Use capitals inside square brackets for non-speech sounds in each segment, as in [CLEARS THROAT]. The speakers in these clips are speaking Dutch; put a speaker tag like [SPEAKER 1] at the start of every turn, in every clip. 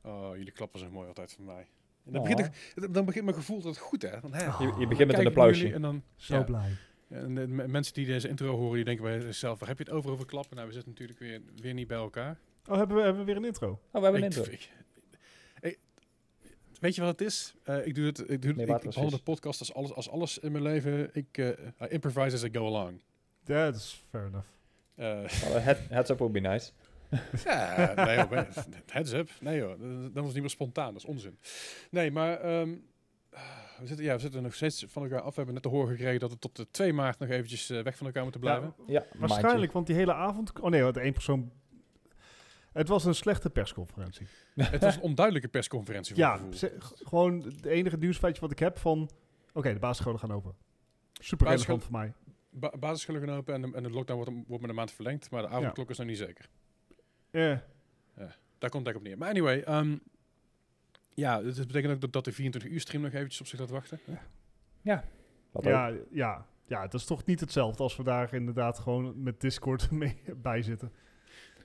[SPEAKER 1] Oh, jullie klappen zijn mooi altijd van mij. En dan,
[SPEAKER 2] Oh.
[SPEAKER 1] begint, het- dan begint mijn gevoel dat goed, hè? Dan, hè,
[SPEAKER 2] Je-
[SPEAKER 1] dan kijk
[SPEAKER 2] je begint
[SPEAKER 1] ik
[SPEAKER 2] met een
[SPEAKER 1] naar
[SPEAKER 2] applausje.
[SPEAKER 1] jullie En dan,
[SPEAKER 3] Oh. Zo
[SPEAKER 1] ja.
[SPEAKER 3] blij.
[SPEAKER 1] en de m- mensen die deze intro horen, die denken bij zichzelf, waar heb je het over over klappen? Nou, we zitten natuurlijk weer, weer niet bij elkaar.
[SPEAKER 3] Oh, hebben we, hebben we weer een intro?
[SPEAKER 2] Oh, we hebben een
[SPEAKER 1] Ik-
[SPEAKER 2] intro.
[SPEAKER 1] ik- ik- weet je wat het is? Eh, ik doe het, ik doe het,
[SPEAKER 2] Nee,
[SPEAKER 1] ik, ik
[SPEAKER 2] watervis.
[SPEAKER 1] behandel de podcast als alles, als alles in mijn leven. Ik eh, I improvise as I go along.
[SPEAKER 3] Ja, dat is fair enough.
[SPEAKER 1] Eh,
[SPEAKER 2] Nou, een head, heads up would be nice.
[SPEAKER 1] Ja, nee joh, ben- heads up. Nee joh, dat dat was niet meer spontaan, dat is onzin. Nee, maar ehm, we, zitten, ja, we zitten nog steeds van elkaar af. We hebben net te horen gekregen dat we tot de 2 maart nog eventjes eh, weg van elkaar moeten blijven.
[SPEAKER 3] Ja,
[SPEAKER 2] Ja,
[SPEAKER 3] waarschijnlijk,
[SPEAKER 2] maandje.
[SPEAKER 3] want die hele avond... Oh nee, want één persoon... Het was een slechte persconferentie.
[SPEAKER 1] Het was een onduidelijke persconferentie. voor mijn
[SPEAKER 3] Ja,
[SPEAKER 1] gevoel.
[SPEAKER 3] ze- g- gewoon het enige nieuwsfeitje wat ik heb van... Oké, de basisscholen gaan open. Super relevant voor mij.
[SPEAKER 1] Ba- basisscholen gaan open en de, en de lockdown wordt, wordt met een maand verlengd. Maar de avondklok is nog niet zeker.
[SPEAKER 3] Eh,
[SPEAKER 1] Daar komt het eigenlijk op neer. Maar anyway, ehm, ja, dat betekent ook dat, dat de 24 uur stream nog eventjes op zich laat wachten.
[SPEAKER 2] Wat ook.
[SPEAKER 3] ja, ja, ja, dat is toch niet hetzelfde als we daar inderdaad gewoon met Discord [LAUGHS] mee bij zitten.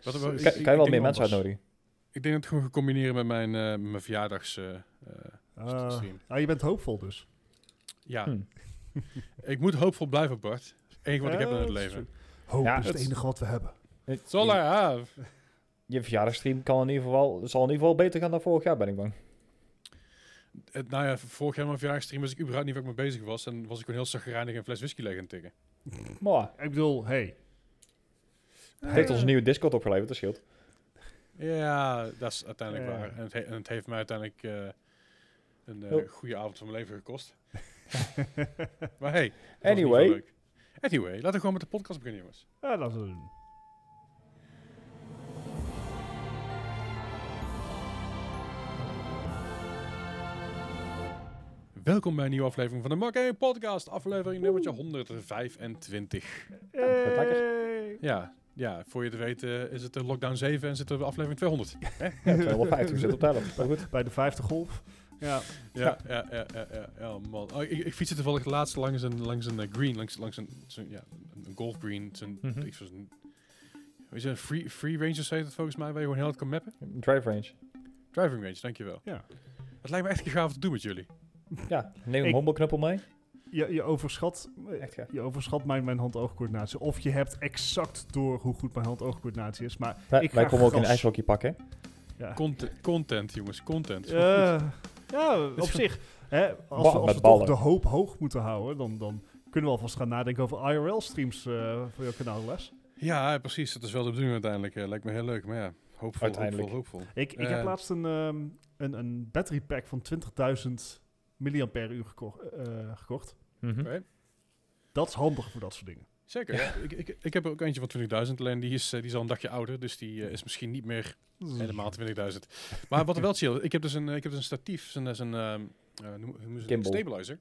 [SPEAKER 1] Wat-
[SPEAKER 3] Dus,
[SPEAKER 1] wat-
[SPEAKER 3] eh,
[SPEAKER 1] ik-
[SPEAKER 2] Kan,
[SPEAKER 1] ik
[SPEAKER 2] kan je wel
[SPEAKER 3] denk
[SPEAKER 2] meer
[SPEAKER 3] anders.
[SPEAKER 2] mensen uitnodigen?
[SPEAKER 1] Ik denk dat het gewoon ga combineren met mijn, eh, mijn verjaardags... eh, eh,
[SPEAKER 3] eh,
[SPEAKER 1] Stream.
[SPEAKER 3] ah, je bent hoopvol dus.
[SPEAKER 1] ja,
[SPEAKER 2] Hm.
[SPEAKER 1] Ik moet hoopvol blijven, Bart. Het enige wat ik heb in
[SPEAKER 3] Eh,
[SPEAKER 1] het
[SPEAKER 3] dat is
[SPEAKER 1] leven.
[SPEAKER 3] Hoop
[SPEAKER 2] Ja,
[SPEAKER 3] is het
[SPEAKER 2] het-
[SPEAKER 3] enige wat we hebben.
[SPEAKER 1] Zal
[SPEAKER 2] Je,
[SPEAKER 1] I have?
[SPEAKER 2] je verjaardagstream kan in ieder geval, zal in ieder geval beter gaan dan vorig jaar, ben ik bang.
[SPEAKER 1] Het, nou ja, vorig jaar mijn verjaardagstream was ik überhaupt niet waar ik mee bezig was. En was ik gewoon heel zagrijnig een fles whisky leeg aan het tikken.
[SPEAKER 2] Maar,
[SPEAKER 3] Ik bedoel, hey,
[SPEAKER 2] het heeft ons
[SPEAKER 3] Eh.
[SPEAKER 2] een nieuwe Discord opgeleverd, dat scheelt.
[SPEAKER 1] Ja, dat is uiteindelijk
[SPEAKER 3] Ja.
[SPEAKER 1] waar. En het, he- en het heeft mij uiteindelijk eh, een eh,
[SPEAKER 2] Heel-
[SPEAKER 1] goede avond van mijn leven [LAUGHS] gekost. maar hey. het was in ieder
[SPEAKER 2] Anyway.
[SPEAKER 1] geval leuk. Anyway, laten we gewoon met de podcast beginnen, jongens.
[SPEAKER 3] ja, laten we doen.
[SPEAKER 1] Welkom bij een nieuwe aflevering van de Mark Heen Podcast. Aflevering nummertje 125.
[SPEAKER 2] wat lekker.
[SPEAKER 3] Hey.
[SPEAKER 1] Ja, ja, voor je het weet eh, is het de lockdown 7 en zitten we bij aflevering 200.
[SPEAKER 2] Ja, 250 zit op tellen. Maar goed.
[SPEAKER 3] Bij de vijfde golf. Ja,
[SPEAKER 1] Ja, ja, ja, ja, ja, ja, man. Oh, ik, ik fietste toevallig laatst langs een, langs een eh, green, langs, langs een, zo'n, ja, een een golfgreen. Zo'n,
[SPEAKER 2] Mhm.
[SPEAKER 1] ik was een, weet je, een free, free range of zo heet het volgens mij, waar je gewoon heel hard kan mappen.
[SPEAKER 2] Drive range.
[SPEAKER 1] Driving range, dankjewel.
[SPEAKER 3] Ja.
[SPEAKER 1] Het lijkt me echt gaaf te doen met jullie.
[SPEAKER 2] Ja, neem een
[SPEAKER 3] Ik-
[SPEAKER 2] hommelknuppel mee.
[SPEAKER 3] je, je overschat,
[SPEAKER 2] Echt gaaf.
[SPEAKER 3] je overschat mijn, mijn hand-oogcoördinatie. Of je hebt exact door hoe goed mijn hand-oogcoördinatie is. Maar
[SPEAKER 2] Wij,
[SPEAKER 3] ik
[SPEAKER 2] wij
[SPEAKER 3] ga
[SPEAKER 2] komen ook in een
[SPEAKER 3] gras.
[SPEAKER 2] ijshockey pakken. hè?
[SPEAKER 3] Ja,
[SPEAKER 1] Content, content jongens, content.
[SPEAKER 3] Eh, ja op zich. Hè, als
[SPEAKER 2] Ba-
[SPEAKER 3] we, als
[SPEAKER 2] met
[SPEAKER 3] we toch
[SPEAKER 2] ballen.
[SPEAKER 3] de hoop hoog moeten houden, dan, dan kunnen we alvast gaan nadenken over IRL-streams eh, voor jouw kanaal, Les.
[SPEAKER 1] Ja, ja, precies. Dat is wel de bedoeling uiteindelijk. eh, lijkt me heel leuk, maar ja, hoopvol,
[SPEAKER 2] Uiteindelijk.
[SPEAKER 1] hoopvol, hoopvol.
[SPEAKER 3] Ik, ik
[SPEAKER 1] Eh.
[SPEAKER 3] heb laatst een, ehm, een, een battery pack van 20.000 mAh geko- eh, gekocht.
[SPEAKER 2] Mhm.
[SPEAKER 1] Oké.
[SPEAKER 3] Dat is handig voor dat soort dingen.
[SPEAKER 1] Zeker. Ik, ik, ik heb er ook eentje van 20.000, alleen die is, eh, die is al een dagje ouder, dus die eh, is misschien niet meer Helemaal 20.000. Maar wat er wel chill is, ik heb dus een, ik heb dus een statief, zo'n, zo'n ehm, eh, noem- hoe noemen ze het?
[SPEAKER 2] Gimbal.
[SPEAKER 1] stabilizer.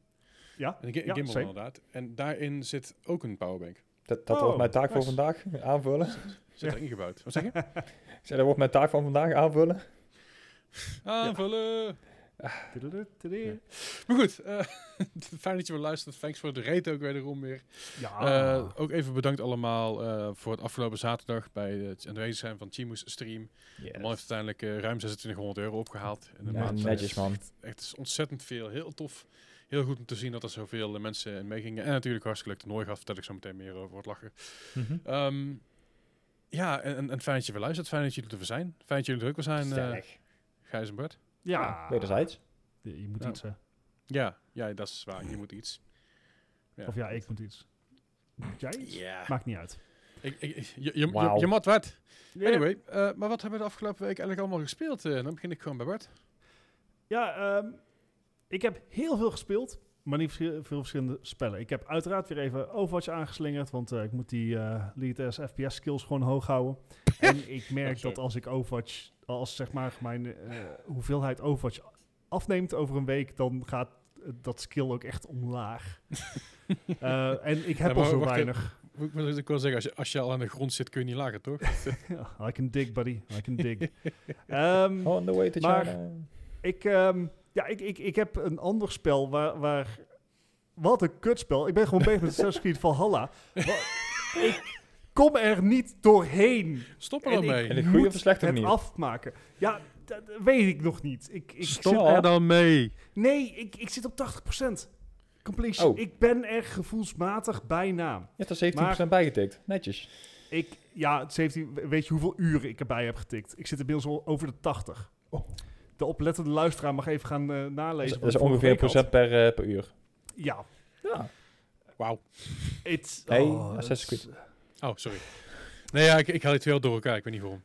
[SPEAKER 3] Ja,
[SPEAKER 1] Een, gi-
[SPEAKER 3] ja,
[SPEAKER 1] gimbal
[SPEAKER 3] same.
[SPEAKER 1] inderdaad. En daarin zit ook een powerbank.
[SPEAKER 2] Dat, dat
[SPEAKER 3] Oh,
[SPEAKER 2] wordt mijn taak voor
[SPEAKER 3] nice.
[SPEAKER 2] vandaag, aanvullen.
[SPEAKER 1] Zit er ingebouwd. Wat zeg je?
[SPEAKER 2] Ik zei, dat wordt mijn taak van vandaag, aanvullen.
[SPEAKER 1] [LAUGHS] Aanvullen!
[SPEAKER 3] Tududu, tudu.
[SPEAKER 1] Maar goed, eh, [LAUGHS] fijn dat je weer luistert. Thanks voor de rate ook wederom weer.
[SPEAKER 3] Ja.
[SPEAKER 1] Eh, ook even bedankt allemaal eh, voor het afgelopen zaterdag bij het aanwezig zijn van Chimu's stream. De man heeft uiteindelijk eh, ruim 2600 euro opgehaald. In een
[SPEAKER 2] Ja,
[SPEAKER 1] maand.
[SPEAKER 2] netjes, man.
[SPEAKER 1] Echt het is ontzettend veel. Heel tof. Heel goed om te zien dat er zoveel eh, mensen in meegingen. En natuurlijk hartstikke leuk toernooi gehad. Vertel ik zo meteen meer over het lachen.
[SPEAKER 2] Mhm.
[SPEAKER 1] Ehm, ja, en, en, en fijn dat je weer luistert. Fijn dat jullie er weer zijn. Fijn dat jullie er ook weer zijn, eh,
[SPEAKER 2] Sterk.
[SPEAKER 1] Gijs en Bert.
[SPEAKER 3] ja.
[SPEAKER 2] Wederzijds.
[SPEAKER 3] Je, je moet
[SPEAKER 1] Ja.
[SPEAKER 3] iets, hè.
[SPEAKER 1] Ja, ja, dat is waar. Je moet iets. Ja.
[SPEAKER 3] Of ja, ik moet iets. Moet jij iets?
[SPEAKER 1] Ja.
[SPEAKER 3] Maakt niet uit.
[SPEAKER 1] Ik, ik, ik- je, je,
[SPEAKER 2] Wauw.
[SPEAKER 1] je, je mat wat. Anyway, eh, maar wat hebben we de afgelopen week eigenlijk allemaal gespeeld? Eh, dan begin ik gewoon bij Bert.
[SPEAKER 3] Ja, ehm, ik heb heel veel gespeeld, maar niet verschi- veel verschillende spellen. Ik heb uiteraard weer even Overwatch aangeslingerd, want eh, ik moet die eh Lead as FPS skills gewoon hoog houden.
[SPEAKER 1] [LAUGHS]
[SPEAKER 3] en ik merk
[SPEAKER 1] sorry.
[SPEAKER 3] dat als ik Overwatch, als zeg maar mijn eh, hoeveelheid Overwatch afneemt over een week, dan gaat eh, dat skill ook echt
[SPEAKER 1] [LAUGHS]
[SPEAKER 3] omlaag. Eh, en ik heb
[SPEAKER 1] Ja,
[SPEAKER 3] al
[SPEAKER 1] maar
[SPEAKER 3] zo
[SPEAKER 1] wacht even.
[SPEAKER 3] weinig.
[SPEAKER 1] Ik wil ik wil zeggen, als je, als je al aan de grond zit, kun je niet lager, toch?
[SPEAKER 3] [LAUGHS] I can dig, buddy. I can dig. Ehm,
[SPEAKER 2] Oh, On the way to
[SPEAKER 3] Maar-
[SPEAKER 2] China.
[SPEAKER 3] ik, ehm, ja, ik, ik, ik heb een ander spel waar, waar... Wat een kutspel. Ik ben gewoon bezig met Assassin's Creed Valhalla. Wa- ik kom er niet doorheen.
[SPEAKER 1] Stop er
[SPEAKER 3] En
[SPEAKER 1] dan
[SPEAKER 3] ik-
[SPEAKER 1] mee.
[SPEAKER 2] In de
[SPEAKER 3] je
[SPEAKER 2] goede
[SPEAKER 3] moet
[SPEAKER 2] of de slechte
[SPEAKER 3] Het
[SPEAKER 2] manier?
[SPEAKER 3] afmaken. Ja, d- dat weet ik nog niet. Ik, ik
[SPEAKER 1] Stop
[SPEAKER 2] zit-
[SPEAKER 1] er dan mee.
[SPEAKER 3] zit- nee, ik, ik zit op 80%. Completion.
[SPEAKER 2] Oh.
[SPEAKER 3] Ik ben er gevoelsmatig bijna.
[SPEAKER 2] Je hebt er 17%
[SPEAKER 3] Maar-
[SPEAKER 2] bijgetikt. Netjes.
[SPEAKER 3] Ik, ja, het 17, we- weet je hoeveel uren ik erbij heb getikt? Ik zit inmiddels al over de 80.
[SPEAKER 2] Oh.
[SPEAKER 3] De oplettende luisteraar mag even gaan eh,
[SPEAKER 2] Dat is,
[SPEAKER 3] nalezen.
[SPEAKER 2] dat is
[SPEAKER 3] wat ik vorige
[SPEAKER 2] ongeveer een
[SPEAKER 3] week
[SPEAKER 2] procent
[SPEAKER 3] had.
[SPEAKER 2] per, eh, per uur.
[SPEAKER 3] Ja.
[SPEAKER 2] Ja.
[SPEAKER 1] Wauw.
[SPEAKER 3] It's,
[SPEAKER 2] Hey,
[SPEAKER 3] oh,
[SPEAKER 2] Assassin's
[SPEAKER 3] it's-
[SPEAKER 1] Oh, sorry. Nee, ja, ik, ik haal die twee al door elkaar. Ik weet niet waarom.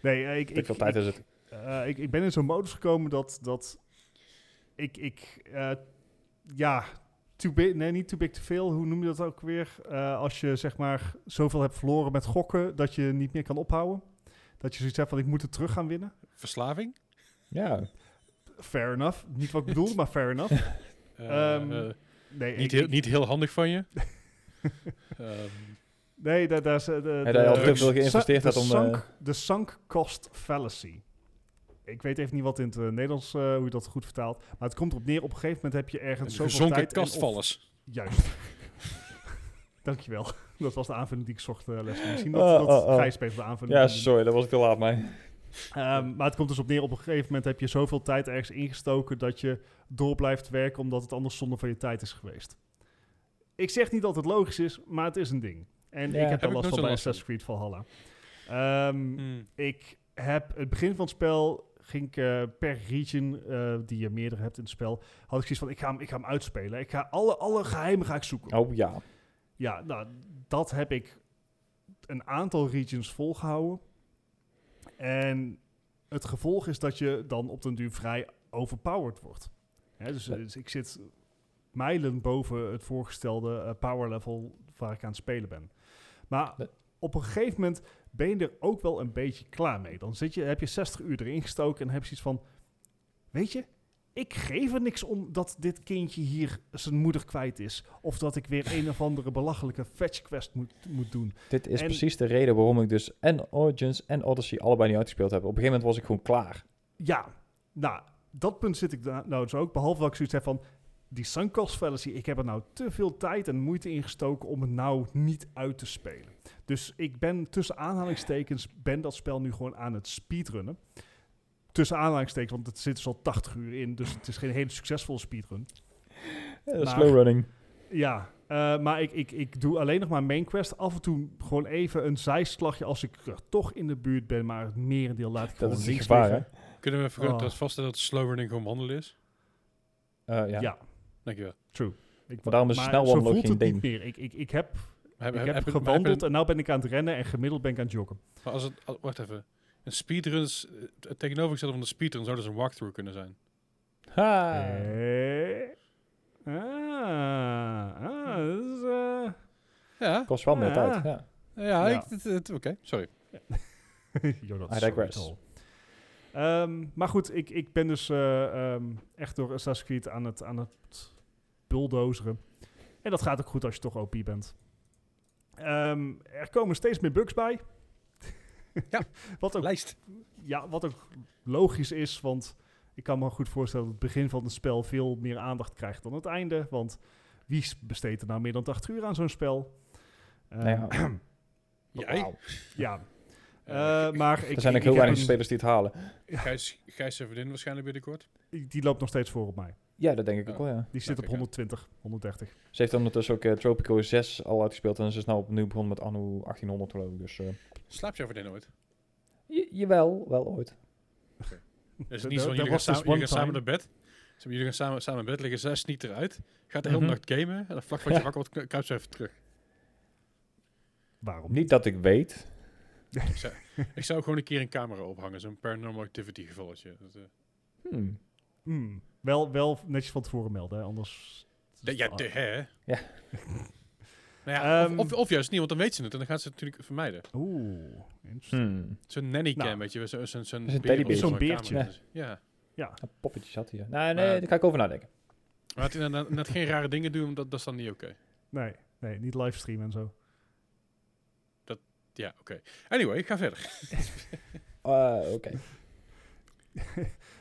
[SPEAKER 3] Nee, eh, ik, ik,
[SPEAKER 2] Hoeveel tijd is het?
[SPEAKER 3] Eh, ik, ik ben in zo'n modus gekomen dat, dat ik, ik eh, ja, too big, nee, niet too big to fail, hoe noem je dat ook weer? Eh, als je zeg maar zoveel hebt verloren met gokken dat je niet meer kan ophouden. Dat je zoiets hebt van ik moet het terug gaan winnen.
[SPEAKER 1] Verslaving?
[SPEAKER 2] Ja.
[SPEAKER 3] Fair enough. Niet wat ik
[SPEAKER 2] [LAUGHS]
[SPEAKER 3] bedoelde, maar fair enough.
[SPEAKER 1] Eh,
[SPEAKER 3] Ehm,
[SPEAKER 1] eh,
[SPEAKER 3] Nee,
[SPEAKER 1] niet,
[SPEAKER 3] ik-
[SPEAKER 1] heel,
[SPEAKER 3] ik-
[SPEAKER 1] niet heel handig van
[SPEAKER 3] [LAUGHS]
[SPEAKER 1] je. Ehm,
[SPEAKER 3] Nee, daar, daar is... eh, de-
[SPEAKER 2] En dat je al
[SPEAKER 3] de-
[SPEAKER 2] te veel geïnvesteerd
[SPEAKER 3] Sa-
[SPEAKER 2] hebt
[SPEAKER 3] de
[SPEAKER 2] om...
[SPEAKER 3] Sunk,
[SPEAKER 2] eh,
[SPEAKER 3] de sunk cost fallacy. Ik weet even niet wat in het eh, Nederlands, eh, hoe je dat goed vertaalt. Maar het komt erop neer, op een gegeven moment heb je ergens zoveel
[SPEAKER 1] gezonken
[SPEAKER 3] tijd... en of-
[SPEAKER 1] kastvallers.
[SPEAKER 3] Juist. [LAUGHS] Dankjewel. Dat was de aanvulling die ik zocht, eh Leslie. Misschien dat,
[SPEAKER 2] Oh,
[SPEAKER 3] dat
[SPEAKER 2] oh, oh.
[SPEAKER 3] Gijs even de aanvulling
[SPEAKER 2] ja,
[SPEAKER 3] kan doen.
[SPEAKER 2] sorry, dat was ik te laat mee.
[SPEAKER 3] Ehm, maar het komt dus op neer, op een gegeven moment heb je zoveel tijd ergens ingestoken dat je door blijft werken omdat het anders zonde van je tijd is geweest. Ik zeg niet dat het logisch is, maar het is een ding. En
[SPEAKER 2] Ja.
[SPEAKER 3] ik heb
[SPEAKER 1] Heb
[SPEAKER 3] daar
[SPEAKER 1] ik
[SPEAKER 3] last
[SPEAKER 1] nooit
[SPEAKER 3] van
[SPEAKER 1] zo
[SPEAKER 3] bij
[SPEAKER 1] last van.
[SPEAKER 3] Assassin's Creed Valhalla. Ehm
[SPEAKER 1] Hmm.
[SPEAKER 3] ik heb het begin van het spel ging ik eh, per region eh, die je meerdere hebt in het spel, had ik zoiets van ik ga hem, ik ga hem uitspelen. Ik ga alle, alle geheimen ga ik zoeken.
[SPEAKER 2] Oh ja.
[SPEAKER 3] Ja, nou, dat heb ik een aantal regions volgehouden. En het gevolg is dat je dan op den duur vrij overpowered wordt. Hè, dus,
[SPEAKER 2] Ja.
[SPEAKER 3] dus ik zit mijlen boven het voorgestelde eh, power level waar ik aan het spelen ben. Maar
[SPEAKER 2] Ja.
[SPEAKER 3] op een gegeven moment ben je er ook wel een beetje klaar mee. Dan zit je, heb je 60 uur erin gestoken en heb je iets van... Weet je, ik geef er niks om dat dit kindje hier zijn moeder kwijt is. Of dat ik weer een of andere belachelijke fetch quest moet, moet doen.
[SPEAKER 2] Dit is
[SPEAKER 3] En-
[SPEAKER 2] precies de reden waarom ik dus en Origins en Odyssey allebei niet uitgespeeld heb. Op een gegeven moment was ik gewoon klaar.
[SPEAKER 3] Ja, nou, dat punt zit ik da- nou dus ook. Behalve dat ik zoiets heb van... Die sunk cost fallacy, ik heb er nou te veel tijd en moeite in gestoken om het nou niet uit te spelen. Dus ik ben tussen aanhalingstekens, ben dat spel nu gewoon aan het speedrunnen. Tussen aanhalingstekens, want het zit dus al 80 uur in, dus het is geen hele succesvolle speedrun.
[SPEAKER 2] Eh,
[SPEAKER 3] Maar-
[SPEAKER 2] Slow running.
[SPEAKER 3] Ja, eh, maar ik, ik, ik doe alleen nog maar main quest. Af en toe gewoon even een zijslagje als ik er toch in de buurt ben. Maar het merendeel laat ik
[SPEAKER 2] Dat
[SPEAKER 3] gewoon
[SPEAKER 2] is het
[SPEAKER 3] links
[SPEAKER 2] gevaar, hè?
[SPEAKER 3] liggen.
[SPEAKER 1] Kunnen we even
[SPEAKER 3] Oh.
[SPEAKER 1] dat vaststellen dat slow running gewoon wandelen is?
[SPEAKER 2] Eh,
[SPEAKER 3] Ja.
[SPEAKER 2] ja.
[SPEAKER 1] Dankjewel.
[SPEAKER 3] Ik,
[SPEAKER 2] Maar daarom is snel
[SPEAKER 3] zo
[SPEAKER 2] wandelen
[SPEAKER 3] voelt
[SPEAKER 2] ook
[SPEAKER 3] het
[SPEAKER 2] geen
[SPEAKER 3] niet meer. Ik, ik, ik heb,
[SPEAKER 1] Heb,
[SPEAKER 3] ik
[SPEAKER 1] heb-
[SPEAKER 3] heb,
[SPEAKER 1] heb-
[SPEAKER 3] gewandeld
[SPEAKER 1] heb-
[SPEAKER 3] en nu ben ik aan het rennen. En gemiddeld ben ik aan het joggen.
[SPEAKER 1] maar als het, al- wacht even. Een speedrun is eh, het tegenovergestelde van de speedrun zou dus een walkthrough kunnen zijn.
[SPEAKER 2] Ha!
[SPEAKER 3] Eh. Ah, ah, dat is, eh,
[SPEAKER 1] Ja,
[SPEAKER 2] Kost wel meer
[SPEAKER 3] Ah.
[SPEAKER 2] tijd. Ja.
[SPEAKER 1] ja,
[SPEAKER 3] Ja.
[SPEAKER 1] ik- het- het- oké, sorry.
[SPEAKER 3] Yo, dat
[SPEAKER 2] I
[SPEAKER 3] is zo
[SPEAKER 2] digress.
[SPEAKER 3] dull. Ehm, maar goed, ik, ik ben dus eh, ehm, echt door Assassin's Creed aan het, aan het bulldozeren. En dat gaat ook goed als je toch OP bent. Ehm, er komen steeds meer bugs bij.
[SPEAKER 1] Ja,
[SPEAKER 3] [LAUGHS] wat, ook,
[SPEAKER 1] Lijst.
[SPEAKER 3] ja, wat ook logisch is, want ik kan me goed voorstellen dat het begin van het spel veel meer aandacht krijgt dan het einde. Want wie s- besteedt er nou meer dan 80 uur aan zo'n spel? Ehm,
[SPEAKER 2] Nou ja.
[SPEAKER 1] Jij?
[SPEAKER 2] Wauw.
[SPEAKER 3] ja.
[SPEAKER 1] Eh,
[SPEAKER 3] Eh, maar ik,
[SPEAKER 2] Er zijn
[SPEAKER 3] ik,
[SPEAKER 2] ook heel
[SPEAKER 3] ik heb
[SPEAKER 2] weinig
[SPEAKER 3] een-
[SPEAKER 2] spelers die het halen.
[SPEAKER 1] Gijs, Gijs zijn vriendin waarschijnlijk binnenkort.
[SPEAKER 3] Die loopt nog steeds voor op mij.
[SPEAKER 2] Ja, dat denk ik ook
[SPEAKER 1] Ja.
[SPEAKER 2] wel, ja.
[SPEAKER 3] Die zit op
[SPEAKER 1] kijk aan.
[SPEAKER 3] 120, 130.
[SPEAKER 2] Ze heeft ondertussen ook eh, Tropico 6 al uitgespeeld en ze is nou opnieuw begonnen met Anno 1800 geloof ik. Dus, eh,
[SPEAKER 1] Slaapt jouw vriendin ooit?
[SPEAKER 2] j- jawel, wel ooit.
[SPEAKER 1] Dus
[SPEAKER 3] There-
[SPEAKER 1] niet zo van
[SPEAKER 3] there
[SPEAKER 1] jullie gaan,
[SPEAKER 3] was this
[SPEAKER 1] samen, jullie gaan
[SPEAKER 3] one
[SPEAKER 1] samen naar bed. Zeg maar, jullie gaan samen, samen in bed liggen, zij sniet eruit. Gaat de hele
[SPEAKER 2] Mhm.
[SPEAKER 1] nacht gamen. En dan vlak van je
[SPEAKER 2] Ja.
[SPEAKER 1] wakker wordt, kru- kruipt ze even terug.
[SPEAKER 3] Waarom?
[SPEAKER 2] Niet dat ik weet.
[SPEAKER 1] Ik zou, ik zou gewoon een keer een camera ophangen. Zo'n paranormal activity gevalletje. Dat, eh,
[SPEAKER 2] Hmm.
[SPEAKER 3] Hmm. Wel, wel netjes van tevoren melden, hè, anders...
[SPEAKER 1] de- ja, de hè?
[SPEAKER 2] Ja.
[SPEAKER 1] [LAUGHS] Nou ja,
[SPEAKER 3] Ehm.
[SPEAKER 1] of, of, of juist niet, want dan weet ze het. En dan gaat ze het natuurlijk vermijden.
[SPEAKER 3] Oeh, interesting.
[SPEAKER 2] Hmm.
[SPEAKER 1] Zo'n nannycam,
[SPEAKER 3] Nou.
[SPEAKER 1] weet je. wel, Zo'n zo'n zo'n
[SPEAKER 2] Is een
[SPEAKER 1] beer op
[SPEAKER 2] teddybeer.
[SPEAKER 1] zo'n
[SPEAKER 3] Zo'n beertje.
[SPEAKER 1] kamer. Ja.
[SPEAKER 3] Ja,
[SPEAKER 2] Een poppetje zat hier. Nee, nee,
[SPEAKER 1] Maar-
[SPEAKER 2] daar ga ik over nadenken.
[SPEAKER 1] Maar het inderdaad net geen rare dingen doen, dat, dat is dan niet oké.
[SPEAKER 3] nee, nee, niet livestreamen en zo.
[SPEAKER 1] Ja, oké. Anyway, ik ga verder.
[SPEAKER 2] Eh, Oké.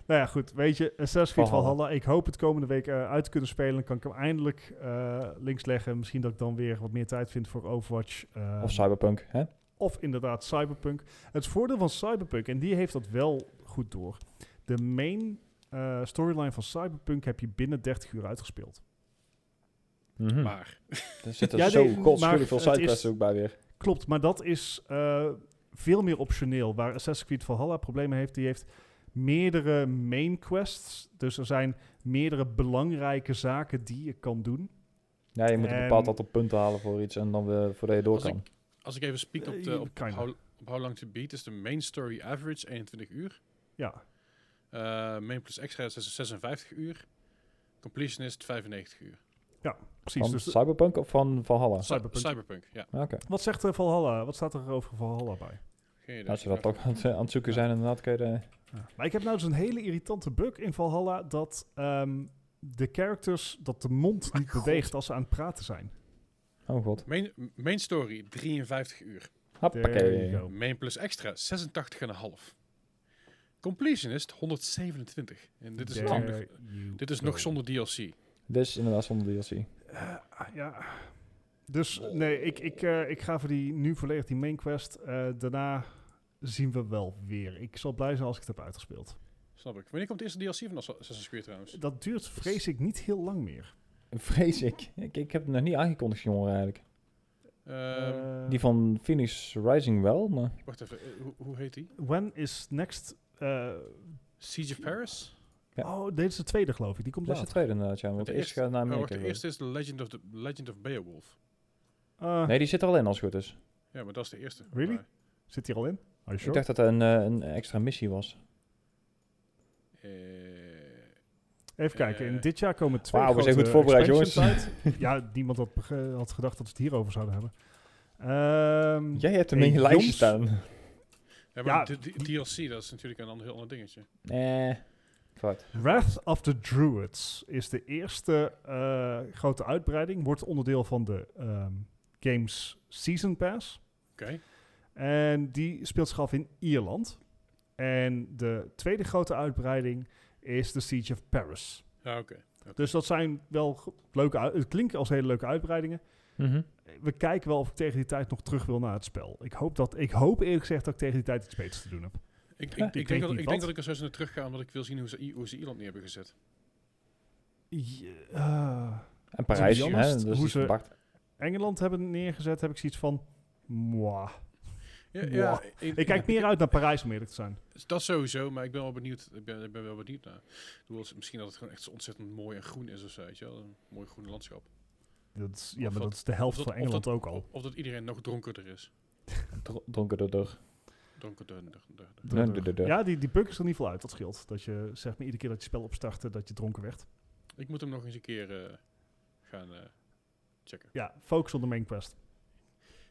[SPEAKER 3] Nou ja, goed, weet je, Assassin's Creed
[SPEAKER 2] Valhalla.
[SPEAKER 3] Valhalla. Ik hoop het komende week eh, uit te kunnen spelen. Dan kan ik hem eindelijk eh, links leggen. Misschien dat ik dan weer wat meer tijd vind voor Overwatch. eh,
[SPEAKER 2] Of Cyberpunk, hè?
[SPEAKER 3] of inderdaad Cyberpunk. Het voordeel van Cyberpunk, en die heeft dat wel goed door. De main eh, storyline van Cyberpunk heb je binnen 30 uur uitgespeeld.
[SPEAKER 2] Mhm.
[SPEAKER 1] Maar
[SPEAKER 2] Er zitten
[SPEAKER 3] Ja,
[SPEAKER 2] zo
[SPEAKER 3] nee, maar
[SPEAKER 2] godschuwelijk veel
[SPEAKER 3] het is-
[SPEAKER 2] sidequests ook bij weer.
[SPEAKER 3] Klopt, maar dat is eh, veel meer optioneel. Waar Assassin's Creed Valhalla problemen heeft, die heeft meerdere main quests. Dus er zijn meerdere belangrijke zaken die je kan doen.
[SPEAKER 2] Ja, je moet een
[SPEAKER 3] En-
[SPEAKER 2] bepaald aantal punten halen voor iets en dan weer voordat je door
[SPEAKER 1] Als ik-
[SPEAKER 2] kan.
[SPEAKER 1] als ik even speak op,
[SPEAKER 3] Eh,
[SPEAKER 1] de, op,
[SPEAKER 3] kinda.
[SPEAKER 1] how, op how long to beat, is de main story average 21 uur.
[SPEAKER 3] Ja,
[SPEAKER 1] Eh, main plus extra is 56 uur. Completionist 95 uur.
[SPEAKER 3] precies.
[SPEAKER 2] Van
[SPEAKER 3] Dus
[SPEAKER 2] Cyberpunk of van Valhalla?
[SPEAKER 1] Cy-
[SPEAKER 3] Cyberpunk.
[SPEAKER 1] Cyberpunk, ja.
[SPEAKER 2] Ah, Oké.
[SPEAKER 3] wat zegt eh, Valhalla? Wat staat er over Valhalla bij?
[SPEAKER 1] Geen idee.
[SPEAKER 2] Als je dat toch aan het, aan het zoeken zijn, inderdaad, kun je de-
[SPEAKER 3] Maar ik heb nou dus een hele irritante bug in Valhalla dat ehm, de characters, dat de mond
[SPEAKER 1] Oh
[SPEAKER 3] niet beweegt als ze aan het praten zijn.
[SPEAKER 2] Oh god.
[SPEAKER 1] Main, main story 53 uur.
[SPEAKER 3] There you
[SPEAKER 2] Hoppakee.
[SPEAKER 3] go.
[SPEAKER 1] Main plus extra 86,5. Completionist 127. En dit is,
[SPEAKER 3] There
[SPEAKER 1] natuurlijk nog,
[SPEAKER 3] you
[SPEAKER 1] dit is
[SPEAKER 3] go.
[SPEAKER 1] nog zonder DLC.
[SPEAKER 2] Dit is inderdaad zonder DLC.
[SPEAKER 3] Eh, ah, ja. Dus nee, ik, ik, eh, ik ga voor die, nu volledig die main quest. Eh, daarna zien we wel weer. Ik zal blij zijn als ik het heb uitgespeeld.
[SPEAKER 1] Snap ik. Wanneer komt de eerste DLC van Assa- Assassin's Creed trouwens?
[SPEAKER 3] Dat duurt, vrees ik, niet heel lang meer.
[SPEAKER 2] Vrees ik. ik. Ik heb het nog niet aangekondigd, jongen, eigenlijk.
[SPEAKER 1] Ehm,
[SPEAKER 3] Eh,
[SPEAKER 2] Die van Phoenix Rising wel, maar...
[SPEAKER 1] wacht even, eh, hoe, hoe heet die?
[SPEAKER 3] When is next... eh,
[SPEAKER 1] Siege of Paris?
[SPEAKER 2] Ja.
[SPEAKER 3] Oh, dit is de tweede, geloof ik. Die komt
[SPEAKER 2] Dat is de
[SPEAKER 3] later.
[SPEAKER 2] tweede inderdaad, ja. Want
[SPEAKER 1] De
[SPEAKER 2] de eerste
[SPEAKER 1] eerste-
[SPEAKER 2] gaat naar
[SPEAKER 1] Oh, wacht,
[SPEAKER 2] Amerika.
[SPEAKER 1] de
[SPEAKER 2] geloof ik.
[SPEAKER 1] eerste is de Legend of, the Legend of Beowulf.
[SPEAKER 3] Eh,
[SPEAKER 2] Nee, die zit er alleen als het goed is.
[SPEAKER 1] Ja, maar dat is de eerste.
[SPEAKER 3] Really?
[SPEAKER 1] Maar,
[SPEAKER 3] Zit hier al in? Are you
[SPEAKER 2] Ik
[SPEAKER 3] sure?
[SPEAKER 2] dacht dat er een, eh, een extra missie was.
[SPEAKER 1] eh,
[SPEAKER 3] Even kijken, in
[SPEAKER 1] Eh,
[SPEAKER 3] dit jaar komen twee
[SPEAKER 2] Wauw, we
[SPEAKER 3] grote
[SPEAKER 2] zijn goed voorbereid,
[SPEAKER 3] expansions uit. ja, niemand had, bege- had gedacht dat we het hierover zouden hebben. Ehm,
[SPEAKER 2] Jij hebt hem
[SPEAKER 3] Hey,
[SPEAKER 2] in je lijstje
[SPEAKER 3] Joms.
[SPEAKER 2] staan.
[SPEAKER 1] ja, maar
[SPEAKER 3] Ja,
[SPEAKER 1] de, de- DLC, dat is natuurlijk een ander, heel ander dingetje.
[SPEAKER 2] Nee. Fout.
[SPEAKER 3] Wrath of the Druids is de eerste eh, grote uitbreiding. Wordt onderdeel van de ehm, Games Season Pass.
[SPEAKER 1] Oké.
[SPEAKER 3] En die speelt zich af in Ierland. En de tweede grote uitbreiding is de Siege of Paris.
[SPEAKER 1] Ja, oké.
[SPEAKER 3] Dus dat zijn wel ge- leuke... uit- Het klinkt als hele leuke uitbreidingen.
[SPEAKER 2] Mhm.
[SPEAKER 3] we kijken wel of ik tegen die tijd nog terug wil naar het spel. Ik hoop, dat, ik hoop eerlijk gezegd dat ik tegen die tijd iets beters te doen heb.
[SPEAKER 1] Ik, ik,
[SPEAKER 2] Ja,
[SPEAKER 1] ik,
[SPEAKER 3] ik weet
[SPEAKER 1] denk, dat,
[SPEAKER 3] niet
[SPEAKER 1] ik
[SPEAKER 3] wat.
[SPEAKER 1] denk dat ik er zo eens naar terug ga, omdat ik wil zien hoe ze, I- hoe ze Ierland neer hebben gezet.
[SPEAKER 3] Je- eh,
[SPEAKER 2] En Parijs,
[SPEAKER 3] To be
[SPEAKER 2] hè.
[SPEAKER 3] honest,
[SPEAKER 2] Dus
[SPEAKER 3] hoe
[SPEAKER 2] niet
[SPEAKER 3] ze-
[SPEAKER 2] verwacht.
[SPEAKER 3] Engeland hebben neergezet, heb ik zoiets van... moi.
[SPEAKER 1] Ja,
[SPEAKER 3] Wow.
[SPEAKER 1] ja,
[SPEAKER 3] Ik
[SPEAKER 1] [LAUGHS]
[SPEAKER 3] kijk meer uit naar Parijs om eerlijk te zijn.
[SPEAKER 1] Dat sowieso, maar ik ben wel benieuwd. Ik ben, ik ben wel benieuwd naar. Ik bedoel, als- misschien dat het gewoon echt zo ontzettend mooi en groen is of zo, weet je wel. Een mooi groen landschap.
[SPEAKER 3] Dat is, ja,
[SPEAKER 1] Of dat-
[SPEAKER 3] maar dat is de helft
[SPEAKER 1] of dat-
[SPEAKER 3] van Engeland
[SPEAKER 1] of
[SPEAKER 3] ook al.
[SPEAKER 1] Of dat iedereen nog dronkerder is.
[SPEAKER 2] Dr- Dronken door door.
[SPEAKER 1] Dronkerder. der- der- der.
[SPEAKER 2] Nee, de- de- de- [LAUGHS]
[SPEAKER 3] Ja, die, die bug is er niet veel uit, dat scheelt. Dat je, zeg maar, iedere keer dat je spel opstartte, dat je dronken werd.
[SPEAKER 1] Ik moet hem nog eens een keer eh, gaan eh, checken.
[SPEAKER 3] Ja, focus op de main quest.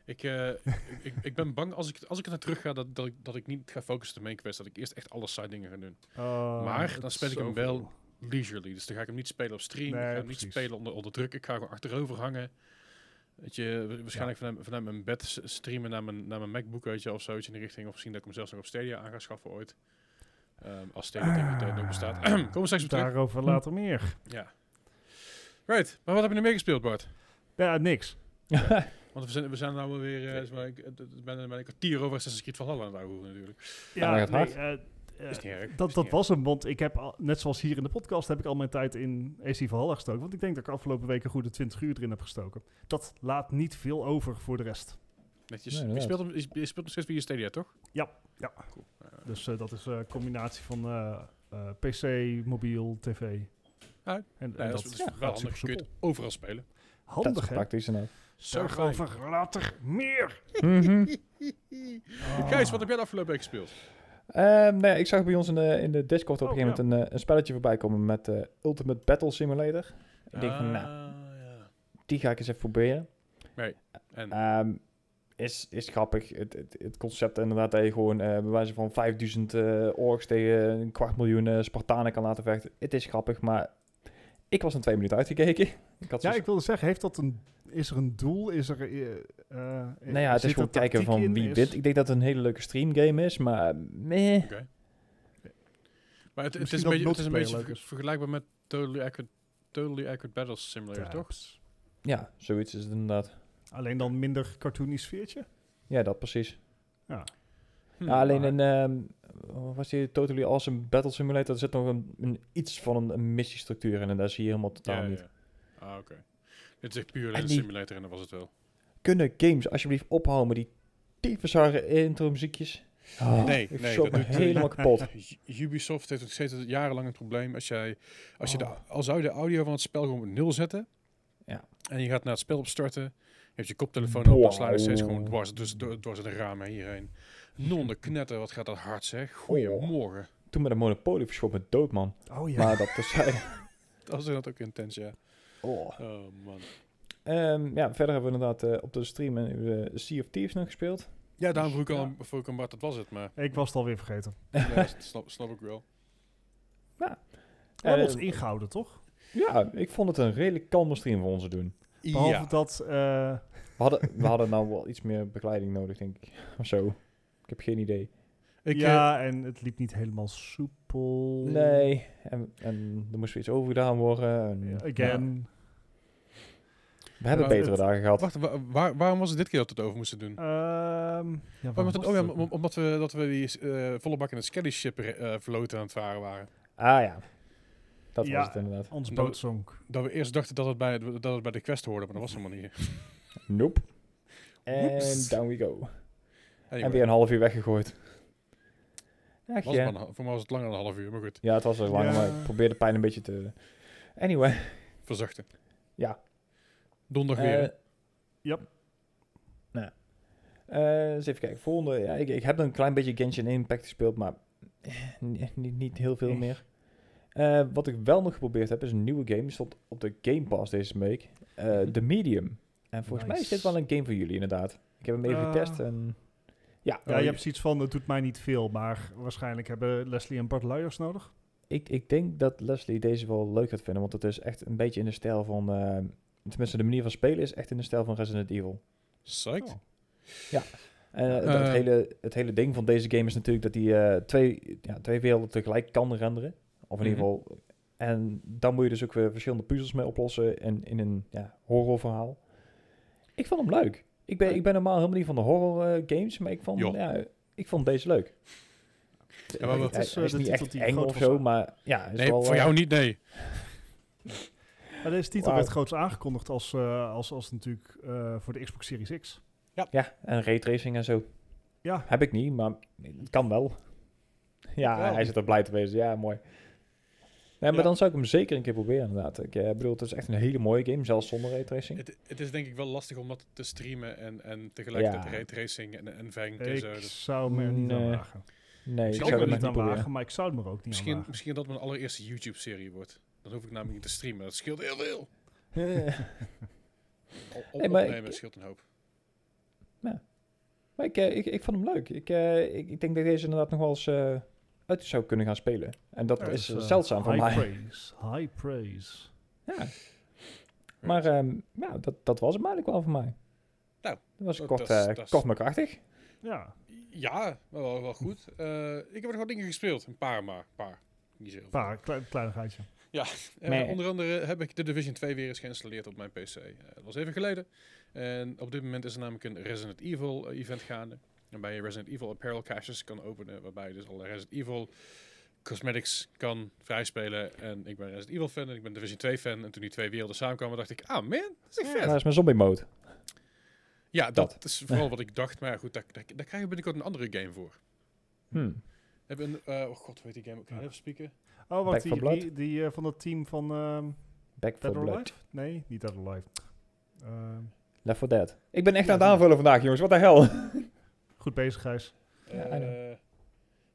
[SPEAKER 1] Ik, eh, ik, ik-
[SPEAKER 3] [LAUGHS]
[SPEAKER 1] ik ben bang als ik, als ik er naar terug ga, dat, dat, ik, dat ik niet ga focussen op de main quest. Dat ik eerst echt alle side dingen ga doen.
[SPEAKER 3] Eh,
[SPEAKER 1] Maar
[SPEAKER 3] het
[SPEAKER 1] dan
[SPEAKER 3] is
[SPEAKER 1] speel ik hem
[SPEAKER 3] zoveel.
[SPEAKER 1] wel leisurely. Dus dan ga ik hem niet spelen op stream.
[SPEAKER 3] Nee,
[SPEAKER 1] ik ga hem niet
[SPEAKER 3] precies.
[SPEAKER 1] spelen onder, onder druk. Ik ga gewoon achterover hangen. Weet je, wa- waarschijnlijk vanuit, vanuit mijn bed s- streamen naar mijn, naar mijn MacBook, weet je, of zoiets in de richting. Of misschien dat ik hem zelfs nog op Stadia aan ga schaffen ooit. Ehm, als
[SPEAKER 3] Ah.
[SPEAKER 1] Stadia tegen die tijd nog bestaat. [CLEARS THROAT] Komen we straks op terug.
[SPEAKER 3] Daarover later meer.
[SPEAKER 1] Ja. Right, maar wat heb je nu meer gespeeld, Bart?
[SPEAKER 3] Ja, niks.
[SPEAKER 1] Want we zijn, we zijn nou alweer, eh, zeg maar, ik eh, d- d- ben, ben een kwartier over Assassin's Creed Valhalla aan het ouwe hoeren natuurlijk.
[SPEAKER 2] Ja,
[SPEAKER 3] Ja,
[SPEAKER 2] dat gaat
[SPEAKER 3] nee, eh, eh,
[SPEAKER 1] Is niet erg,
[SPEAKER 3] dat,
[SPEAKER 1] is
[SPEAKER 3] dat
[SPEAKER 1] niet
[SPEAKER 3] was hem, want ik heb al, net zoals hier in de podcast heb ik al mijn tijd in AC Valhalla gestoken. Want ik denk dat ik afgelopen week een goede 20 uur erin heb gestoken. Dat laat niet veel over voor de rest.
[SPEAKER 1] Netjes.
[SPEAKER 2] Nee,
[SPEAKER 1] je,
[SPEAKER 2] inderdaad.
[SPEAKER 1] speelt, hem- je speelt nog steeds via Stadia, toch?
[SPEAKER 3] Ja, ja.
[SPEAKER 1] Cool. Ja.
[SPEAKER 3] Dus eh, dat is eh, een combinatie van eh, eh, PC, mobiel, tv.
[SPEAKER 1] Ah,
[SPEAKER 3] en, en
[SPEAKER 1] Nee, dat is
[SPEAKER 3] gaat
[SPEAKER 1] wel handig.
[SPEAKER 3] super
[SPEAKER 1] Kun je het overal spelen.
[SPEAKER 2] Dat is
[SPEAKER 3] soepel.
[SPEAKER 2] nou.
[SPEAKER 3] Handig, hè?
[SPEAKER 2] praktisch inderdaad.
[SPEAKER 1] Zo fijn.
[SPEAKER 3] Daarover later meer.
[SPEAKER 2] [LAUGHS] Mhm. Ah.
[SPEAKER 1] Gijs, Oh. wat heb jij de afgelopen week gespeeld?
[SPEAKER 2] Ehm, nee, ik zag bij ons in de, in de Discord op
[SPEAKER 3] Oh,
[SPEAKER 2] een gegeven moment een, eh, een spelletje voorbij komen met eh, Ultimate Battle Simulator. Ik denk van, nou,
[SPEAKER 1] Ah, ja.
[SPEAKER 2] die ga ik eens even proberen.
[SPEAKER 1] En,
[SPEAKER 2] Ehm, is, is grappig. Het, het, het concept inderdaad dat je gewoon eh bij wijze van 5000 eh orks tegen een kwart miljoen eh, Spartanen kan laten vechten. Het is grappig, maar ik was in twee minuten uitgekeken. [LAUGHS] Ik had
[SPEAKER 3] Ja,
[SPEAKER 2] zoiets-
[SPEAKER 3] ik wilde zeggen, heeft dat een, is er een doel? Is er, eh, eh,
[SPEAKER 2] nou ja, het is
[SPEAKER 3] zit er
[SPEAKER 2] gewoon kijken
[SPEAKER 3] tactiek
[SPEAKER 2] van
[SPEAKER 3] in?
[SPEAKER 2] wie
[SPEAKER 3] Is-
[SPEAKER 2] wint. Ik denk dat het een hele leuke streamgame is, maar meh.
[SPEAKER 1] oké. Maar het, het
[SPEAKER 3] Misschien
[SPEAKER 1] is een
[SPEAKER 3] dat
[SPEAKER 1] beetje, het is een
[SPEAKER 3] multiplayer
[SPEAKER 1] beetje
[SPEAKER 3] leuk
[SPEAKER 1] ver-
[SPEAKER 3] is.
[SPEAKER 1] vergelijkbaar met Totally Accurate, totally accurate Battle Simulator, toch?
[SPEAKER 3] Taps.
[SPEAKER 2] Ja, zoiets is het inderdaad.
[SPEAKER 3] Alleen dan minder cartoony sfeertje?
[SPEAKER 2] Ja, dat precies.
[SPEAKER 3] Ja.
[SPEAKER 1] Hm.
[SPEAKER 2] Ja, alleen
[SPEAKER 3] Hmm, maar-
[SPEAKER 2] in, ehm, wat was die Totally Awesome Battle Simulator, er zit nog een, een- iets van een, een missiestructuur in en dat zie je helemaal totaal
[SPEAKER 1] Ja,
[SPEAKER 2] niet.
[SPEAKER 1] ja. Ah, oké. Dit is echt puur
[SPEAKER 2] En
[SPEAKER 1] een
[SPEAKER 2] die-
[SPEAKER 1] simulator en dat was het wel.
[SPEAKER 2] Kunnen games alsjeblieft ophouden met die tyfusharde intro muziekjes?
[SPEAKER 1] Nee,
[SPEAKER 2] Oh, ik
[SPEAKER 1] nee,
[SPEAKER 2] schrok
[SPEAKER 1] dat
[SPEAKER 2] me
[SPEAKER 1] doet- [LAUGHS]
[SPEAKER 2] helemaal kapot.
[SPEAKER 1] U- Ubisoft heeft nog steeds jarenlang het probleem. Als jij, als je de,
[SPEAKER 2] Oh.
[SPEAKER 1] al zou je de audio van het spel gewoon op nul zetten.
[SPEAKER 2] Ja.
[SPEAKER 1] En je gaat naar het spel opstarten. Heeft je koptelefoon op, dan sla je
[SPEAKER 2] Wow.
[SPEAKER 1] steeds gewoon dwars, dus, door- dwars het raam hierheen.
[SPEAKER 3] [LAUGHS]
[SPEAKER 1] Nonde knetter, wat gaat dat hard zeg. Goedemorgen.
[SPEAKER 2] Toen met een monopolie verschop me dood, man.
[SPEAKER 3] Oh ja.
[SPEAKER 2] Maar dat terzijde.
[SPEAKER 1] Dat is inderdaad ook intens, ja.
[SPEAKER 2] Oh.
[SPEAKER 1] Oh man.
[SPEAKER 2] Ehm, ja, verder hebben we inderdaad eh, op de stream een eh, Sea of Thieves nog gespeeld.
[SPEAKER 1] Ja, daarom vroeg ik al
[SPEAKER 3] Ja.
[SPEAKER 1] aan- vroeg ik aan Bart, dat was het.
[SPEAKER 3] [LAUGHS]
[SPEAKER 1] Maar
[SPEAKER 3] Ik was het alweer vergeten.
[SPEAKER 1] ja, dat snap, snap ik wel.
[SPEAKER 3] We hebben
[SPEAKER 2] Eh,
[SPEAKER 3] ons ingehouden, toch?
[SPEAKER 2] Ja, ik vond het een redelijk kalme stream voor ons te doen.
[SPEAKER 3] Behalve
[SPEAKER 1] Ja.
[SPEAKER 3] dat... eh,
[SPEAKER 2] We hadden, we hadden nou wel iets meer begeleiding nodig, denk ik. Of zo. Ik heb geen idee.
[SPEAKER 1] Ik, eh,
[SPEAKER 3] ja, en het liep niet helemaal soepel.
[SPEAKER 2] Nee, en, en er moest weer iets over gedaan worden. en-
[SPEAKER 3] Ja,
[SPEAKER 2] Ja.
[SPEAKER 3] Again.
[SPEAKER 2] we hebben
[SPEAKER 1] Maar
[SPEAKER 2] betere
[SPEAKER 3] het-
[SPEAKER 2] dagen
[SPEAKER 1] eh,
[SPEAKER 2] gehad.
[SPEAKER 1] wacht, wa- waar- waarom was het dit keer dat we het over moesten doen?
[SPEAKER 3] Ehm, ja,
[SPEAKER 1] Oh,
[SPEAKER 3] waarom
[SPEAKER 1] omdat,
[SPEAKER 3] was
[SPEAKER 1] oh ja,
[SPEAKER 3] het ook
[SPEAKER 1] om- omdat we, dat we die eh, volle bak in een skelly ship eh, verloten aan het varen waren.
[SPEAKER 2] Ah ja, dat
[SPEAKER 3] Ja.
[SPEAKER 2] was het inderdaad.
[SPEAKER 3] niet? Ons
[SPEAKER 1] dat-
[SPEAKER 3] boot zonk.
[SPEAKER 1] Dat we eerst dachten dat het bij, dat het bij de quest hoorde, maar dat was helemaal niet.
[SPEAKER 2] Nope. En
[SPEAKER 1] Woeps.
[SPEAKER 2] down we go. En
[SPEAKER 1] Anyway,
[SPEAKER 2] weer een half uur weggegooid.
[SPEAKER 1] was het
[SPEAKER 2] Ach,
[SPEAKER 1] maar
[SPEAKER 2] ja.
[SPEAKER 1] een hal- voor mij was het langer dan een half uur, maar goed,
[SPEAKER 2] ja, het was er lang,
[SPEAKER 3] Ja.
[SPEAKER 2] maar ik probeerde pijn een beetje te... Anyway,
[SPEAKER 1] verzachten.
[SPEAKER 2] ja.
[SPEAKER 1] Donderdag weer. hè?
[SPEAKER 2] Eh,
[SPEAKER 3] Yep.
[SPEAKER 2] Nou. Eh, eens even kijken. Volgende. Ja, ik, ik heb een klein beetje Genshin Impact gespeeld, maar eh, niet, niet, niet heel veel meer. Eh, wat ik wel nog geprobeerd heb, is een nieuwe game. Die stond op de Game Pass deze week. Eh,
[SPEAKER 1] Mhm.
[SPEAKER 2] The Medium. En volgens mij is dit
[SPEAKER 3] Nice.
[SPEAKER 2] wel een game voor jullie, inderdaad. Ik heb hem even
[SPEAKER 3] Eh.
[SPEAKER 2] getest en... Ja,
[SPEAKER 3] Ja,
[SPEAKER 1] Oh,
[SPEAKER 3] je
[SPEAKER 1] ja.
[SPEAKER 3] hebt zoiets van, het doet mij niet veel, maar waarschijnlijk hebben Leslie en Bart luiers nodig.
[SPEAKER 2] ik, ik denk dat Leslie deze wel leuk gaat vinden, want het is echt een beetje in de stijl van... eh, tenminste, de manier van spelen is echt in de stijl van Resident Evil.
[SPEAKER 1] Psyched.
[SPEAKER 3] Oh.
[SPEAKER 2] Eh, het- het,
[SPEAKER 1] Eh.
[SPEAKER 2] hele, het hele ding van deze game is natuurlijk dat hij twee, ja, twee werelden tegelijk kan renderen. Of in ieder
[SPEAKER 1] Mhm.
[SPEAKER 2] geval. En daar moet je dus ook weer verschillende puzzels mee oplossen in, in een ja, horrorverhaal. Ik vond hem leuk. Ik
[SPEAKER 3] Eh.
[SPEAKER 2] ben, ik ben normaal helemaal niet van de horror eh, games, maar ik vond,
[SPEAKER 1] Joh.
[SPEAKER 2] ja, ik vond deze leuk.
[SPEAKER 1] maar wat-
[SPEAKER 2] Hij-
[SPEAKER 1] Het
[SPEAKER 2] hij
[SPEAKER 3] is, eh,
[SPEAKER 2] is
[SPEAKER 3] de
[SPEAKER 2] niet
[SPEAKER 3] titel
[SPEAKER 2] echt
[SPEAKER 3] die
[SPEAKER 2] eng
[SPEAKER 3] groot
[SPEAKER 2] of
[SPEAKER 3] was,
[SPEAKER 2] zo,
[SPEAKER 3] hè?
[SPEAKER 2] maar ja, is
[SPEAKER 1] Nee,
[SPEAKER 2] wel,
[SPEAKER 1] voor
[SPEAKER 2] eh,
[SPEAKER 1] jou niet, nee.
[SPEAKER 3] Maar deze titel
[SPEAKER 2] Wauw.
[SPEAKER 3] werd groots aangekondigd als, eh, als, als natuurlijk eh, voor de Xbox Series X.
[SPEAKER 2] Ja, en raytracing en zo.
[SPEAKER 3] Ja.
[SPEAKER 2] Heb ik niet, maar het kan wel. Ja,
[SPEAKER 1] Wel.
[SPEAKER 2] hij zit er blij te wezen. Ja, mooi. Nee, maar
[SPEAKER 1] Ja.
[SPEAKER 2] dan zou ik hem zeker een keer proberen, inderdaad. Ik eh, bedoel, het is echt een hele mooie game, zelfs zonder raytracing.
[SPEAKER 1] Het, het is denk ik wel lastig om dat te streamen en, en tegelijkertijd
[SPEAKER 2] Ja.
[SPEAKER 1] raytracing en, en vank en
[SPEAKER 3] Ik
[SPEAKER 1] zo. Dus
[SPEAKER 3] zou me er niet aan
[SPEAKER 2] Nee.
[SPEAKER 3] wagen.
[SPEAKER 2] Nee, ik
[SPEAKER 1] zou
[SPEAKER 3] Ik
[SPEAKER 2] zou
[SPEAKER 3] zou
[SPEAKER 1] het
[SPEAKER 2] hem echt
[SPEAKER 3] er niet
[SPEAKER 2] niet
[SPEAKER 3] aan
[SPEAKER 2] proberen.
[SPEAKER 3] wagen, maar ik zou me er ook niet aan
[SPEAKER 1] misschien,
[SPEAKER 3] wagen.
[SPEAKER 1] misschien dat mijn allereerste YouTube-serie wordt. Dan hoef ik namelijk niet te streamen. Dat scheelt heel veel. [LAUGHS] Op, op,
[SPEAKER 2] Oh. Nee, maar
[SPEAKER 1] opnemen
[SPEAKER 2] ik-
[SPEAKER 1] scheelt een hoop.
[SPEAKER 2] maar ik, eh, ik, ik vond hem leuk. Ik, eh, ik, ik denk dat ik deze inderdaad nog wel eens eh, uit zou kunnen gaan spelen. En dat
[SPEAKER 1] Ja,
[SPEAKER 2] is
[SPEAKER 3] Dus,
[SPEAKER 2] eh,
[SPEAKER 3] eh,
[SPEAKER 2] zeldzaam voor
[SPEAKER 3] high
[SPEAKER 2] mij.
[SPEAKER 3] Praise, high praise.
[SPEAKER 2] Ja. Maar ehm, ja, dat, dat was hem eigenlijk wel voor mij.
[SPEAKER 1] Nou,
[SPEAKER 2] dat was
[SPEAKER 1] dat
[SPEAKER 2] kort,
[SPEAKER 1] is-
[SPEAKER 2] eh,
[SPEAKER 1] dat is-
[SPEAKER 2] kort maar krachtig.
[SPEAKER 3] Ja,
[SPEAKER 1] Ja, wel, wel goed. Eh, ik heb er nog wat dingen gespeeld. Een paar maar. Een paar. Niet zo heel
[SPEAKER 3] een
[SPEAKER 1] veel.
[SPEAKER 3] paar, klein, kleinigheidje.
[SPEAKER 1] Eh,
[SPEAKER 2] Nee.
[SPEAKER 1] onder andere heb ik de Division 2 weer eens geïnstalleerd op mijn PC. Eh, dat was even geleden. En op dit moment is er namelijk een Resident Evil eh, event gaande. Waarbij je Resident Evil apparel caches kan openen. Waarbij je dus alle Resident Evil cosmetics kan vrijspelen. En ik ben Resident Evil fan en ik ben Division 2 fan. En toen die twee werelden samenkwamen dacht ik, ah man, dat is echt
[SPEAKER 2] En
[SPEAKER 1] vet.
[SPEAKER 2] daar is mijn zombie mode.
[SPEAKER 1] Ja, dat, is vooral wat ik dacht. Maar ja, goed, daar, daar, daar krijg je binnenkort een andere game voor.
[SPEAKER 2] Hmm.
[SPEAKER 1] We hebben een, eh, oh god, hoe heet die game ook? Kan je even spieken?
[SPEAKER 3] Oh,
[SPEAKER 2] Back
[SPEAKER 3] want
[SPEAKER 2] for
[SPEAKER 3] die,
[SPEAKER 2] Blood?
[SPEAKER 3] die, die eh, van dat team van ehm,
[SPEAKER 2] Back
[SPEAKER 3] Dead
[SPEAKER 2] for
[SPEAKER 3] or
[SPEAKER 2] Blood.
[SPEAKER 3] Alive? Nee, niet Dead or Alive. Ehm,
[SPEAKER 2] Left 4 Dead. Ik ben echt
[SPEAKER 3] Ja,
[SPEAKER 2] aan het aanvullen vandaag, jongens. Wat de hel?
[SPEAKER 3] goed bezig, Gijs.
[SPEAKER 2] Ja, I know.
[SPEAKER 1] Eh,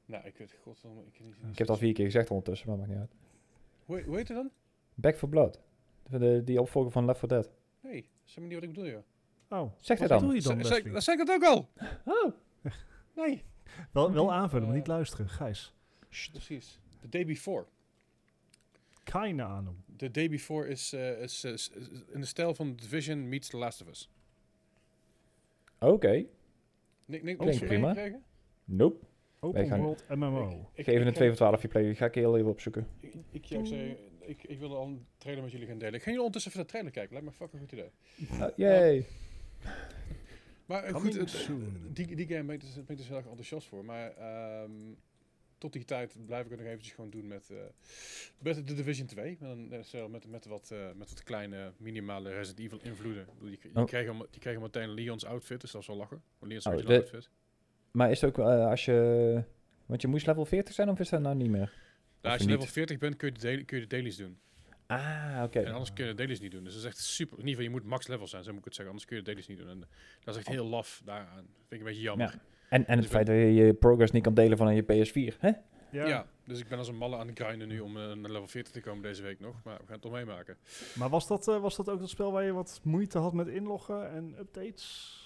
[SPEAKER 1] nou, ik weet god, ik ken niet.
[SPEAKER 2] Ik heb dat al vier keer gezegd ondertussen, maar maakt niet uit.
[SPEAKER 1] Hoe, hoe heet het dan?
[SPEAKER 2] Back for Blood. De, de- die opvolger van Left 4 Dead.
[SPEAKER 1] Nee, dat is helemaal niet wat ik bedoel, joh.
[SPEAKER 3] Oh,
[SPEAKER 2] Zeg
[SPEAKER 3] wat
[SPEAKER 2] dat dan.
[SPEAKER 3] bedoel je dan,
[SPEAKER 1] Ze- zei-
[SPEAKER 3] Leslie?
[SPEAKER 1] Dat zei ik het ook al.
[SPEAKER 2] Oh.
[SPEAKER 1] Nee.
[SPEAKER 3] Wel, wel aanvullen, maar
[SPEAKER 1] Eh,
[SPEAKER 3] niet luisteren. Gijs,
[SPEAKER 1] Precies. The day before.
[SPEAKER 3] keine Ahnung.
[SPEAKER 1] The day before is, eh, is, is- is in de stijl van Division meets The Last of Us.
[SPEAKER 2] Oké.
[SPEAKER 1] Nick, Nick,
[SPEAKER 2] Klinkt prima.
[SPEAKER 1] Krijgen?
[SPEAKER 2] Nope.
[SPEAKER 3] Open
[SPEAKER 2] gaan-
[SPEAKER 3] World MMO.
[SPEAKER 1] Ik,
[SPEAKER 2] Ik geef een
[SPEAKER 1] ik-
[SPEAKER 2] 2 van 12 je play. Die ga ik heel even opzoeken.
[SPEAKER 1] Ik, ik, ja, ik, zei, ik, ik wilde al een trailer
[SPEAKER 2] Ah,
[SPEAKER 1] met jullie gaan delen. Ik ga jullie ondertussen even de trailer kijken. Lijkt me een fucking goed idee.
[SPEAKER 2] Oh, yay.
[SPEAKER 1] Maar eh, goed,
[SPEAKER 3] Coming
[SPEAKER 1] het-
[SPEAKER 3] soon.
[SPEAKER 1] die, die game ben ik, dus, ben ik dus heel erg enthousiast voor. Maar ehm, tot die tijd blijf ik het nog eventjes gewoon doen met, eh met de Division 2. Met, een, eh, zo met, met, wat, eh, met wat kleine, minimale Resident Evil invloeden. Ik bedoel, Je, je,
[SPEAKER 2] Oh.
[SPEAKER 1] kreeg al, je kreeg al meteen Leon's outfit, dus dat is wel lachen. Leon's
[SPEAKER 2] Oh,
[SPEAKER 1] original
[SPEAKER 2] de-
[SPEAKER 1] outfit.
[SPEAKER 2] Maar is het ook eh, als je... Want je moest level 40 zijn of is dat nou niet meer?
[SPEAKER 1] Nou, als je
[SPEAKER 2] niet?
[SPEAKER 1] level 40 bent, kun je de, daily- kun je de dailies doen.
[SPEAKER 2] Ah, oké.
[SPEAKER 1] En anders kun je de dailies niet doen. Dus dat is echt super. In ieder geval, je moet max level zijn, zo moet ik het zeggen. Anders kun je de dailies niet doen. En eh, dat is echt heel laf daaraan. Vind ik een beetje jammer.
[SPEAKER 2] Ja. En,
[SPEAKER 1] Dus
[SPEAKER 2] en het
[SPEAKER 1] ik
[SPEAKER 2] feit dat je je progress niet kan delen van aan je PS4, hè?
[SPEAKER 1] Ja.
[SPEAKER 3] Ja.
[SPEAKER 1] dus ik ben als een malle aan het grinden nu om eh, naar level 40 te komen deze week nog. Maar we gaan het toch meemaken.
[SPEAKER 3] Maar was dat, eh, was dat ook dat spel waar je wat moeite had met inloggen en updates?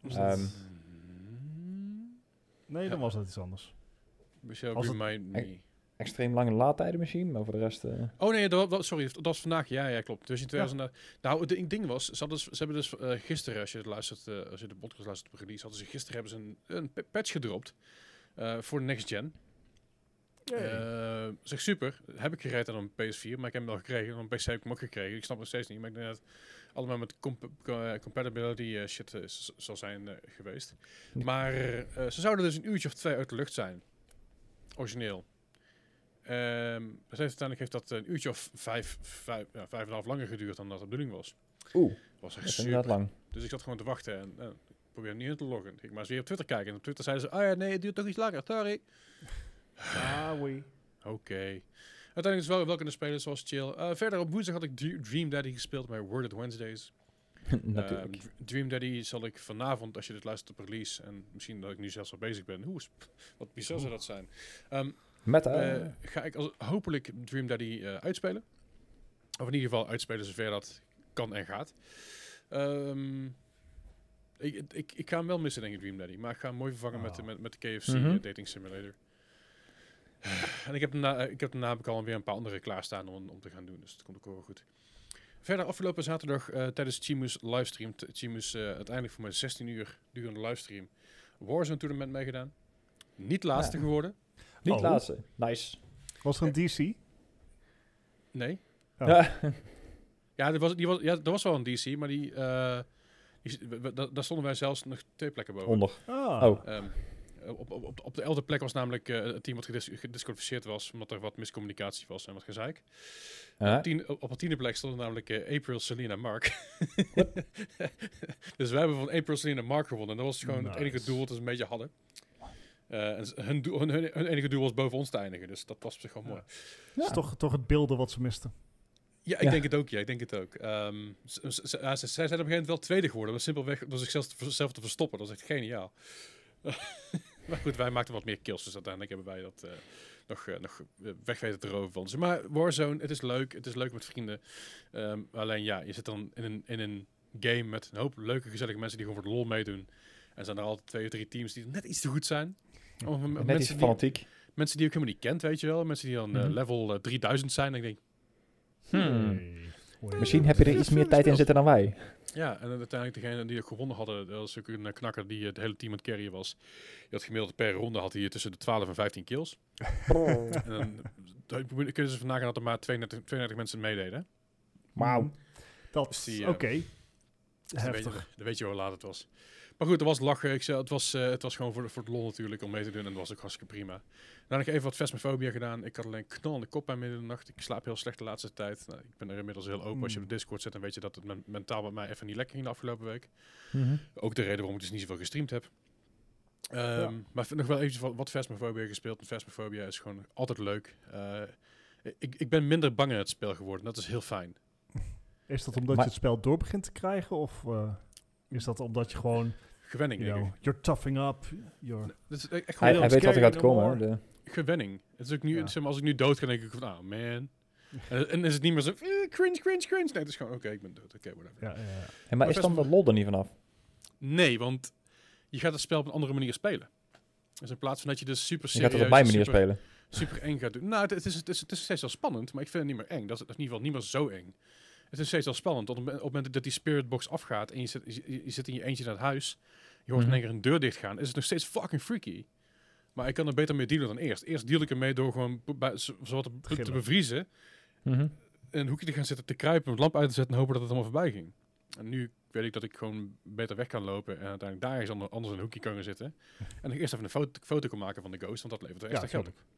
[SPEAKER 3] Was dat-
[SPEAKER 2] Ehm,
[SPEAKER 1] Mhm.
[SPEAKER 3] nee, dan
[SPEAKER 1] ja.
[SPEAKER 3] was dat iets anders.
[SPEAKER 1] Michel,
[SPEAKER 2] was het-
[SPEAKER 1] remind me.
[SPEAKER 2] Extreem lange laadtijden misschien, maar voor de rest... eh,
[SPEAKER 1] Oh nee, dat, dat- sorry, dat was vandaag. Ja, ja klopt. Dus in
[SPEAKER 3] Ja.
[SPEAKER 1] 2000, Nou, het ding- ding was, ze, hadden, dus- ze hebben dus eh, gisteren, als je, het luistert, eh, als je de podcast luistert op release, hadden ze gisteren hebben ze een, een pa- patch gedropt eh, voor de next gen.
[SPEAKER 3] Yay.
[SPEAKER 1] Eh, zeg super, heb ik gereed aan een PS4, maar ik heb hem al gekregen. En een PC heb ik hem ook gekregen. Ik snap het steeds niet, maar ik denk dat het allemaal met comp- eh, compatibility eh, shit eh, z- zal zijn eh, geweest.
[SPEAKER 2] Ja.
[SPEAKER 1] Maar eh, ze zouden dus een uurtje of twee uit de lucht zijn. Origineel. Ehm, dus heeft, uiteindelijk heeft dat een uurtje of vijf, vijf, ja, vijf en een half langer geduurd dan dat de bedoeling was.
[SPEAKER 2] Oeh,
[SPEAKER 1] was
[SPEAKER 2] dat
[SPEAKER 1] echt
[SPEAKER 2] is
[SPEAKER 1] super.
[SPEAKER 2] inderdaad lang. [LAUGHS]
[SPEAKER 1] Dus ik zat gewoon te wachten en eh, ik probeerde niet in te loggen. Ik maar eens weer op Twitter kijken. En op Twitter zeiden ze, ah ja, nee, het duurt toch iets langer, sorry.
[SPEAKER 3] Ah, oui.
[SPEAKER 1] Oké. Uiteindelijk is wel welke de spelers zoals chill. Eh, verder op woensdag had ik Dr- Dream Daddy gespeeld bij Worded Wednesdays.
[SPEAKER 2] Natuurlijk.
[SPEAKER 1] Eh, Dr- Dream Daddy zal ik vanavond, als je dit luistert op release, en misschien dat ik nu zelfs al bezig ben, hoe is, wat bizar zou dat zijn. Ehm,
[SPEAKER 2] Met... eh,
[SPEAKER 1] eh, ga ik als, hopelijk Dream Daddy eh, uitspelen. Of in ieder geval uitspelen zover dat kan en gaat. Ehm, ik, ik, ik ga hem wel missen, denk ik, Dream Daddy. Maar ik ga hem mooi vervangen met, de-
[SPEAKER 3] Ah.
[SPEAKER 1] met, met de KFC
[SPEAKER 2] Mhm.
[SPEAKER 1] eh, Dating Simulator. [SIGHS] en ik heb, daarna, eh, ik heb daarna heb ik alweer een paar andere klaarstaan om, om te gaan doen. Dus dat komt ook wel goed. Verder afgelopen zaterdag eh, tijdens Chimus livestream. t- Chimus eh, uiteindelijk voor mijn 16 uur durende livestream. Warzone Tournament meegedaan. Niet laatste
[SPEAKER 2] Ja.
[SPEAKER 1] geworden.
[SPEAKER 2] niet
[SPEAKER 3] oh.
[SPEAKER 2] laatste. Nice.
[SPEAKER 3] Was er een DC?
[SPEAKER 1] Nee.
[SPEAKER 3] Oh.
[SPEAKER 2] Ja.
[SPEAKER 1] [LAUGHS] Ja, er was, die was, ja, er was wel een DC, maar die, eh, die we- we- da- daar stonden wij zelfs nog twee plekken boven.
[SPEAKER 2] Onder.
[SPEAKER 3] Ah.
[SPEAKER 2] Oh.
[SPEAKER 1] Ehm, op, op, op, op de elfde plek was namelijk eh, het team wat gedis- gedisqualificeerd was, omdat er wat miscommunicatie was en wat gezeik.
[SPEAKER 2] Huh?
[SPEAKER 1] Op, tien, op, op de tiende plek stonden namelijk eh, April, Selena, Mark. [LAUGHS] dus wij hebben van April, Selena, Mark gewonnen. Dat was gewoon het enige
[SPEAKER 3] Nice.
[SPEAKER 1] doel dat ze een beetje hadden. Eh, en ze- hun, doel- hun, hun- hun enige doel was boven ons te eindigen, dus dat was op zich wel mooi.
[SPEAKER 3] Dat is toch, toch het beelden wat ze misten.
[SPEAKER 1] Ja, ik
[SPEAKER 2] Ja.
[SPEAKER 1] denk het ook. Ja, ik denk het ook. Ehm, z- z- z- ja, ze- zij zijn op een gegeven moment wel tweede geworden. Maar simpelweg door zichzelf te, zelf te verstoppen. Dat is echt geniaal. [LAUGHS] maar goed, wij maakten wat meer kills. Dus uiteindelijk hebben wij dat eh, nog, eh, nog eh, weg weten te roven van ze. Maar Warzone, het is leuk. Het is leuk met vrienden. Ehm, alleen ja, je zit dan in een, in een game met een hoop leuke, gezellige mensen die gewoon voor de lol meedoen. En zijn er altijd twee of drie teams die net iets te goed zijn. Of, eh,
[SPEAKER 2] Net iets
[SPEAKER 1] mensen die,
[SPEAKER 2] fanatiek.
[SPEAKER 1] mensen die je ook helemaal niet kent, weet je wel. Mensen die dan eh,
[SPEAKER 2] Mhm.
[SPEAKER 1] level eh, 3000 zijn. En ik denk,
[SPEAKER 2] Hmm.
[SPEAKER 3] Hey. Hoi.
[SPEAKER 2] Misschien heb je er iets meer tijd in zitten dan wij.
[SPEAKER 1] Ja, en dan uiteindelijk degene die er gewonnen hadden, dat was ook een eh, knakker die het hele team aan het carryen was. Die had gemiddeld per ronde had hij tussen de 12 en 15 kills. en dan dan kunnen ze vandaag dat er maar 32, 32 mensen meededen. hè?
[SPEAKER 2] Wauw.
[SPEAKER 3] Hmm. Dat
[SPEAKER 1] Dus
[SPEAKER 3] is
[SPEAKER 1] die, eh,
[SPEAKER 3] oké.
[SPEAKER 1] Dus dan weet, je,
[SPEAKER 3] Heftig.
[SPEAKER 1] dan weet je hoe laat het was. Maar goed, er was lachen. Ik zei, het, was, eh, het was gewoon voor, de- voor het lol natuurlijk om mee te doen. En dat was ook hartstikke prima. Dan heb ik even wat vesmofobia gedaan. Ik had alleen knallende kop aan midden in de nacht. Ik slaap heel slecht de laatste tijd. Nou, ik ben er inmiddels heel open. Als je op
[SPEAKER 3] Mm.
[SPEAKER 1] Discord zit, dan weet je dat het men- mentaal bij mij even niet lekker ging de afgelopen week.
[SPEAKER 2] Mhm.
[SPEAKER 1] Ook de reden waarom ik dus niet zoveel gestreamd heb. Ehm,
[SPEAKER 3] Ja.
[SPEAKER 1] Maar nog wel eventjes wat, wat Phasmophobia gespeeld. En Phasmophobia is gewoon altijd leuk. Eh, ik, ik ben minder bang in het spel geworden. Dat is heel fijn.
[SPEAKER 3] Is dat omdat
[SPEAKER 2] Maar-
[SPEAKER 3] je het spel door begint te krijgen? Of eh, is dat omdat je gewoon,
[SPEAKER 1] Gewenning,
[SPEAKER 3] you
[SPEAKER 1] denk
[SPEAKER 3] know,
[SPEAKER 1] ik.
[SPEAKER 3] you're toughing up. You're...
[SPEAKER 1] Dat is echt gewoon
[SPEAKER 2] Hij,
[SPEAKER 1] heel
[SPEAKER 2] hij weet wat er
[SPEAKER 3] scary
[SPEAKER 2] gaat
[SPEAKER 3] no
[SPEAKER 2] komen. dus, eh,
[SPEAKER 3] more.
[SPEAKER 2] hè. De-
[SPEAKER 1] gewenning. Het is ook nu,
[SPEAKER 3] Ja.
[SPEAKER 1] zeg maar, als ik nu dood ga, denk ik van, ah, man. En, en is het niet meer zo, eh, cringe, cringe, cringe. Nee, het is gewoon, oké, ik ben dood, oké, whatever.
[SPEAKER 3] Ja, ja, ja.
[SPEAKER 2] Hé,
[SPEAKER 1] Maar
[SPEAKER 2] maar is dan
[SPEAKER 1] best-
[SPEAKER 2] dat lol er niet vanaf?
[SPEAKER 1] Nee, want je gaat het spel op een andere manier spelen. Dus in plaats van dat je dus super
[SPEAKER 2] Je gaat
[SPEAKER 1] serieus...
[SPEAKER 2] het op mijn
[SPEAKER 1] en
[SPEAKER 2] manier
[SPEAKER 1] super,
[SPEAKER 2] spelen.
[SPEAKER 1] Super eng gaat doen. Nou, het, het is, het, is, het is steeds wel spannend, maar ik vind het niet meer eng. Dat is, dat is in ieder geval niet meer zo eng. Het is steeds wel spannend. want Op het moment dat die spiritbox afgaat en je zit, je, je zit in je eentje naar het huis... Je hoort
[SPEAKER 2] Mhm.
[SPEAKER 1] in één keer een deur dichtgaan. Is het nog steeds fucking freaky. Maar ik kan er beter mee dealen dan eerst. Eerst deal ik ermee door gewoon b- bij, zo, zo wat te- te
[SPEAKER 3] Gillen.
[SPEAKER 1] bevriezen.
[SPEAKER 2] Mhm.
[SPEAKER 1] in een hoekje te gaan zitten te kruipen, een lamp uit te zetten en hopen dat het allemaal voorbij ging. En nu weet ik dat ik gewoon beter weg kan lopen en uiteindelijk daar eens ander- anders in een hoekje kan gaan zitten. En dat ik eerst even een foto, foto kan maken van de ghost, want dat levert er
[SPEAKER 2] Ja,
[SPEAKER 1] extra geld op.
[SPEAKER 2] tuurlijk.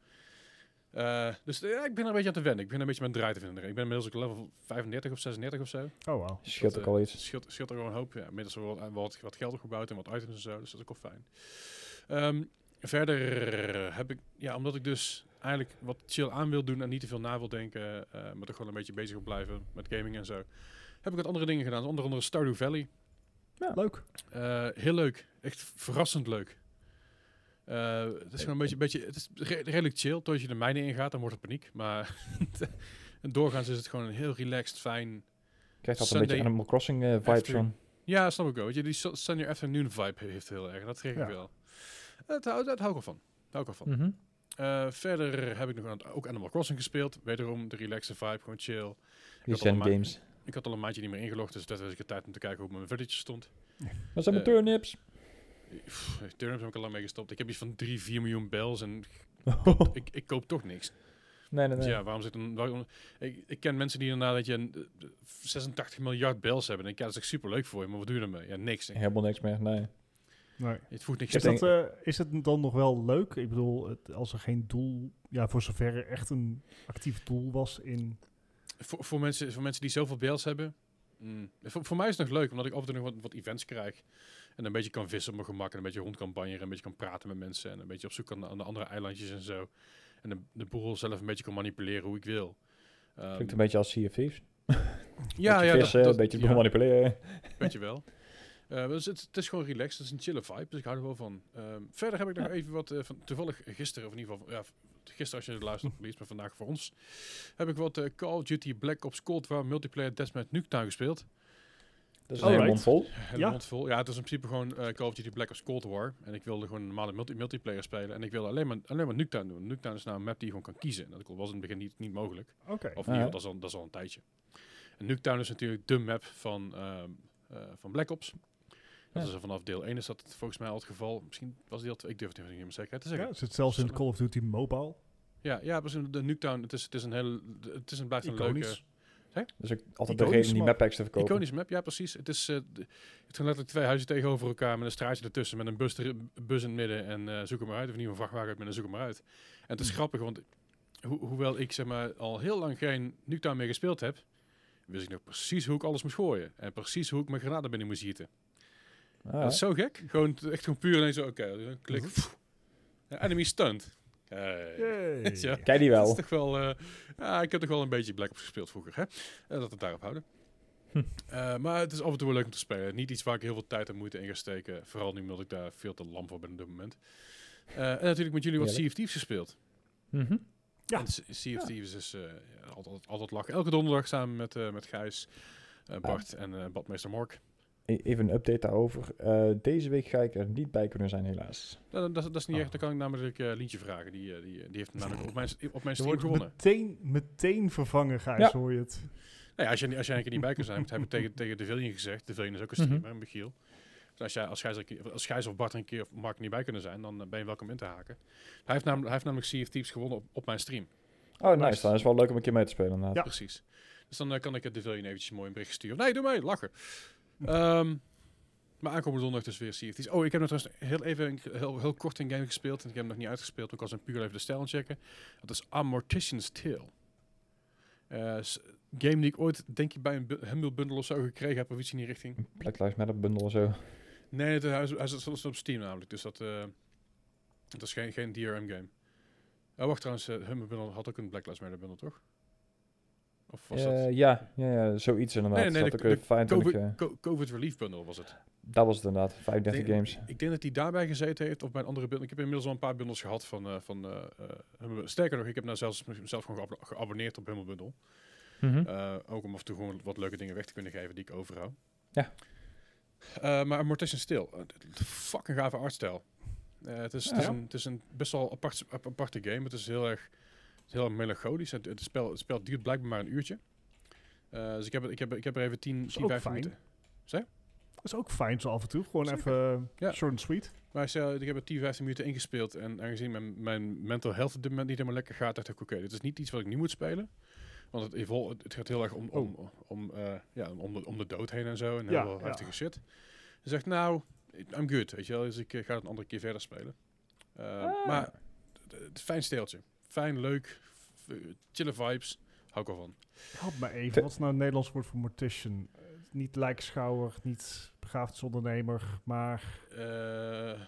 [SPEAKER 1] Eh, dus eh, ja, ik ben er een beetje aan te wennen. Ik ben een beetje mijn draai te vinden. Ik ben inmiddels ook level 35 of 36 of zo.
[SPEAKER 3] Oh, wauw.
[SPEAKER 2] Scheelt
[SPEAKER 1] Dat,
[SPEAKER 2] ook
[SPEAKER 1] eh,
[SPEAKER 2] al iets.
[SPEAKER 1] Scheelt, scheelt er gewoon een hoop. Ja, inmiddels wel wat, wat, wat geld opgebouwd en wat items en zo. Dus dat is ook wel fijn. Ehm, verder heb ik, ja, omdat ik dus eigenlijk wat chill aan wil doen en niet te veel na wil denken, eh, maar toch gewoon een beetje bezig wil blijven met gaming en zo, heb ik wat andere dingen gedaan. Onder andere Stardew Valley.
[SPEAKER 3] Leuk.
[SPEAKER 1] Eh, heel leuk. Echt verrassend leuk. Eh, het is gewoon een beetje, beetje het is re- redelijk chill. Totdat je de mijnen ingaat, dan wordt het paniek. Maar [LAUGHS] doorgaans is het gewoon een heel relaxed, fijn,
[SPEAKER 2] Krijgt altijd een
[SPEAKER 1] Sunday
[SPEAKER 2] beetje Animal Crossing eh, vibes
[SPEAKER 1] afternoon.
[SPEAKER 2] van.
[SPEAKER 1] Ja, snap ik wel. Weet je, die su- Sunday afternoon vibe heeft heel erg. Dat kreeg
[SPEAKER 3] Ja.
[SPEAKER 1] ik wel. Dat hou, dat hou ik wel van. Daar Hou Oh. ik wel van.
[SPEAKER 2] Mhm.
[SPEAKER 1] Eh, verder heb ik nog aan, ook Animal Crossing gespeeld. Wederom de relaxe vibe, gewoon chill.
[SPEAKER 2] Die
[SPEAKER 1] had al een
[SPEAKER 2] zijn
[SPEAKER 1] ma-
[SPEAKER 2] games.
[SPEAKER 1] Ik had al een maandje niet meer ingelogd, dus dat was ik de tijd om te kijken hoe mijn village stond.
[SPEAKER 2] Dat zijn mijn
[SPEAKER 1] Eh,
[SPEAKER 2] turnips.
[SPEAKER 1] Pff, Turnips heb ik al lang mee gestopt. Ik heb iets van 3, 4 miljoen bells en [LAUGHS] ik, ik koop toch niks.
[SPEAKER 2] nee, nee,
[SPEAKER 1] Dus
[SPEAKER 2] nee.
[SPEAKER 1] ja, waarom zit een... waarom- ik, ik ken mensen die daarna dat je een, eh, 86 miljard bells hebben. En ik denk, ja, dat is echt superleuk voor je, maar wat doe je ermee? Ja, niks.
[SPEAKER 2] Helemaal niks meer, nee.
[SPEAKER 3] Nee.
[SPEAKER 1] Het voegt niks
[SPEAKER 2] Ik
[SPEAKER 3] Is,
[SPEAKER 1] toe.
[SPEAKER 3] dat, eh, is het dan nog wel leuk? Ik bedoel, het, als er geen doel, ja, voor zover er echt een actief doel was in.
[SPEAKER 1] voor, voor, mensen, voor mensen die zoveel beelds hebben. mm, Voor, voor mij is het nog leuk, omdat ik af en toe nog wat, wat events krijg. En een beetje kan vissen op mijn gemak. En een beetje rond kan banjeren. Een beetje kan praten met mensen. En een beetje op zoek kan aan de andere eilandjes en zo. En de, de boel zelf een beetje kan manipuleren hoe ik wil. Ehm,
[SPEAKER 2] Klinkt een beetje als Sea of Thieves.
[SPEAKER 1] ja,
[SPEAKER 2] beetje
[SPEAKER 1] ja,
[SPEAKER 2] vissen,
[SPEAKER 1] dat,
[SPEAKER 2] een beetje
[SPEAKER 1] ja,
[SPEAKER 2] manipuleren.
[SPEAKER 1] weet je wel. Eh, dus het, het is gewoon relaxed. Het is een chille vibe. Dus ik hou er wel van. Ehm, verder heb ik nog even wat... eh, van, toevallig gisteren, of in ieder geval... Ja, gisteren als je het luistert, please, maar vandaag voor ons... heb ik wat eh, Call of Duty Black Ops Cold War Multiplayer Deathmatch Nuketown gespeeld.
[SPEAKER 2] Dat is
[SPEAKER 1] Oh,
[SPEAKER 3] Alright.
[SPEAKER 2] een hele mond vol.
[SPEAKER 3] Ja.
[SPEAKER 1] Ja. Mondvol. ja, het is in principe gewoon eh, Call of Duty Black Ops Cold War. En ik wilde gewoon een normale multi multiplayer spelen. En ik wilde alleen maar, alleen maar Nuketown doen. Nuketown is nou een map die je gewoon kan kiezen. En dat was in het begin niet, niet mogelijk.
[SPEAKER 3] Oké.
[SPEAKER 1] Of in
[SPEAKER 2] Ah,
[SPEAKER 1] ieder
[SPEAKER 2] ja.
[SPEAKER 1] geval, dat is al, dat is al een tijdje. En Nuketown is natuurlijk de map van, ehm, eh, van Black Ops. Dat
[SPEAKER 2] Ja.
[SPEAKER 1] is er vanaf deel 1 is dat volgens mij al het geval. Misschien was deel 2, ik durf het even niet meer zeker te
[SPEAKER 3] Ja,
[SPEAKER 1] zeggen.
[SPEAKER 3] het zit zelfs in Call of Duty Mobile.
[SPEAKER 1] Ja, ja, precies. de Nuketown, het is, het is een hele, het is een, blijft een leuke...
[SPEAKER 3] Iconisch.
[SPEAKER 2] Dus ik altijd de
[SPEAKER 1] Iconisch,
[SPEAKER 2] reden die
[SPEAKER 1] maar-
[SPEAKER 2] mappacks te verkopen.
[SPEAKER 1] Iconische map, ja precies. Het is eh, d- je hebt gewoon letterlijk twee huizen tegenover elkaar met een straatje ertussen met een bus, er- bus in het midden en eh, zoek hem maar uit. Of in ieder geval een vrachtwagen uit, met een zoek hem maar uit. En het is grappig, want ho- hoewel ik zeg maar al heel lang geen Nuketown meer gespeeld heb, wist ik nog precies hoe ik alles moest gooien. En precies hoe ik mijn granaten binnen moest gieten.
[SPEAKER 2] Ah,
[SPEAKER 1] Dat is zo gek. Gewoon t- echt gewoon puur alleen zo, oké, dan klik. pff. Ja, enemy stunned. Hey. [LAUGHS]
[SPEAKER 3] Yay.
[SPEAKER 1] Ja.
[SPEAKER 2] Kijk die wel.
[SPEAKER 1] Dat is toch wel... eh, ja, ik heb toch wel een beetje Black Ops gespeeld vroeger, hè? Eh, dat we het daarop houden.
[SPEAKER 2] Hm.
[SPEAKER 1] Eh, maar het is af en toe wel leuk om te spelen. Niet iets waar ik heel veel tijd en moeite in ga steken. Vooral nu omdat ik daar veel te lam voor ben op dit moment. Eh, en natuurlijk met jullie wat Sea
[SPEAKER 2] Heerlijk.
[SPEAKER 1] of Thieves gespeeld.
[SPEAKER 2] Mhm.
[SPEAKER 3] Ja.
[SPEAKER 1] En S- Sea of
[SPEAKER 2] Ja.
[SPEAKER 1] Thieves is eh, ja, altijd, altijd lachen. Elke donderdag samen met, eh, met Gijs, eh, Bart en eh, Badmeester Mork.
[SPEAKER 2] E- Even een update daarover. Eh, deze week ga ik er niet bij kunnen zijn, helaas.
[SPEAKER 1] Nou, dat, dat is niet
[SPEAKER 3] Oh.
[SPEAKER 2] Ah.
[SPEAKER 1] echt. Dan kan ik namelijk eh, Lientje vragen. Die, eh, die, die heeft hem
[SPEAKER 2] [LAUGHS]
[SPEAKER 1] namelijk op mijn, op mijn
[SPEAKER 3] Je
[SPEAKER 1] stream
[SPEAKER 3] wordt
[SPEAKER 1] gewonnen.
[SPEAKER 3] meteen, meteen vervangen, Gijs,
[SPEAKER 2] Ja.
[SPEAKER 3] hoor je het.
[SPEAKER 1] Nou ja, als jij, als jij er niet bij kan zijn, want dat heb ik tegen, tegen de Villian gezegd. De Villian is ook een streamer, Michiel. Dus als, jij, als, Gijs, er een keer- als Gijs of Bart er een keer of Mark er niet bij kunnen zijn, dan eh, ben je welkom in te haken. Hij heeft namelijk, hij heeft namelijk Sea of Thieves gewonnen op, op mijn stream.
[SPEAKER 2] Oh, nice.
[SPEAKER 1] Nice.
[SPEAKER 2] Dan is het wel leuk om een keer mee te spelen. inderdaad.
[SPEAKER 3] Ja.
[SPEAKER 1] Precies. Dus dan eh, kan ik het de Villian eventjes mooi een bericht sturen. Nee, doe mij, lachen. Ehm, maar aankomende donderdag dus weer Sea of Thieves. Oh, ik heb nog trouwens heel even een, heel, heel kort een game gespeeld. En ik heb hem nog niet uitgespeeld, want ik was een puur even de stijl aan het checken. Dat is Amortician's Tale. Eh, s- game die ik ooit, denk ik, bij een bu- Humble Bundle of zo gekregen heb, of iets in die richting.
[SPEAKER 2] Black Lives Matter bundle of zo.
[SPEAKER 1] Nee, het, hij, is- hij zat soms op Steam namelijk, dus dat, eh dat is geen, geen DRM-game. Oh, wacht trouwens, eh, Humble Bundle had ook een Black Lives Matter bundle, toch? Of was
[SPEAKER 2] Eh,
[SPEAKER 1] dat?
[SPEAKER 2] ja, ja, ja, zoiets inderdaad.
[SPEAKER 1] Nee, nee,
[SPEAKER 2] dat,
[SPEAKER 1] de-
[SPEAKER 2] ook weer
[SPEAKER 1] de
[SPEAKER 2] 25,
[SPEAKER 1] COVID,
[SPEAKER 2] eh,
[SPEAKER 1] Co- COVID Relief Bundle was het.
[SPEAKER 2] dat was het inderdaad. 35
[SPEAKER 1] Denk-
[SPEAKER 2] games.
[SPEAKER 1] Ik denk dat hij daarbij gezeten heeft of bij een andere bundle. Ik heb inmiddels al een paar bundles gehad van, eh, van eh, eh, Humble. Sterker nog, ik heb nou zelfs mezelf gewoon geab- geabonneerd op Humble Bundle.
[SPEAKER 3] Hm.
[SPEAKER 2] Mhm.
[SPEAKER 1] Eh, ook om af en toe gewoon wat leuke dingen weg te kunnen geven die ik overhoud.
[SPEAKER 2] Ja.
[SPEAKER 1] Eh, maar Mortician Steel, eh, d- d- fucking gave artstijl. Eh, het, is,
[SPEAKER 2] Ja,
[SPEAKER 1] het, is
[SPEAKER 2] ja.
[SPEAKER 1] een, het is een best wel apart, ap- aparte game. Het is heel erg, het is heel erg melancholisch. Het, het spel, het spel duurt blijkbaar maar een uurtje. Eh, dus ik heb, het- ik, heb, ik heb er even 10,
[SPEAKER 3] is
[SPEAKER 1] 10
[SPEAKER 3] ook
[SPEAKER 1] 15
[SPEAKER 3] fijn.
[SPEAKER 1] minuten.
[SPEAKER 3] Dat is ook fijn zo af en toe. Gewoon
[SPEAKER 1] Zeker.
[SPEAKER 3] even eh,
[SPEAKER 1] Ja.
[SPEAKER 3] short and sweet.
[SPEAKER 1] Maar ik zei, ik heb er 10, 15 minuten ingespeeld. En aangezien mijn, mijn mental health op dit moment niet helemaal lekker gaat, dacht ik: oké, dit is niet iets wat ik nu moet spelen. Want het, evol- het- het gaat heel erg om, om, om, eh, ja, om, de, om de dood heen en zo. En
[SPEAKER 3] Oh. Ja,
[SPEAKER 1] heel veel
[SPEAKER 3] ja.
[SPEAKER 1] heftige shit. Hij zegt, nou, I'm good. Weet je wel, dus ik eh, ga het een andere keer verder spelen. Eh,
[SPEAKER 3] Ah.
[SPEAKER 1] Maar d- d- het fijn steeltje. Fijn, leuk, f- eh, chille vibes. Hou ik al van.
[SPEAKER 3] Help me even,
[SPEAKER 2] Te-
[SPEAKER 3] wat is nou het Nederlands woord voor mortician? Eh, niet lijkschouwer, niet begaafd ondernemer, maar
[SPEAKER 1] Eh,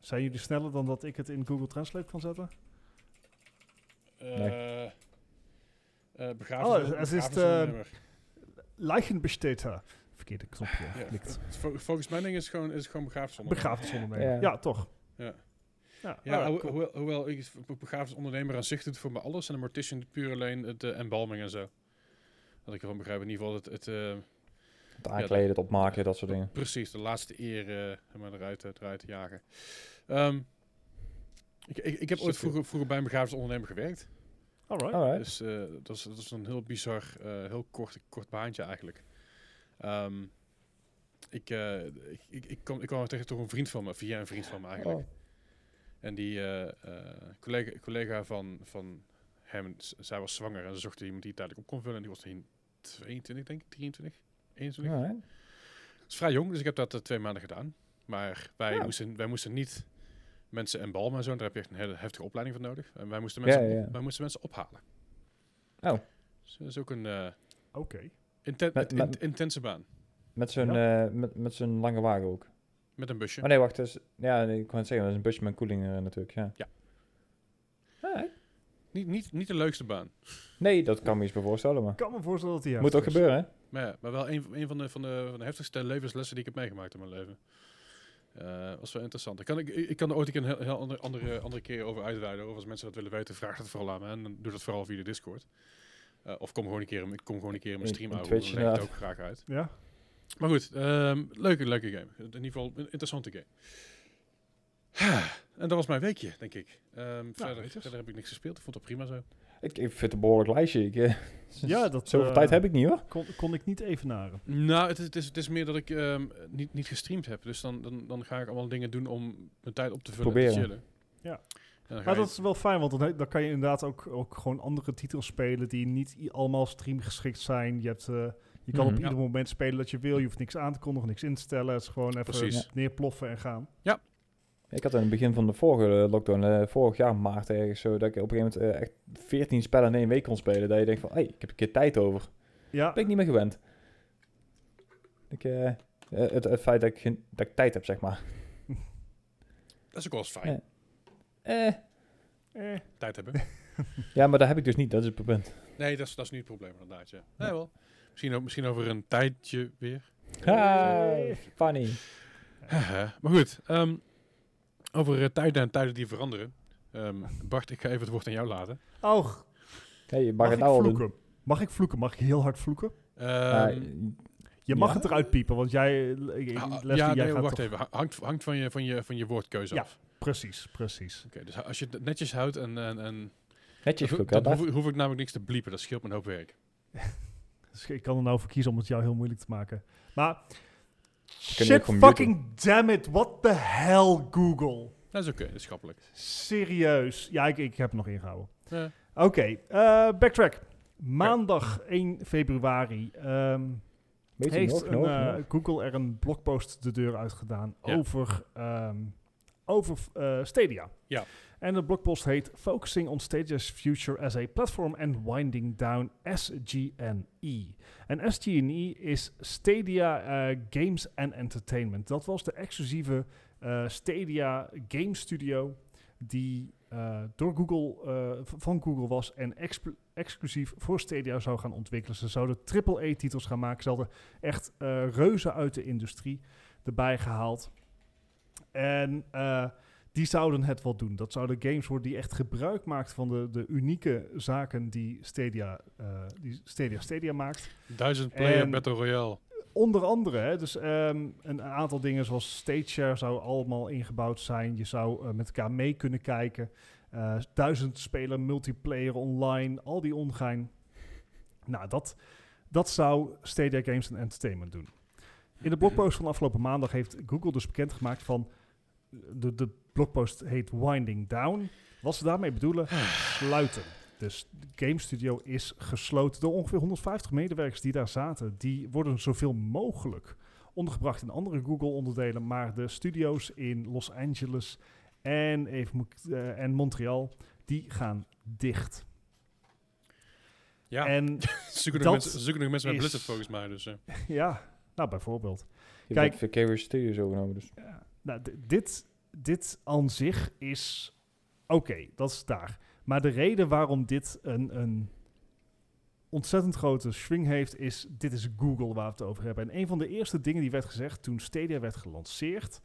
[SPEAKER 3] zijn jullie sneller dan dat ik het in Google Translate kan zetten?
[SPEAKER 1] eh, eh, begraven-
[SPEAKER 3] Oh, het is
[SPEAKER 1] begraven
[SPEAKER 3] de-
[SPEAKER 1] ondernemer.
[SPEAKER 3] Leichenbesteter. Verkeerde knopje
[SPEAKER 1] Ja,
[SPEAKER 3] geklikt.
[SPEAKER 1] vol- volgens mijn ding is het gewoon, is het gewoon begraafdesondernemer.
[SPEAKER 3] Begraafdesondernemer.
[SPEAKER 2] Ja.
[SPEAKER 3] Ja. toch?
[SPEAKER 1] Ja.
[SPEAKER 3] Ja,
[SPEAKER 2] Ah,
[SPEAKER 3] nou,
[SPEAKER 1] Ja,
[SPEAKER 3] alright,
[SPEAKER 1] ho-
[SPEAKER 3] cool.
[SPEAKER 1] hoewel, hoewel ik be- begraafd ondernemer aan zich doet voor me alles. En de mortician doet puur alleen het eh, embalming en zo. Dat ik ervan begrijp. In ieder geval het, het, eh,
[SPEAKER 2] Het aankleden, het opmaken, dat soort dingen.
[SPEAKER 1] precies de laatste eer eh, maar eruit, eh, eruit jagen. Ehm, ik, ik, ik heb ooit
[SPEAKER 2] Subtiel.
[SPEAKER 1] vroeger, vroeger bij een begraafd ondernemer gewerkt.
[SPEAKER 3] Alright.
[SPEAKER 2] Alright.
[SPEAKER 1] Dus eh, dat, is, dat is een heel bizar, eh, heel kort, kort baantje eigenlijk. Ehm, ik, eh, ik, ik, ik kwam, ik kwam tegen toch een vriend van me, via een vriend van me eigenlijk.
[SPEAKER 2] Oh,
[SPEAKER 1] En die eh, eh, collega, collega van, van hem, z- zij was zwanger en ze zochten iemand die het tijdelijk op kon vullen. En die was in 22, denk ik, 23, 21.
[SPEAKER 2] alright.
[SPEAKER 1] Dat is vrij jong, dus ik heb dat eh, twee maanden gedaan. Maar wij,
[SPEAKER 2] Ja.
[SPEAKER 1] moesten, wij moesten niet mensen en balmen en zo, daar heb je echt een hele heftige opleiding voor nodig. En wij moesten
[SPEAKER 2] Ja,
[SPEAKER 1] mensen,
[SPEAKER 2] ja, ja.
[SPEAKER 1] op- wij moesten mensen ophalen.
[SPEAKER 2] Oh.
[SPEAKER 1] Dus dat is ook een eh,
[SPEAKER 3] Oké.
[SPEAKER 1] inten-
[SPEAKER 2] Met-
[SPEAKER 1] in-
[SPEAKER 2] met-
[SPEAKER 1] intense baan.
[SPEAKER 2] Met zo'n eh, met, met zo'n lange wagen ook.
[SPEAKER 1] Met een busje.
[SPEAKER 2] Oh nee, wacht. Dus, ja, nee, ik kan het zeggen, dat is een busje met koeling eh, natuurlijk. Ja.
[SPEAKER 1] Ja.
[SPEAKER 2] Alright.
[SPEAKER 1] Niet, niet, niet de leukste baan.
[SPEAKER 2] Nee, dat kan me iets bij voorstellen, maar
[SPEAKER 3] Ik kan me voorstellen dat hij
[SPEAKER 2] moet ook
[SPEAKER 3] heftig is.
[SPEAKER 2] gebeuren, hè?
[SPEAKER 1] Maar, ja, maar wel een, een van, de, van, de, van de heftigste levenslessen die ik heb meegemaakt in mijn leven. Eh was wel interessant. Ik kan, ik, ik kan er ooit een keer een heel, heel ander- andere, andere keer over uitweiden. Of als mensen dat willen weten, vraag dat vooral aan me. En dan doe dat vooral via de Discord. Eh, of kom gewoon een keer, in- kom gewoon een keer in mijn
[SPEAKER 2] In-
[SPEAKER 1] stream
[SPEAKER 2] in
[SPEAKER 1] houden. Dan
[SPEAKER 2] Twitch,
[SPEAKER 1] leg ik het ook
[SPEAKER 2] inderdaad.
[SPEAKER 1] graag uit.
[SPEAKER 3] Ja.
[SPEAKER 1] Maar goed, ehm, leuke, leuke game. In ieder geval een interessante game. [SIGHS] En dat was mijn weekje, denk ik. Ehm, verder,
[SPEAKER 3] netjes.
[SPEAKER 1] verder heb ik niks gespeeld. Ik vond dat prima zo.
[SPEAKER 2] Ik, ik vind het een behoorlijk lijstje. Ik, eh, [LAUGHS]
[SPEAKER 3] Ja, dat,
[SPEAKER 2] Zoveel
[SPEAKER 3] eh,
[SPEAKER 2] tijd heb ik niet, hoor.
[SPEAKER 3] Kon, kon ik niet evenaren.
[SPEAKER 1] Nou, het is, het is, het is meer dat ik ehm, niet, niet gestreamd heb. Dus dan, dan, dan ga ik allemaal dingen doen om mijn tijd op te vullen en te
[SPEAKER 2] Proberen.
[SPEAKER 1] chillen.
[SPEAKER 3] Ja.
[SPEAKER 1] En dan ga
[SPEAKER 3] Maar
[SPEAKER 1] je-
[SPEAKER 3] dat is wel fijn, want dan, dan kan je inderdaad ook, ook gewoon andere titels spelen die niet i- allemaal streamgeschikt zijn. Je, hebt, eh, je kan
[SPEAKER 2] Mhm.
[SPEAKER 3] op
[SPEAKER 1] Ja.
[SPEAKER 3] ieder moment spelen dat je wil. Je hoeft niks aan te kondigen, niks in te stellen. Het is gewoon even
[SPEAKER 1] Precies.
[SPEAKER 3] neerploffen en gaan.
[SPEAKER 2] Ik had in het begin van de vorige eh, lockdown, eh, vorig jaar maart ergens zo, dat ik op een gegeven moment eh, echt 14 spellen in één week kon spelen. Dat je denkt van, hé, hey, ik heb een keer tijd over.
[SPEAKER 3] Ja,
[SPEAKER 2] Dat ben ik niet meer gewend. Ik, eh, eh, het, het feit dat ik, geen, dat ik tijd heb, zeg maar.
[SPEAKER 1] dat is ook wel eens fijn.
[SPEAKER 2] Ja. Eh,
[SPEAKER 3] eh,
[SPEAKER 1] Tijd hebben.
[SPEAKER 2] ja, maar dat heb ik dus niet. Dat is het punt.
[SPEAKER 1] Nee, dat is, dat is niet het probleem inderdaad. Ja. Nee, wel. Misschien, ook, misschien over een tijdje weer.
[SPEAKER 2] Ah,
[SPEAKER 3] Eh.
[SPEAKER 2] funny.
[SPEAKER 1] [LAUGHS] Haha. maar goed, ehm, over eh, tijden en tijden die veranderen. Ehm, Bart, ik ga even het woord aan jou laten.
[SPEAKER 3] oh,
[SPEAKER 2] Hey, je mag,
[SPEAKER 3] mag
[SPEAKER 2] het
[SPEAKER 3] ik
[SPEAKER 2] nou al doen.
[SPEAKER 3] vloeken? Mag ik vloeken? Mag ik heel hard vloeken?
[SPEAKER 2] Ja,
[SPEAKER 1] Ehm,
[SPEAKER 3] Je mag
[SPEAKER 2] Ja.
[SPEAKER 3] het eruit piepen, want jij, eh, ik- ik-
[SPEAKER 1] ah,
[SPEAKER 3] Leslie,
[SPEAKER 1] ja,
[SPEAKER 3] jij
[SPEAKER 1] nee,
[SPEAKER 3] gaat
[SPEAKER 1] wacht
[SPEAKER 3] toch-
[SPEAKER 1] even. Ha- Hangt, hangt van, je, van, je, van je woordkeuze
[SPEAKER 3] Ja.
[SPEAKER 1] af.
[SPEAKER 3] Precies, precies.
[SPEAKER 1] Oké, dus als je het netjes houdt en, en, en Dan
[SPEAKER 2] netjes vloeken. hè,
[SPEAKER 1] hoef,
[SPEAKER 2] Bart?
[SPEAKER 1] ik- hoef ik namelijk niks te bliepen, dat scheelt me een hoop werk.
[SPEAKER 3] Dus ik kan er nou voor kiezen om het jou heel moeilijk te maken. Maar,
[SPEAKER 2] je
[SPEAKER 3] shit
[SPEAKER 2] ook gewoon muten.
[SPEAKER 3] fucking damn it, what the hell, Google.
[SPEAKER 1] Dat is oké, dat is schappelijk.
[SPEAKER 3] Serieus. Ja, ik, ik heb hem nog ingehouden.
[SPEAKER 1] Ja.
[SPEAKER 3] Oké, eh, backtrack. Maandag 1 februari ehm,
[SPEAKER 2] Weet je
[SPEAKER 3] heeft
[SPEAKER 2] nog,
[SPEAKER 3] een,
[SPEAKER 2] nog,
[SPEAKER 3] eh,
[SPEAKER 2] nog?
[SPEAKER 3] Google er een blogpost de deur uit gedaan
[SPEAKER 1] Ja.
[SPEAKER 3] over, ehm, over eh, Stadia.
[SPEAKER 1] Ja.
[SPEAKER 3] En de blogpost heet Focusing on Stadia's Future as a Platform and Winding Down SGNE. E. En SGNE E is Stadia eh, Games and Entertainment. Dat was de exclusieve eh, Stadia Game Studio die eh, door Google, eh, v- van Google was en exp- exclusief voor Stadia zou gaan ontwikkelen. Ze zouden AAA-titels gaan maken. Ze hadden echt eh, reuzen uit de industrie erbij gehaald. En eh, die zouden het wel doen. Dat zouden games worden die echt gebruik maakten van de, de unieke zaken die Stadia, eh, die Stadia Stadia maakt.
[SPEAKER 1] Duizend player
[SPEAKER 3] En-
[SPEAKER 1] Battle Royale.
[SPEAKER 3] Onder andere, hè, dus ehm, een aantal dingen zoals StageShare zou allemaal ingebouwd zijn. Je zou eh, met elkaar mee kunnen kijken. Eh, duizend speler, multiplayer online, al die ongein. Nou, dat, dat zou Stadia Games and Entertainment doen. In de blogpost van afgelopen maandag heeft Google dus bekendgemaakt van... De, de blogpost heet Winding Down. Wat ze daarmee bedoelen, sluiten. Dus de Game Studio is gesloten door ongeveer 150 medewerkers die daar zaten. Die worden zoveel mogelijk ondergebracht in andere Google-onderdelen. Maar de studio's in Los Angeles en, even, moet ik- eh, en Montreal, die gaan dicht.
[SPEAKER 1] Ja, [LAUGHS]
[SPEAKER 3] En
[SPEAKER 1] zoeken, nog
[SPEAKER 3] dat
[SPEAKER 1] mensen, zoeken nog mensen met
[SPEAKER 3] is-
[SPEAKER 1] Blizzard volgens mij. Dus, eh.
[SPEAKER 3] ja, nou bijvoorbeeld.
[SPEAKER 2] Je
[SPEAKER 3] Kijk.
[SPEAKER 2] hebt Vicarious Studios overgenomen, dus.
[SPEAKER 3] Ja, nou, d- dit, dit aan zich is oké, dat is daar. Maar de reden waarom dit een, een ontzettend grote swing heeft, is dit is Google waar we het over hebben. En een van de eerste dingen die werd gezegd toen Stadia werd gelanceerd,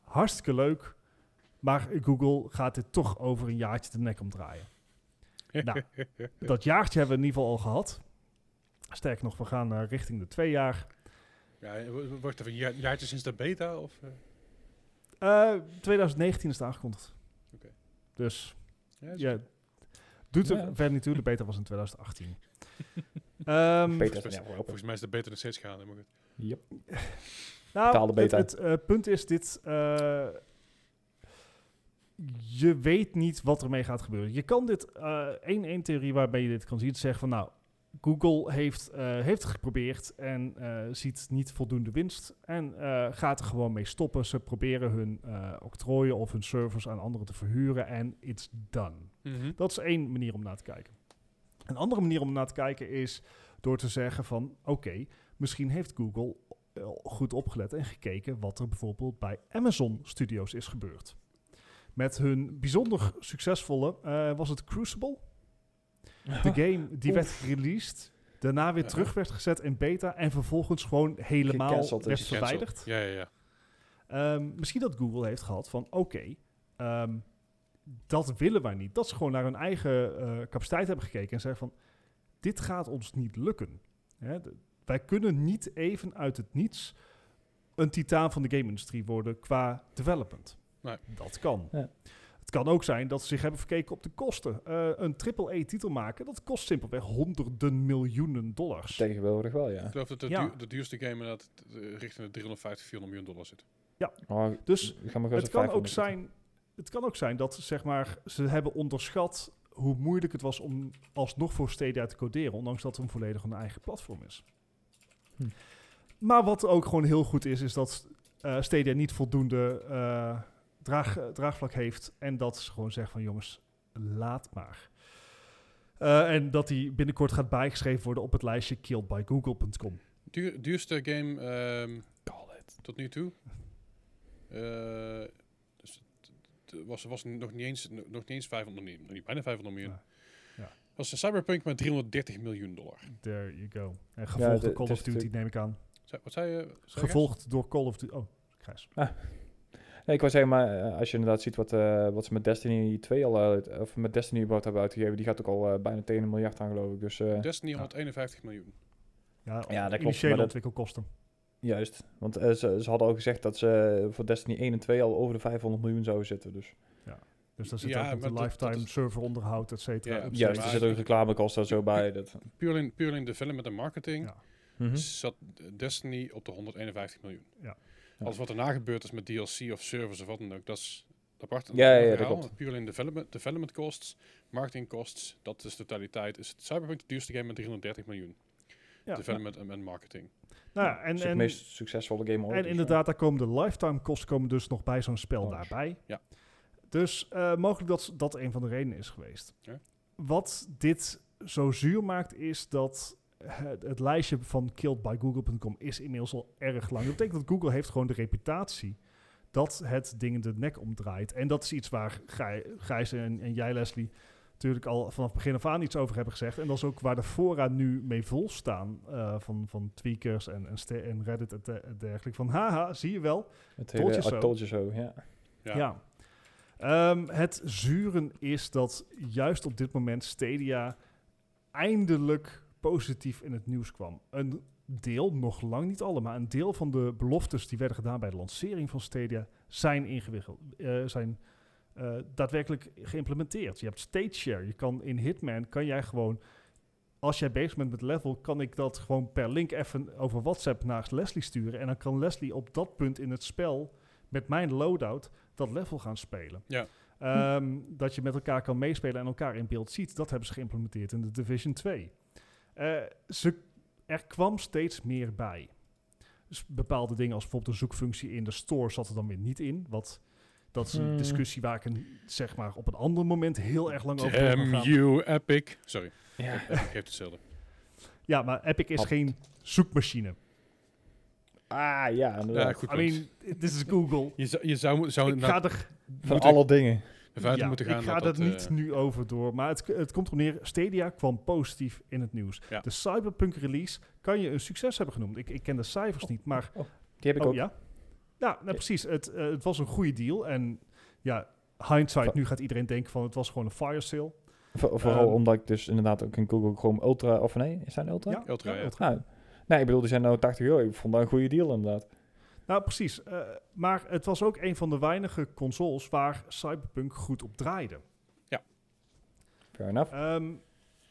[SPEAKER 3] hartstikke leuk, maar Google gaat dit toch over een jaartje de nek omdraaien. Nou, dat jaartje hebben we in ieder geval al gehad. Sterk nog, we gaan eh, richting de twee jaar.
[SPEAKER 1] ja, w- w- wacht even, ja- jaartje sinds de beta? Of, eh?
[SPEAKER 3] Eh, 2019 is het aangekondigd.
[SPEAKER 1] Oké.
[SPEAKER 3] Dus
[SPEAKER 1] Ja, is-
[SPEAKER 3] ja, doet er
[SPEAKER 2] Ja.
[SPEAKER 3] verder niet toe. De beta was in 2018. Ehm,
[SPEAKER 2] Beter
[SPEAKER 1] volgens-
[SPEAKER 2] is een
[SPEAKER 1] Volgens mij is de beta nog steeds gaande. Maar goed.
[SPEAKER 2] Yep.
[SPEAKER 3] nou,
[SPEAKER 2] Betaalde beta.
[SPEAKER 3] Het, het, eh, punt is dit. eh, je weet niet wat ermee gaat gebeuren. Je kan dit, eh één, één theorie waarbij je dit kan zien, zeggen van nou, Google heeft, eh, heeft het geprobeerd en eh, ziet niet voldoende winst en eh, gaat er gewoon mee stoppen. Ze proberen hun eh octrooien of hun servers aan anderen te verhuren en it's done.
[SPEAKER 1] Mhm.
[SPEAKER 3] Dat is één manier om naar te kijken. Een andere manier om naar te kijken is door te zeggen van oké, misschien heeft Google eh, goed opgelet en gekeken wat er bijvoorbeeld bij Amazon Studios is gebeurd. Met hun bijzonder succesvolle, eh, was het Crucible?
[SPEAKER 2] Ah,
[SPEAKER 3] De game die werd gereleased, daarna weer
[SPEAKER 1] Ja.
[SPEAKER 3] terug werd gezet in beta en vervolgens gewoon helemaal
[SPEAKER 2] Gecanceld is.
[SPEAKER 3] werd
[SPEAKER 1] Gecanceld.
[SPEAKER 3] verwijderd.
[SPEAKER 1] Ja, ja, ja.
[SPEAKER 3] Ehm, misschien dat Google heeft gehad van oké, ehm, dat willen wij niet. Dat ze gewoon naar hun eigen eh, capaciteit hebben gekeken en zeggen van dit gaat ons niet lukken. Hè, de- wij kunnen niet even uit het niets een titaan van de game-industrie worden qua development.
[SPEAKER 1] Nee.
[SPEAKER 3] Dat kan.
[SPEAKER 2] Ja.
[SPEAKER 3] Het kan ook zijn dat ze zich hebben verkeken op de kosten. Eh, een triple-E-titel maken, dat kost simpelweg honderden miljoenen
[SPEAKER 2] [LAUGHS]
[SPEAKER 3] dollars.
[SPEAKER 2] Tegenwoordig wel,
[SPEAKER 1] Ik
[SPEAKER 2] ja. Oh,
[SPEAKER 1] geloof dat de,
[SPEAKER 3] Ja.
[SPEAKER 1] duur- de duurste game inderdaad eh, richting de 350, 400 miljoen dollar zit.
[SPEAKER 2] Oh,
[SPEAKER 3] Dus
[SPEAKER 2] ga maar
[SPEAKER 3] Het kan, ook zijn, het kan ook zijn dat zeg maar, ze hebben onderschat hoe moeilijk het was om alsnog voor Stadia te coderen, ondanks dat het een volledig een eigen platform is.
[SPEAKER 2] Hm.
[SPEAKER 3] Maar wat ook gewoon heel goed is, is dat eh Stadia niet voldoende eh, draag, eh, draagvlak heeft en dat ze gewoon zeggen van jongens, laat maar. Eh, en dat die binnenkort gaat bijgeschreven worden op het lijstje killedbygoogle.com.
[SPEAKER 1] Duur, duurste game ehm,
[SPEAKER 2] Call it.
[SPEAKER 1] tot nu toe. Eh, dus het- het was, was nog, niet eens, nog niet eens 500 miljoen, nog niet bijna 500 miljoen.
[SPEAKER 3] Ja. Ja.
[SPEAKER 1] Was een Cyberpunk met 330 miljoen dollar.
[SPEAKER 3] There you go. En gevolgd
[SPEAKER 2] de-
[SPEAKER 3] door Call
[SPEAKER 2] het is
[SPEAKER 3] of Duty, neem ik aan.
[SPEAKER 1] Zei- wat zei je? Zei je?
[SPEAKER 3] Gevolgd door Call of Duty. Oh, Gijs.
[SPEAKER 2] Nee, ik wou zeggen, maar eh, als je inderdaad ziet wat, eh, wat ze met Destiny 2 al uit, of met Destiny überhaupt hebben uitgegeven, die gaat ook al eh, bijna tegen een miljard aan, geloof ik. Dus eh,
[SPEAKER 1] Destiny
[SPEAKER 3] Ja.
[SPEAKER 1] 151 miljoen.
[SPEAKER 3] Ja,
[SPEAKER 2] Ja, dat klopt,
[SPEAKER 3] initiële
[SPEAKER 2] maar dat-
[SPEAKER 3] ontwikkelkosten.
[SPEAKER 2] juist, want eh, ze, ze hadden al gezegd dat ze eh, voor Destiny 1 en 2 al over de 500 miljoen zouden zitten. Dus
[SPEAKER 3] Dus daar zit
[SPEAKER 1] Ja,
[SPEAKER 3] ook nog
[SPEAKER 1] maar
[SPEAKER 3] de
[SPEAKER 1] dat-
[SPEAKER 3] lifetime
[SPEAKER 1] dat is-
[SPEAKER 3] serveronderhoud, et cetera.
[SPEAKER 1] Ja,
[SPEAKER 3] upstream.
[SPEAKER 2] juist,
[SPEAKER 1] maar
[SPEAKER 2] er zit ook reclamekosten en zo bij. Dat,
[SPEAKER 1] Puur in, puur in development en marketing
[SPEAKER 3] Ja.
[SPEAKER 2] Mhm.
[SPEAKER 1] zat Destiny op de 151 miljoen.
[SPEAKER 3] Ja.
[SPEAKER 1] Alles wat daarna gebeurd is met DLC of service of wat dan ook, dat is apart.
[SPEAKER 2] Ja, ja, ja, dat
[SPEAKER 1] verhaal.
[SPEAKER 2] klopt.
[SPEAKER 1] Puur in development, development costs, marketing costs, dat is de totaliteit. Is het Cyberpunk de duurste game met 330 miljoen?
[SPEAKER 3] Ja.
[SPEAKER 1] development en- en marketing.
[SPEAKER 3] Nou ja, en,
[SPEAKER 2] is het
[SPEAKER 3] en,
[SPEAKER 2] meest succesvolle game ooit.
[SPEAKER 3] en
[SPEAKER 2] dus,
[SPEAKER 3] inderdaad, daar komen de lifetime kosten komen dus nog bij zo'n spel
[SPEAKER 2] Oh,
[SPEAKER 3] daarbij.
[SPEAKER 1] ja.
[SPEAKER 3] Dus eh, mogelijk dat s- dat een van de redenen is geweest.
[SPEAKER 1] Ja.
[SPEAKER 3] Wat dit zo zuur maakt, is dat het, het lijstje van killedbygoogle.com is inmiddels al erg lang. Dat betekent dat Google heeft gewoon de reputatie dat het dingen de nek omdraait. En dat is iets waar Gij- Gijs en, en jij, Leslie, natuurlijk al vanaf begin af aan iets over hebben gezegd. En dat is ook waar de fora nu mee vol staan eh, van, van tweakers en, en, ste- en Reddit en, de- en dergelijke. Van haha, zie je wel.
[SPEAKER 2] ja. Het
[SPEAKER 3] told
[SPEAKER 2] hele
[SPEAKER 3] you so.
[SPEAKER 2] I told you so, ja.
[SPEAKER 1] Ja.
[SPEAKER 3] Ja. Ehm, het zuren is dat juist op dit moment Stadia eindelijk positief in het nieuws kwam. Een deel, nog lang niet alle, maar een deel van de beloftes die werden gedaan bij de lancering van Stadia zijn ingewikkeld, eh, zijn eh, daadwerkelijk geïmplementeerd. Je hebt stage share. Je kan in Hitman kan jij gewoon, als jij bezig bent met level, kan ik dat gewoon per link even over WhatsApp naar Leslie sturen en dan kan Leslie op dat punt in het spel met mijn loadout dat level gaan spelen.
[SPEAKER 1] Ja.
[SPEAKER 3] Ehm, Dat je met elkaar kan meespelen en elkaar in beeld ziet. Dat hebben ze geïmplementeerd in de Division 2. Eh, ze, er kwam steeds meer bij. Dus bepaalde dingen als bijvoorbeeld een zoekfunctie in de store zat er dan weer niet in. Wat, dat is een
[SPEAKER 2] Hmm.
[SPEAKER 3] discussie waar ik een, zeg maar, op een ander moment heel erg lang over door kan
[SPEAKER 1] Damn
[SPEAKER 3] gaan.
[SPEAKER 1] you, Epic. Sorry,
[SPEAKER 2] Ja.
[SPEAKER 1] Epic heeft hetzelfde.
[SPEAKER 3] Ja, maar Epic is
[SPEAKER 2] Had.
[SPEAKER 3] geen zoekmachine.
[SPEAKER 2] [LAUGHS] Ah, ja, inderdaad.
[SPEAKER 1] Ja, goed
[SPEAKER 3] I
[SPEAKER 1] punt. Nou,
[SPEAKER 3] mean, this is
[SPEAKER 1] [LAUGHS]
[SPEAKER 3] Google.
[SPEAKER 1] je zou, je zou, mo- zou
[SPEAKER 3] ik
[SPEAKER 1] naar
[SPEAKER 3] ga er,
[SPEAKER 2] Van
[SPEAKER 1] moet
[SPEAKER 2] alle dingen.
[SPEAKER 1] de verder
[SPEAKER 3] ja,
[SPEAKER 1] moeten gaan.
[SPEAKER 3] ik ga
[SPEAKER 1] dat
[SPEAKER 3] dat
[SPEAKER 1] dat, eh,
[SPEAKER 3] niet nu over door. Maar het, het komt erop neer, Stadia kwam positief in het nieuws.
[SPEAKER 1] Ja.
[SPEAKER 3] De Cyberpunk release kan je een succes hebben genoemd. Ik, ik ken de cijfers niet, maar...
[SPEAKER 2] Die heb ik
[SPEAKER 3] oh,
[SPEAKER 2] ook.
[SPEAKER 3] ja? Ja, nou precies. Het, eh, het was een goede deal. En ja, hindsight,
[SPEAKER 2] Va-
[SPEAKER 3] nu gaat iedereen denken van het was gewoon een fire sale.
[SPEAKER 2] Vo- vooral
[SPEAKER 3] Ehm.
[SPEAKER 2] omdat ik dus inderdaad ook een Google Chrome Ultra... Of nee, is dat een Ultra?
[SPEAKER 3] Ja,
[SPEAKER 1] Ultra, ja.
[SPEAKER 2] Nou, nee, ik bedoel, die zijn nou 80 euro. Ik vond dat een goede deal inderdaad.
[SPEAKER 3] Nou, precies. Eh, maar het was ook een van de weinige consoles waar Cyberpunk goed op draaide.
[SPEAKER 2] Fair enough.
[SPEAKER 3] Ehm,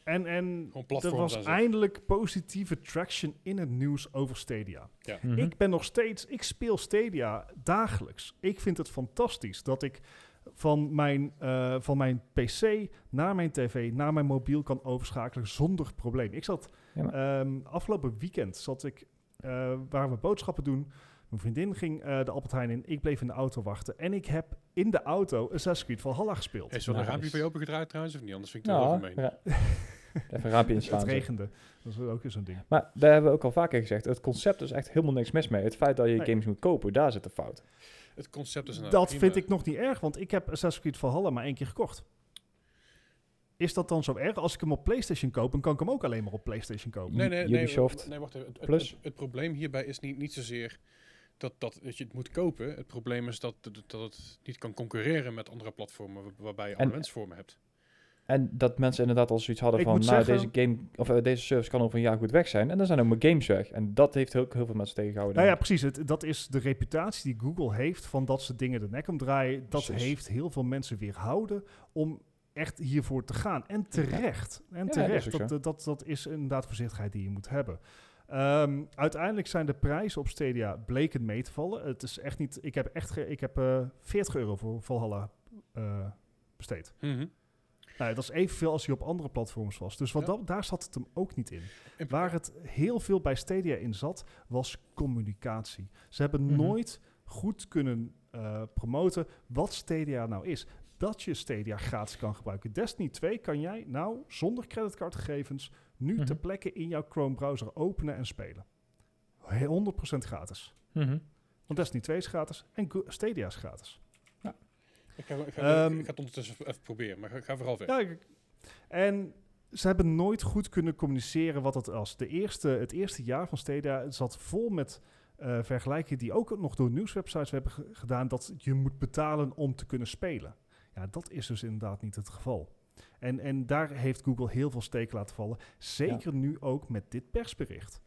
[SPEAKER 3] en en
[SPEAKER 1] Gewoon
[SPEAKER 3] er
[SPEAKER 1] platforms aan
[SPEAKER 3] was
[SPEAKER 1] zetten.
[SPEAKER 3] eindelijk positieve traction in het nieuws over Stadia.
[SPEAKER 2] Mhm.
[SPEAKER 3] Ik ben nog steeds, ik speel Stadia dagelijks. Ik vind het fantastisch dat ik van mijn, eh, van mijn PC naar mijn TV, naar mijn mobiel kan overschakelen zonder probleem. Ik zat
[SPEAKER 2] Ja, maar-
[SPEAKER 3] ehm, afgelopen weekend zat ik, eh waar we boodschappen doen. Mijn vriendin ging eh, de Albert Heijn in. Ik bleef in de auto wachten. En ik heb in de auto Assassin's Creed Valhalla gespeeld.
[SPEAKER 1] Is er wel een
[SPEAKER 2] Nice.
[SPEAKER 1] raampje bij je opengedraaid trouwens of niet? Anders vind ik het wel
[SPEAKER 2] Nou,
[SPEAKER 1] gemeen.
[SPEAKER 3] [LAUGHS]
[SPEAKER 2] ra- even een raampje
[SPEAKER 3] Het
[SPEAKER 2] inslaan. zeg.
[SPEAKER 3] regende. Dat is ook weer zo'n ding.
[SPEAKER 2] Maar daar hebben we ook al vaker gezegd. Het concept is echt helemaal niks mis mee. Het feit dat je
[SPEAKER 3] Nee.
[SPEAKER 2] games moet kopen, daar zit de fout.
[SPEAKER 1] Het concept is inderdaad
[SPEAKER 3] Dat
[SPEAKER 1] prima.
[SPEAKER 3] vind ik nog niet erg, want ik heb Assassin's Creed Valhalla maar één keer gekocht. Is dat dan zo erg? Als ik hem op PlayStation koop, dan kan ik hem ook alleen maar op PlayStation kopen.
[SPEAKER 1] Nee, nee, nee,
[SPEAKER 2] Ubisoft
[SPEAKER 1] wa- nee, wacht even. Het, het-
[SPEAKER 2] Plus.
[SPEAKER 1] het- het probleem hierbij is niet, niet zozeer dat, dat, dat je het moet kopen. Het probleem is dat, dat, dat het niet kan concurreren met andere platformen waar- waarbij je
[SPEAKER 2] En-
[SPEAKER 1] abonnementsvormen hebt.
[SPEAKER 2] En dat mensen inderdaad al zoiets hadden
[SPEAKER 3] Ik
[SPEAKER 2] van,
[SPEAKER 3] moet
[SPEAKER 2] nou,
[SPEAKER 3] zeggen-
[SPEAKER 2] deze, game, of, eh, deze service kan over een jaar goed weg zijn. En dan zijn ook mijn games weg. En dat heeft heel, heel veel mensen tegengehouden.
[SPEAKER 3] Nou ja,
[SPEAKER 2] denk ik.
[SPEAKER 3] precies. Het, dat is de reputatie die Google heeft van dat ze dingen de nek omdraaien. Dat
[SPEAKER 2] Precies.
[SPEAKER 3] heeft heel veel mensen weerhouden om echt hiervoor te gaan. En terecht. En
[SPEAKER 2] dat
[SPEAKER 3] terecht.
[SPEAKER 2] is ook
[SPEAKER 3] dat, dat, dat, is inderdaad voorzichtigheid die je moet hebben. Ehm, uiteindelijk zijn de prijzen op Stadia bleken mee te vallen. Het is echt niet... Ik heb echt... ge- ik heb eh, 40 euro voor Valhalla eh, besteed.
[SPEAKER 1] Mhm.
[SPEAKER 3] Nou, dat is evenveel als hij op andere platforms was. Dus wat
[SPEAKER 1] Ja.
[SPEAKER 3] dat, daar zat het hem ook niet in.
[SPEAKER 1] In-
[SPEAKER 3] Waar het heel veel bij Stadia in zat, was communicatie. Ze hebben
[SPEAKER 2] Mhm.
[SPEAKER 3] nooit goed kunnen eh, promoten wat Stadia nou is. Dat je Stadia gratis kan gebruiken. Destiny 2 kan jij nou zonder creditcardgegevens nu
[SPEAKER 2] Mhm.
[SPEAKER 3] ter plekke in jouw Chrome browser openen en spelen. 100% gratis.
[SPEAKER 2] Mhm.
[SPEAKER 3] Want Destiny 2 is gratis en Go- Stadia is gratis.
[SPEAKER 1] Ik ga, ik ga-
[SPEAKER 3] Ehm,
[SPEAKER 1] ik ga het ondertussen even proberen, maar ga, ga vooral verder.
[SPEAKER 3] Ja, ik- en ze hebben nooit goed kunnen communiceren wat dat was. De eerste, het eerste jaar van Stadia zat vol met eh vergelijkingen die ook nog door nieuwswebsites hebben ge- gedaan dat je moet betalen om te kunnen spelen. Ja, dat is dus inderdaad niet het geval. En, en daar heeft Google heel veel steek laten vallen. Zeker nu ook met dit persbericht.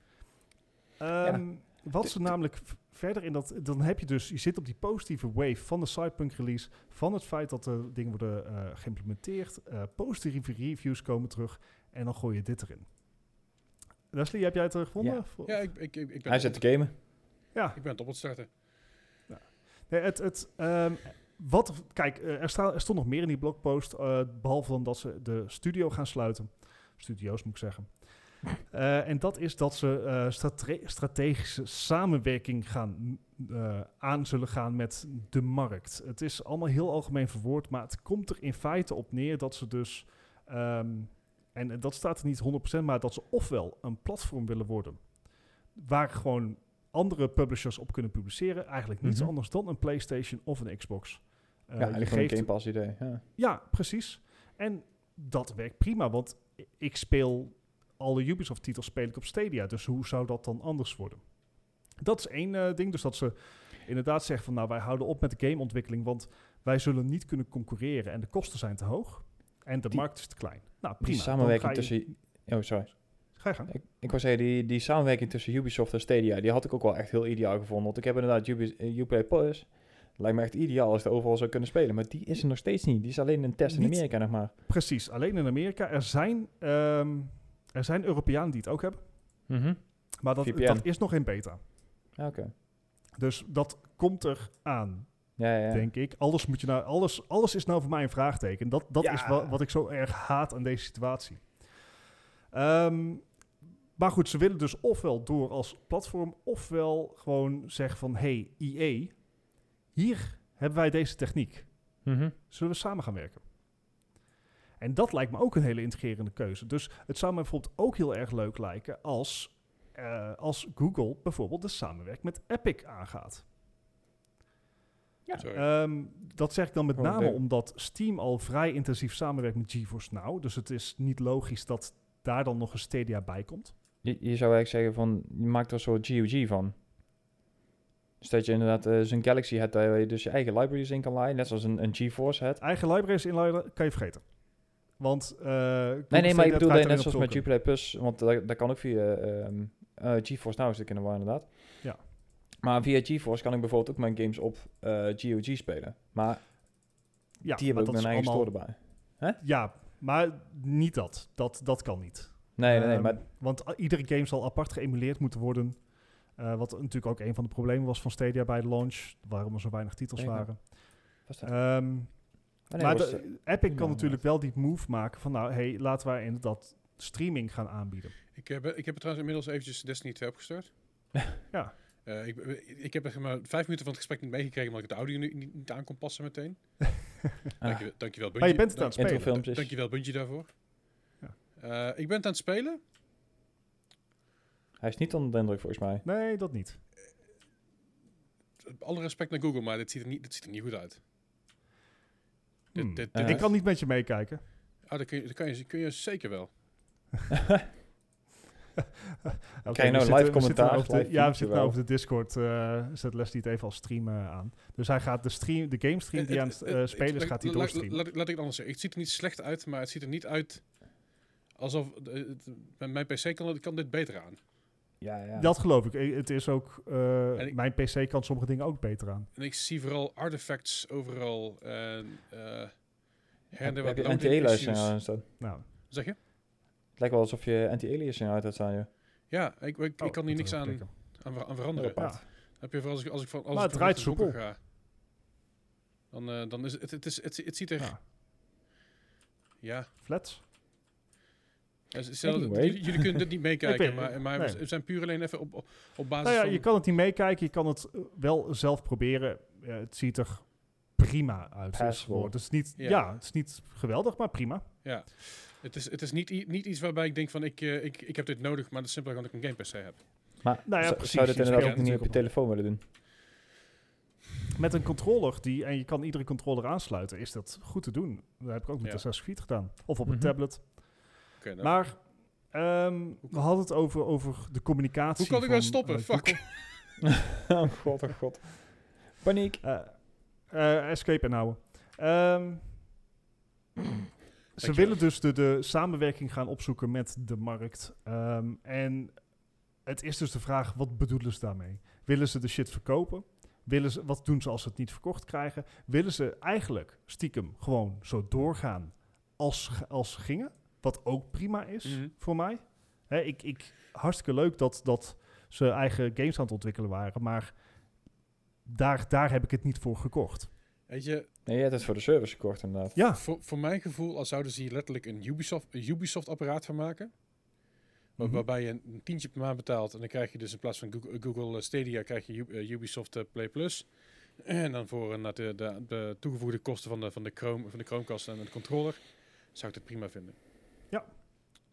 [SPEAKER 3] Ehm, Wat ze namelijk v- verder in dat... Dan heb je dus... Je zit op die positieve wave van de Cyberpunk release. Van het feit dat de dingen worden eh, geïmplementeerd. eh, positieve reviews komen terug. En dan gooi je dit erin. Leslie, heb jij het er gevonden?
[SPEAKER 2] Ja.
[SPEAKER 3] Vo-
[SPEAKER 1] Ja, ik, ik, ik, ik ben
[SPEAKER 2] Hij
[SPEAKER 1] het
[SPEAKER 2] zit
[SPEAKER 1] op-
[SPEAKER 2] te
[SPEAKER 3] Eh,
[SPEAKER 2] gamen.
[SPEAKER 3] ja.
[SPEAKER 1] Ik ben het op het starten.
[SPEAKER 3] Nee, het, het, ehm, wat, kijk, eh, er, sta, er stond nog meer in die blogpost. eh, behalve dan dat ze de studio gaan sluiten. Studio's moet ik zeggen. Eh, en dat is dat ze eh, strate- strategische samenwerking gaan, eh, aan zullen gaan met de markt. Het is allemaal heel algemeen verwoord, maar het komt er in feite op neer dat ze dus. ehm, en dat staat er niet 100%, maar dat ze ofwel een platform willen worden. waar gewoon andere publishers op kunnen publiceren. Eigenlijk niets
[SPEAKER 2] Mhm.
[SPEAKER 3] anders dan een PlayStation of een Xbox. Eh,
[SPEAKER 2] ja,
[SPEAKER 3] je
[SPEAKER 2] eigenlijk gewoon een
[SPEAKER 3] geeft-
[SPEAKER 2] Game Pass idee. Ja.
[SPEAKER 3] ja, precies. En dat werkt prima, want i- ik speel alle Ubisoft-titels speel ik op Stadia. Dus hoe zou dat dan anders worden? Dat is één eh, ding. Dus dat ze inderdaad zeggen van, nou, wij houden op met de gameontwikkeling, want wij zullen niet kunnen concurreren en de kosten zijn te hoog en de
[SPEAKER 2] Die-
[SPEAKER 3] markt is te klein. Nou, prima.
[SPEAKER 2] Die
[SPEAKER 3] Dan ga
[SPEAKER 2] samenwerking
[SPEAKER 3] je-
[SPEAKER 2] tussen... Oh, sorry.
[SPEAKER 3] Ga je gang.
[SPEAKER 2] Ik, ik wou zeggen, die, die samenwerking tussen Ubisoft en Stadia, die had ik ook wel echt heel ideaal gevonden. Want ik heb inderdaad Ubi, eh, Uplay Plus. Lijkt me echt ideaal als het overal zou kunnen spelen. Maar die is er nog steeds niet. Die is alleen een test in
[SPEAKER 3] Niet-
[SPEAKER 2] Amerika nog maar.
[SPEAKER 3] Precies, alleen in Amerika. Er zijn, ehm, er zijn Europeanen die het ook hebben, maar dat,
[SPEAKER 2] VPN.
[SPEAKER 3] dat is nog in beta.
[SPEAKER 2] Ja, Oké.
[SPEAKER 3] Dus dat komt er aan.
[SPEAKER 2] Ja, ja.
[SPEAKER 3] denk ik. Alles, moet je nou, alles, alles is nou voor mij een vraagteken. Dat, dat
[SPEAKER 2] Ja.
[SPEAKER 3] is wat, wat ik zo erg haat aan deze situatie. Ehm, maar goed, ze willen dus ofwel door als platform, ofwel gewoon zeggen van... hey, EA, hier hebben wij deze techniek.
[SPEAKER 2] Mhm.
[SPEAKER 3] Zullen we samen gaan werken? En dat lijkt me ook een hele integrerende keuze. Dus het zou me bijvoorbeeld ook heel erg leuk lijken als, eh, als Google bijvoorbeeld de samenwerking met Epic aangaat.
[SPEAKER 2] Ja.
[SPEAKER 1] Sorry.
[SPEAKER 3] Ehm, dat zeg ik dan met
[SPEAKER 2] Oh,
[SPEAKER 3] name
[SPEAKER 2] leuk.
[SPEAKER 3] omdat Steam al vrij intensief samenwerkt met GeForce Now. Dus het is niet logisch dat daar dan nog een Stadia bij komt.
[SPEAKER 2] Je, je zou eigenlijk zeggen van, je maakt er een soort GOG van. Dus dat je inderdaad eh, zo'n Galaxy hebt waar je dus je eigen libraries in kan laaien, net zoals een, een GeForce hebt.
[SPEAKER 3] Eigen libraries inladen kan je vergeten. Want eh, Google
[SPEAKER 2] Nee, nee, maar ik
[SPEAKER 3] Stadia
[SPEAKER 2] bedoel
[SPEAKER 3] draait
[SPEAKER 2] net
[SPEAKER 3] alleen op
[SPEAKER 2] zoals met
[SPEAKER 3] Vulkan.
[SPEAKER 2] Uplay Plus, want dat, dat kan ook via ehm eh GeForce Now zitten in de war inderdaad.
[SPEAKER 3] Ja.
[SPEAKER 2] Maar via GeForce kan ik bijvoorbeeld ook mijn games op eh, GOG spelen. Maar
[SPEAKER 3] Ja,
[SPEAKER 2] die hebben
[SPEAKER 3] maar
[SPEAKER 2] ook
[SPEAKER 3] dat
[SPEAKER 2] een
[SPEAKER 3] is
[SPEAKER 2] eigen
[SPEAKER 3] allemaal-
[SPEAKER 2] store erbij.
[SPEAKER 3] Ja, maar niet dat. Dat, dat kan niet.
[SPEAKER 2] Nee, nee, nee,
[SPEAKER 3] Ehm,
[SPEAKER 2] maar
[SPEAKER 3] Want a- iedere game zal apart geëmuleerd moeten worden. Eh, wat natuurlijk ook een van de problemen was van Stadia bij de launch. Waarom er zo weinig titels
[SPEAKER 2] Zeker.
[SPEAKER 3] waren.
[SPEAKER 2] was dat?
[SPEAKER 3] Ehm
[SPEAKER 2] Oh, nee,
[SPEAKER 3] maar
[SPEAKER 2] was
[SPEAKER 3] de-
[SPEAKER 2] het-
[SPEAKER 3] Epic
[SPEAKER 2] Nou,
[SPEAKER 3] kan natuurlijk wel die move maken van, nou, hey, laten wij inderdaad streaming gaan aanbieden.
[SPEAKER 1] Ik heb, ik heb het trouwens inmiddels eventjes Destiny 2 opgestart.
[SPEAKER 3] Ja.
[SPEAKER 1] Eh, ik, ik heb er maar vijf minuten van het gesprek niet meegekregen, omdat ik de audio nu niet, niet aan kon passen meteen.
[SPEAKER 2] ah,
[SPEAKER 1] Dankjewel, dankjewel Bungie.
[SPEAKER 3] Maar je bent het aan het
[SPEAKER 1] Dank-
[SPEAKER 3] spelen.
[SPEAKER 2] Introfilm. Filmpjes.
[SPEAKER 1] Dankjewel Bungie daarvoor.
[SPEAKER 3] Ja.
[SPEAKER 1] Eh, ik ben het aan het spelen.
[SPEAKER 2] hij is niet onder de indruk volgens mij.
[SPEAKER 3] Nee, dat niet.
[SPEAKER 1] Alle respect naar Google, maar dit ziet er niet, dit ziet er niet goed uit. Dit-
[SPEAKER 3] Hmm.
[SPEAKER 1] dit-
[SPEAKER 2] dit-
[SPEAKER 3] ik kan niet met je meekijken.
[SPEAKER 1] Ah, dat kun je, dat kan je, kun je zeker wel.
[SPEAKER 3] Oké,
[SPEAKER 2] Krijg je
[SPEAKER 3] we
[SPEAKER 2] nou
[SPEAKER 3] zitten-
[SPEAKER 2] live
[SPEAKER 3] we zitten
[SPEAKER 2] commentaar,
[SPEAKER 3] over de-
[SPEAKER 2] live
[SPEAKER 3] ja, we
[SPEAKER 2] feedje
[SPEAKER 3] zitten nou
[SPEAKER 2] wel.
[SPEAKER 3] over de Discord. eh, zet Leslie het even als stream eh, aan. Dus hij gaat de, stream, de game stream die aan het eh, spelen is, gaat hij doorstreamen.
[SPEAKER 1] Laat, laat, ik het anders zeggen. Het ziet er niet slecht uit, maar het ziet er niet uit alsof... eh, het- mijn- mijn PC kan, kan dit beter aan.
[SPEAKER 2] Ja, ja.
[SPEAKER 3] Dat geloof ik. Eh, Het is ook... eh,
[SPEAKER 1] En ik-
[SPEAKER 3] mijn PC kan sommige dingen ook beter aan.
[SPEAKER 1] En ik zie vooral artifacts overal. En, eh her en
[SPEAKER 2] heb,
[SPEAKER 1] der
[SPEAKER 2] heb
[SPEAKER 1] wat
[SPEAKER 2] je
[SPEAKER 1] loading
[SPEAKER 2] anti-aliasing
[SPEAKER 1] issues.
[SPEAKER 2] aan staan?
[SPEAKER 3] Nou,
[SPEAKER 1] Zeg je?
[SPEAKER 2] Het lijkt wel alsof je anti-aliasing uit hebt staan, joh.
[SPEAKER 3] Nou
[SPEAKER 1] Ja, ik, ik, ik
[SPEAKER 3] oh,
[SPEAKER 1] kan hier
[SPEAKER 3] moet
[SPEAKER 1] niks
[SPEAKER 3] er
[SPEAKER 1] aan,
[SPEAKER 3] klikken.
[SPEAKER 1] aan, ver- aan veranderen.
[SPEAKER 2] Ja.
[SPEAKER 3] Ja.
[SPEAKER 1] Heb je vooral als ik, als ik van als
[SPEAKER 3] Maar
[SPEAKER 1] ik
[SPEAKER 3] het
[SPEAKER 1] van
[SPEAKER 3] draait
[SPEAKER 1] de hoeken
[SPEAKER 3] soepel.
[SPEAKER 1] ga. Dan, eh, dan is het, het, is, het, het ziet er...
[SPEAKER 3] Ja.
[SPEAKER 1] Ja.
[SPEAKER 3] Flats?
[SPEAKER 1] Eh, z- zelf-
[SPEAKER 2] Anyway.
[SPEAKER 1] jullie, jullie kunnen dit niet meekijken,
[SPEAKER 3] weet-
[SPEAKER 1] maar, maar
[SPEAKER 3] [LAUGHS] nee.
[SPEAKER 1] we zijn puur alleen even op, op, op basis
[SPEAKER 3] Nou ja,
[SPEAKER 1] van...
[SPEAKER 3] je kan het niet meekijken. Je kan het eh, wel zelf proberen. Eh, het ziet er prima uit. is het
[SPEAKER 2] Passable.
[SPEAKER 3] woord. Het is niet,
[SPEAKER 1] Ja.
[SPEAKER 3] ja, het is niet geweldig, maar prima.
[SPEAKER 1] Ja, het is, het is niet, i- niet iets waarbij ik denk van ik, eh, ik, ik heb dit nodig, maar dat is simpelweg omdat ik een Game PC heb.
[SPEAKER 2] Maar
[SPEAKER 3] Nou ja,
[SPEAKER 2] zou-
[SPEAKER 3] precies,
[SPEAKER 2] zou je
[SPEAKER 3] je
[SPEAKER 2] dat inderdaad
[SPEAKER 1] speelt
[SPEAKER 2] ook niet op je
[SPEAKER 3] natuurlijk
[SPEAKER 2] telefoon willen
[SPEAKER 3] [LAUGHS]
[SPEAKER 2] doen?
[SPEAKER 3] Met een controller die, en je kan iedere controller aansluiten, is dat goed te doen. Dat heb ik ook met
[SPEAKER 1] Ja.
[SPEAKER 3] de 60 feet gedaan. Of op een
[SPEAKER 2] Mhm.
[SPEAKER 3] tablet.
[SPEAKER 1] Oké, nou,
[SPEAKER 3] Maar ehm, we hadden het over, over de communicatie.
[SPEAKER 1] Hoe kan ik
[SPEAKER 3] van,
[SPEAKER 1] nou stoppen?
[SPEAKER 3] eh,
[SPEAKER 1] Fuck.
[SPEAKER 2] oh god, oh god. Paniek.
[SPEAKER 3] Google. Eh, eh, escape inhouden. Ehm, ze
[SPEAKER 1] Dankjewel.
[SPEAKER 3] willen dus de, de samenwerking gaan opzoeken met de markt. Ehm, en het is dus de vraag, wat bedoelen ze daarmee? Willen ze de shit verkopen? Willen ze, wat doen ze als ze het niet verkocht krijgen? Willen ze eigenlijk stiekem gewoon zo doorgaan als, ze- als ze gingen? Wat ook prima is
[SPEAKER 1] Mhm.
[SPEAKER 3] voor mij. Hè, ik, ik, hartstikke leuk dat, dat ze eigen games aan het ontwikkelen waren, maar daar, daar heb ik het niet voor gekocht.
[SPEAKER 1] Weet je,
[SPEAKER 2] Nee, je hebt het voor de service gekocht inderdaad.
[SPEAKER 3] Ja,
[SPEAKER 1] voor, voor mijn gevoel, als zouden ze hier letterlijk een Ubisoft, een Ubisoft apparaat van maken. Waar-
[SPEAKER 3] Mhm.
[SPEAKER 1] Waarbij je een tientje per maand betaalt. En dan krijg je dus in plaats van Google, Google Stadia krijg je U- eh, Ubisoft eh, Play Plus. En dan voor eh, naar de, de, de toegevoegde kosten van de, van, de Chrome, van de Chromecast en de controller. Zou ik het prima vinden.
[SPEAKER 3] Ja.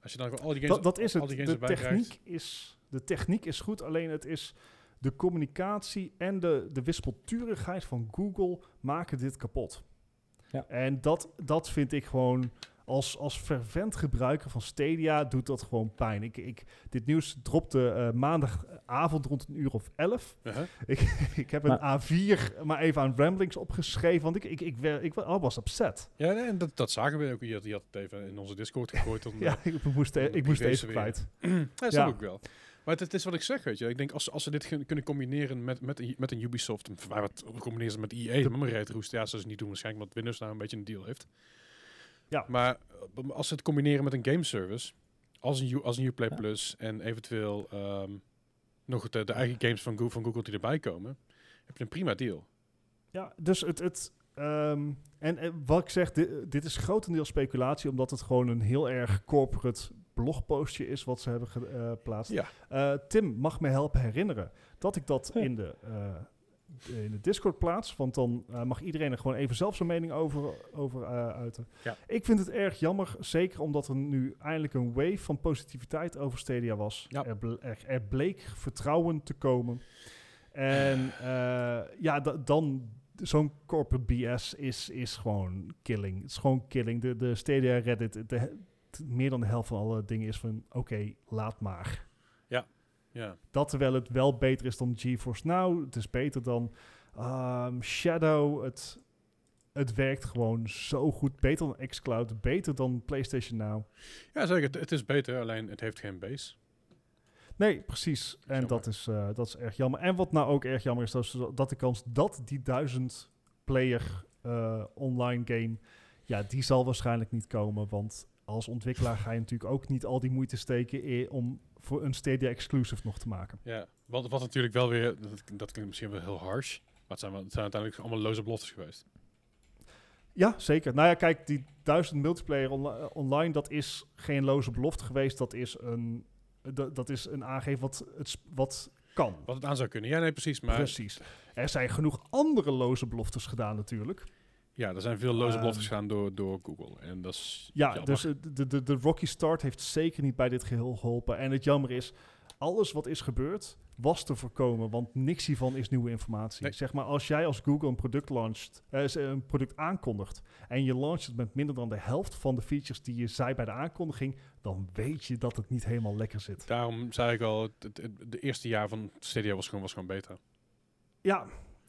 [SPEAKER 1] Als je dan gewoon al die games,
[SPEAKER 3] dat, dat is
[SPEAKER 1] al
[SPEAKER 3] het.
[SPEAKER 1] die games
[SPEAKER 3] De
[SPEAKER 1] erbij krijgt.
[SPEAKER 3] techniek is, de techniek is goed, alleen het is de communicatie en de, de wispelturigheid van Google maken dit kapot.
[SPEAKER 2] Ja.
[SPEAKER 3] En dat, dat vind ik gewoon, als, als fervent gebruiker van Stadia doet dat gewoon pijn. Ik, ik, dit nieuws dropte eh, maandagavond rond een uur of elf.
[SPEAKER 1] Uh-huh.
[SPEAKER 3] Ik, [LAUGHS] ik heb een A4 maar even aan Ramblings opgeschreven, want ik, ik, ik, wer- ik, wa- I was upset.
[SPEAKER 1] Ja, nee, en dat, dat zagen we ook. Je had, je had het even in onze Discord gegooid.
[SPEAKER 3] [LAUGHS]
[SPEAKER 1] Om, eh,
[SPEAKER 3] Ja, ik moest, e- ik moest
[SPEAKER 1] Privé
[SPEAKER 3] deze
[SPEAKER 1] sfeer.
[SPEAKER 3] kwijt.
[SPEAKER 1] dat
[SPEAKER 3] Ja.
[SPEAKER 1] snap ik wel. Maar het, het is wat ik zeg, weet je. Ik denk, als, als ze dit gen- kunnen combineren met, met, een- met een Ubisoft... en Waar wat combineren ze met EA? Met mijn Red Roost. Ja, ze ze niet doen waarschijnlijk... omdat Windows nou een beetje een deal heeft.
[SPEAKER 3] Ja.
[SPEAKER 1] Maar eh, als ze het combineren met een game service... als een, U- als een Uplay
[SPEAKER 2] Ja.
[SPEAKER 1] Plus... en eventueel ehm, nog de, de eigen games van Google, van Google die erbij komen... heb je een prima deal.
[SPEAKER 3] Ja, dus het. het ehm, en, en wat ik zeg, di- dit is grotendeels speculatie, omdat het gewoon een heel erg corporate blogpostje is wat ze hebben geplaatst.
[SPEAKER 1] Ja.
[SPEAKER 3] Eh, Tim mag me helpen herinneren dat ik dat
[SPEAKER 2] Ja.
[SPEAKER 3] in, de, eh, in de Discord plaats, want dan eh, mag iedereen er gewoon even zelf zijn mening over, over eh, uiten.
[SPEAKER 1] Ja.
[SPEAKER 3] Ik vind het erg jammer, zeker omdat er nu eindelijk een wave van positiviteit over Stadia was.
[SPEAKER 1] Ja.
[SPEAKER 3] Er, ble- er- er bleek vertrouwen te komen. En eh, ja, da- dan zo'n corporate BS is, is gewoon killing. Het is gewoon killing. De, de Stadia Reddit, de, he- meer dan de helft van alle dingen is van oké, laat maar.
[SPEAKER 1] Ja.
[SPEAKER 3] Dat terwijl het wel beter is dan GeForce Now. Het is beter dan ehm, Shadow. Het, het werkt gewoon zo goed. Beter dan xCloud. Beter dan PlayStation Now.
[SPEAKER 1] ja, zeker. Het, het is beter, alleen het heeft geen base.
[SPEAKER 3] Nee, precies. En
[SPEAKER 1] Jammer.
[SPEAKER 3] dat is, eh, dat is erg jammer. En wat nou ook erg jammer is, dat, is dat de kans dat die duizend player eh, online game, ja, die zal waarschijnlijk niet komen. Want als ontwikkelaar ga je natuurlijk ook niet al die moeite steken eh, om voor een Stadia exclusive nog te maken.
[SPEAKER 1] Ja, wat, wat natuurlijk wel weer, dat, dat klinkt misschien wel heel harsh, maar het zijn, wel- het zijn uiteindelijk allemaal loze beloftes geweest.
[SPEAKER 3] Ja, zeker. Nou ja, kijk, die duizend multiplayer onli- eh, online, dat is geen loze belofte geweest. Dat is een, eh, dat, dat is een aangeven wat, het, sp- wat kan.
[SPEAKER 1] Wat het aan zou kunnen, ja nee precies, maar
[SPEAKER 3] Precies. Er zijn genoeg andere loze beloftes gedaan natuurlijk.
[SPEAKER 1] ja, er zijn veel loze
[SPEAKER 3] Ehm.
[SPEAKER 1] beloftes gedaan door, door Google. En dat is
[SPEAKER 3] Ja,
[SPEAKER 1] jammer.
[SPEAKER 3] dus eh, de, de, de rocky start heeft zeker niet bij dit geheel geholpen. En het jammer is, alles wat is gebeurd was te voorkomen, want niks hiervan is nieuwe informatie.
[SPEAKER 1] Nee.
[SPEAKER 3] Zeg maar, als jij als Google een product, launcht, eh, z- een product aankondigt en je launcht het met minder dan de helft van de features die je zei bij de aankondiging, dan weet je dat het niet helemaal lekker zit.
[SPEAKER 1] Daarom zei ik al, het, het- het- de eerste jaar van Stadia was gewoon, was gewoon beter.
[SPEAKER 3] Ja,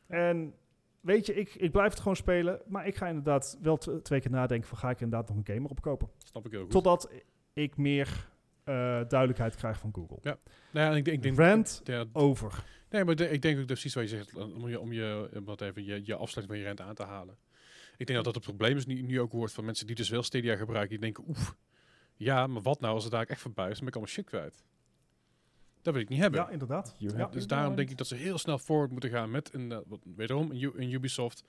[SPEAKER 3] en weet je, ik, ik blijf het gewoon spelen, maar ik ga inderdaad wel tw- twee keer nadenken van ga ik inderdaad nog een gamer opkopen.
[SPEAKER 1] Snap ik heel goed.
[SPEAKER 3] Totdat ik meer eh, duidelijkheid krijg van Google.
[SPEAKER 1] nou ja, ik, denk- ik denk...
[SPEAKER 3] Rant
[SPEAKER 1] ja,
[SPEAKER 3] over.
[SPEAKER 1] nee, maar de- ik denk ook dat precies wat je zegt, om je, om je, om dat even, je, je afsluiting van je rente aan te halen. Ik denk dat dat het probleem is, nu, nu ook hoort van mensen die dus wel Stadia gebruiken, die denken, oef, ja, maar wat nou als het daar echt voorbij is, dan ben ik allemaal shit kwijt. Dat wil ik niet hebben.
[SPEAKER 3] Ja, inderdaad.
[SPEAKER 2] You
[SPEAKER 3] Ja.
[SPEAKER 2] have
[SPEAKER 1] Dus
[SPEAKER 2] Ja.
[SPEAKER 1] daarom denk ik dat ze heel snel forward moeten gaan met een, eh, wat, wederom een, U- een Ubisoft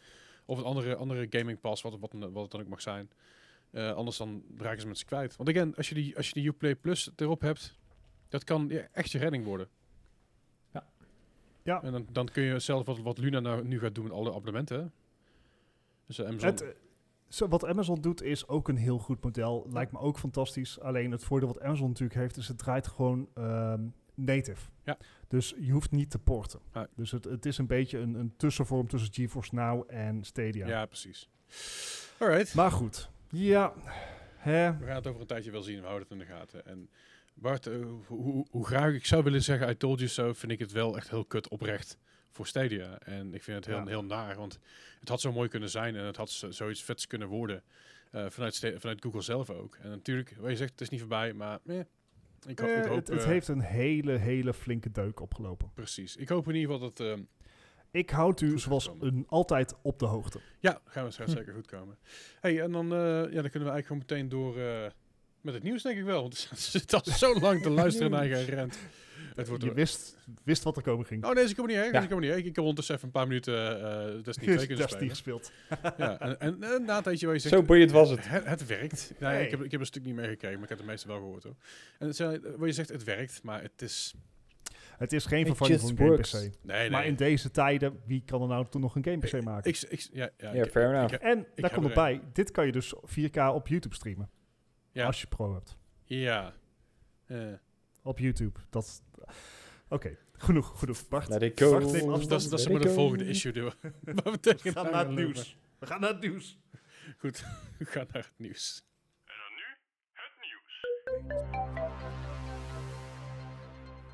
[SPEAKER 1] of een andere, andere gaming pass, wat, wat, wat het dan ook mag zijn. Eh, anders dan raken ze mensen kwijt. Want again, als je die, als je die Uplay Plus erop hebt, dat kan ja, echt je redding worden.
[SPEAKER 2] Ja.
[SPEAKER 3] Ja.
[SPEAKER 1] En dan, dan kun je zelf wat, wat Luna nou, nu gaat doen met alle abonnementen. hè. Dus eh, Amazon.
[SPEAKER 3] Het, eh, zo, wat Amazon doet is ook een heel goed model. Lijkt me ook fantastisch. Alleen het voordeel wat Amazon natuurlijk heeft is het draait gewoon ehm, native.
[SPEAKER 1] Ja. Ah.
[SPEAKER 3] Dus je hoeft niet te porten.
[SPEAKER 1] Nee.
[SPEAKER 3] Dus het, het is een beetje een, een tussenvorm tussen GeForce Now en Stadia.
[SPEAKER 1] ja. precies. Alright.
[SPEAKER 3] Maar goed. Ja. Hè.
[SPEAKER 1] We gaan het over een tijdje wel zien. We houden het in de gaten. En Bart, eh, hoe, hoe, hoe graag ik zou willen zeggen, I told you so, vind ik het wel echt heel kut oprecht voor Stadia. En ik vind het heel,
[SPEAKER 3] Ja.
[SPEAKER 1] heel naar, want het had zo mooi kunnen zijn en het had zo- zoiets vets kunnen worden eh, vanuit, Sta- vanuit Google zelf ook. En natuurlijk, wat je zegt, het is niet voorbij, maar eh, ik, ho- ik
[SPEAKER 3] Eh,
[SPEAKER 1] hoop...
[SPEAKER 3] het, het
[SPEAKER 1] eh,
[SPEAKER 3] heeft een hele, hele flinke deuk opgelopen.
[SPEAKER 1] Precies. Ik hoop in ieder geval dat... eh,
[SPEAKER 3] Ik houd u
[SPEAKER 1] Goed
[SPEAKER 3] zoals
[SPEAKER 1] gekomen.
[SPEAKER 3] een, altijd op de hoogte.
[SPEAKER 1] ja, gaan we straks
[SPEAKER 2] Hm.
[SPEAKER 1] zeker goed komen. hey, en dan, eh, ja, dan kunnen we eigenlijk gewoon meteen door... eh, met het nieuws denk ik wel, want [LAUGHS] ze zitten al zo lang te
[SPEAKER 3] [LAUGHS]
[SPEAKER 1] luisteren naar je rent. Het wordt
[SPEAKER 3] Je
[SPEAKER 1] er-
[SPEAKER 3] wist, wist wat er komen ging.
[SPEAKER 1] Oh nee, ze komen niet heen.
[SPEAKER 2] Ja.
[SPEAKER 1] Ze komen niet heen. Ik heb ondertussen even een paar minuten eh eh,
[SPEAKER 3] [LAUGHS]
[SPEAKER 1] Destiny 2 kunnen
[SPEAKER 3] Dat is niet
[SPEAKER 1] spelen.
[SPEAKER 3] gespeeld.
[SPEAKER 1] Ja, en, en, en na een tijdje waar je zegt...
[SPEAKER 2] Zo boeiend was het.
[SPEAKER 1] het, het werkt. Nee,
[SPEAKER 3] Hey.
[SPEAKER 1] ik, heb, ik heb een stuk niet meegekregen, maar ik heb de meeste wel gehoord hoor. En ze, waar je zegt, het werkt, maar het is...
[SPEAKER 3] Het is geen
[SPEAKER 2] It
[SPEAKER 3] vervanging
[SPEAKER 2] just
[SPEAKER 3] van een game
[SPEAKER 2] works.
[SPEAKER 3] PC.
[SPEAKER 1] Nee, nee.
[SPEAKER 3] Maar in deze tijden, wie kan er nou toen nog een game PC maken?
[SPEAKER 1] ik, ik, ja, ja,
[SPEAKER 2] Ja,
[SPEAKER 1] ik-
[SPEAKER 2] fair
[SPEAKER 1] ik-
[SPEAKER 2] enough.
[SPEAKER 1] ik-
[SPEAKER 3] en
[SPEAKER 1] heb
[SPEAKER 3] daar komt
[SPEAKER 1] er
[SPEAKER 3] nog bij, dit kan je dus 4K op YouTube streamen.
[SPEAKER 1] Ja.
[SPEAKER 3] Als je pro hebt.
[SPEAKER 1] ja. Eh,
[SPEAKER 3] Op YouTube. Dat... Oké, genoeg, genoeg. Bart,
[SPEAKER 2] Let it go.
[SPEAKER 3] Wacht, neem afstand.
[SPEAKER 1] dat is, dat is zeg maar de volgende issue die we, [LAUGHS] waar we
[SPEAKER 3] we
[SPEAKER 1] tegen
[SPEAKER 3] gaan
[SPEAKER 1] aan
[SPEAKER 3] naar het
[SPEAKER 1] lopen.
[SPEAKER 3] nieuws. We gaan naar het nieuws.
[SPEAKER 1] Goed, we gaan naar het nieuws.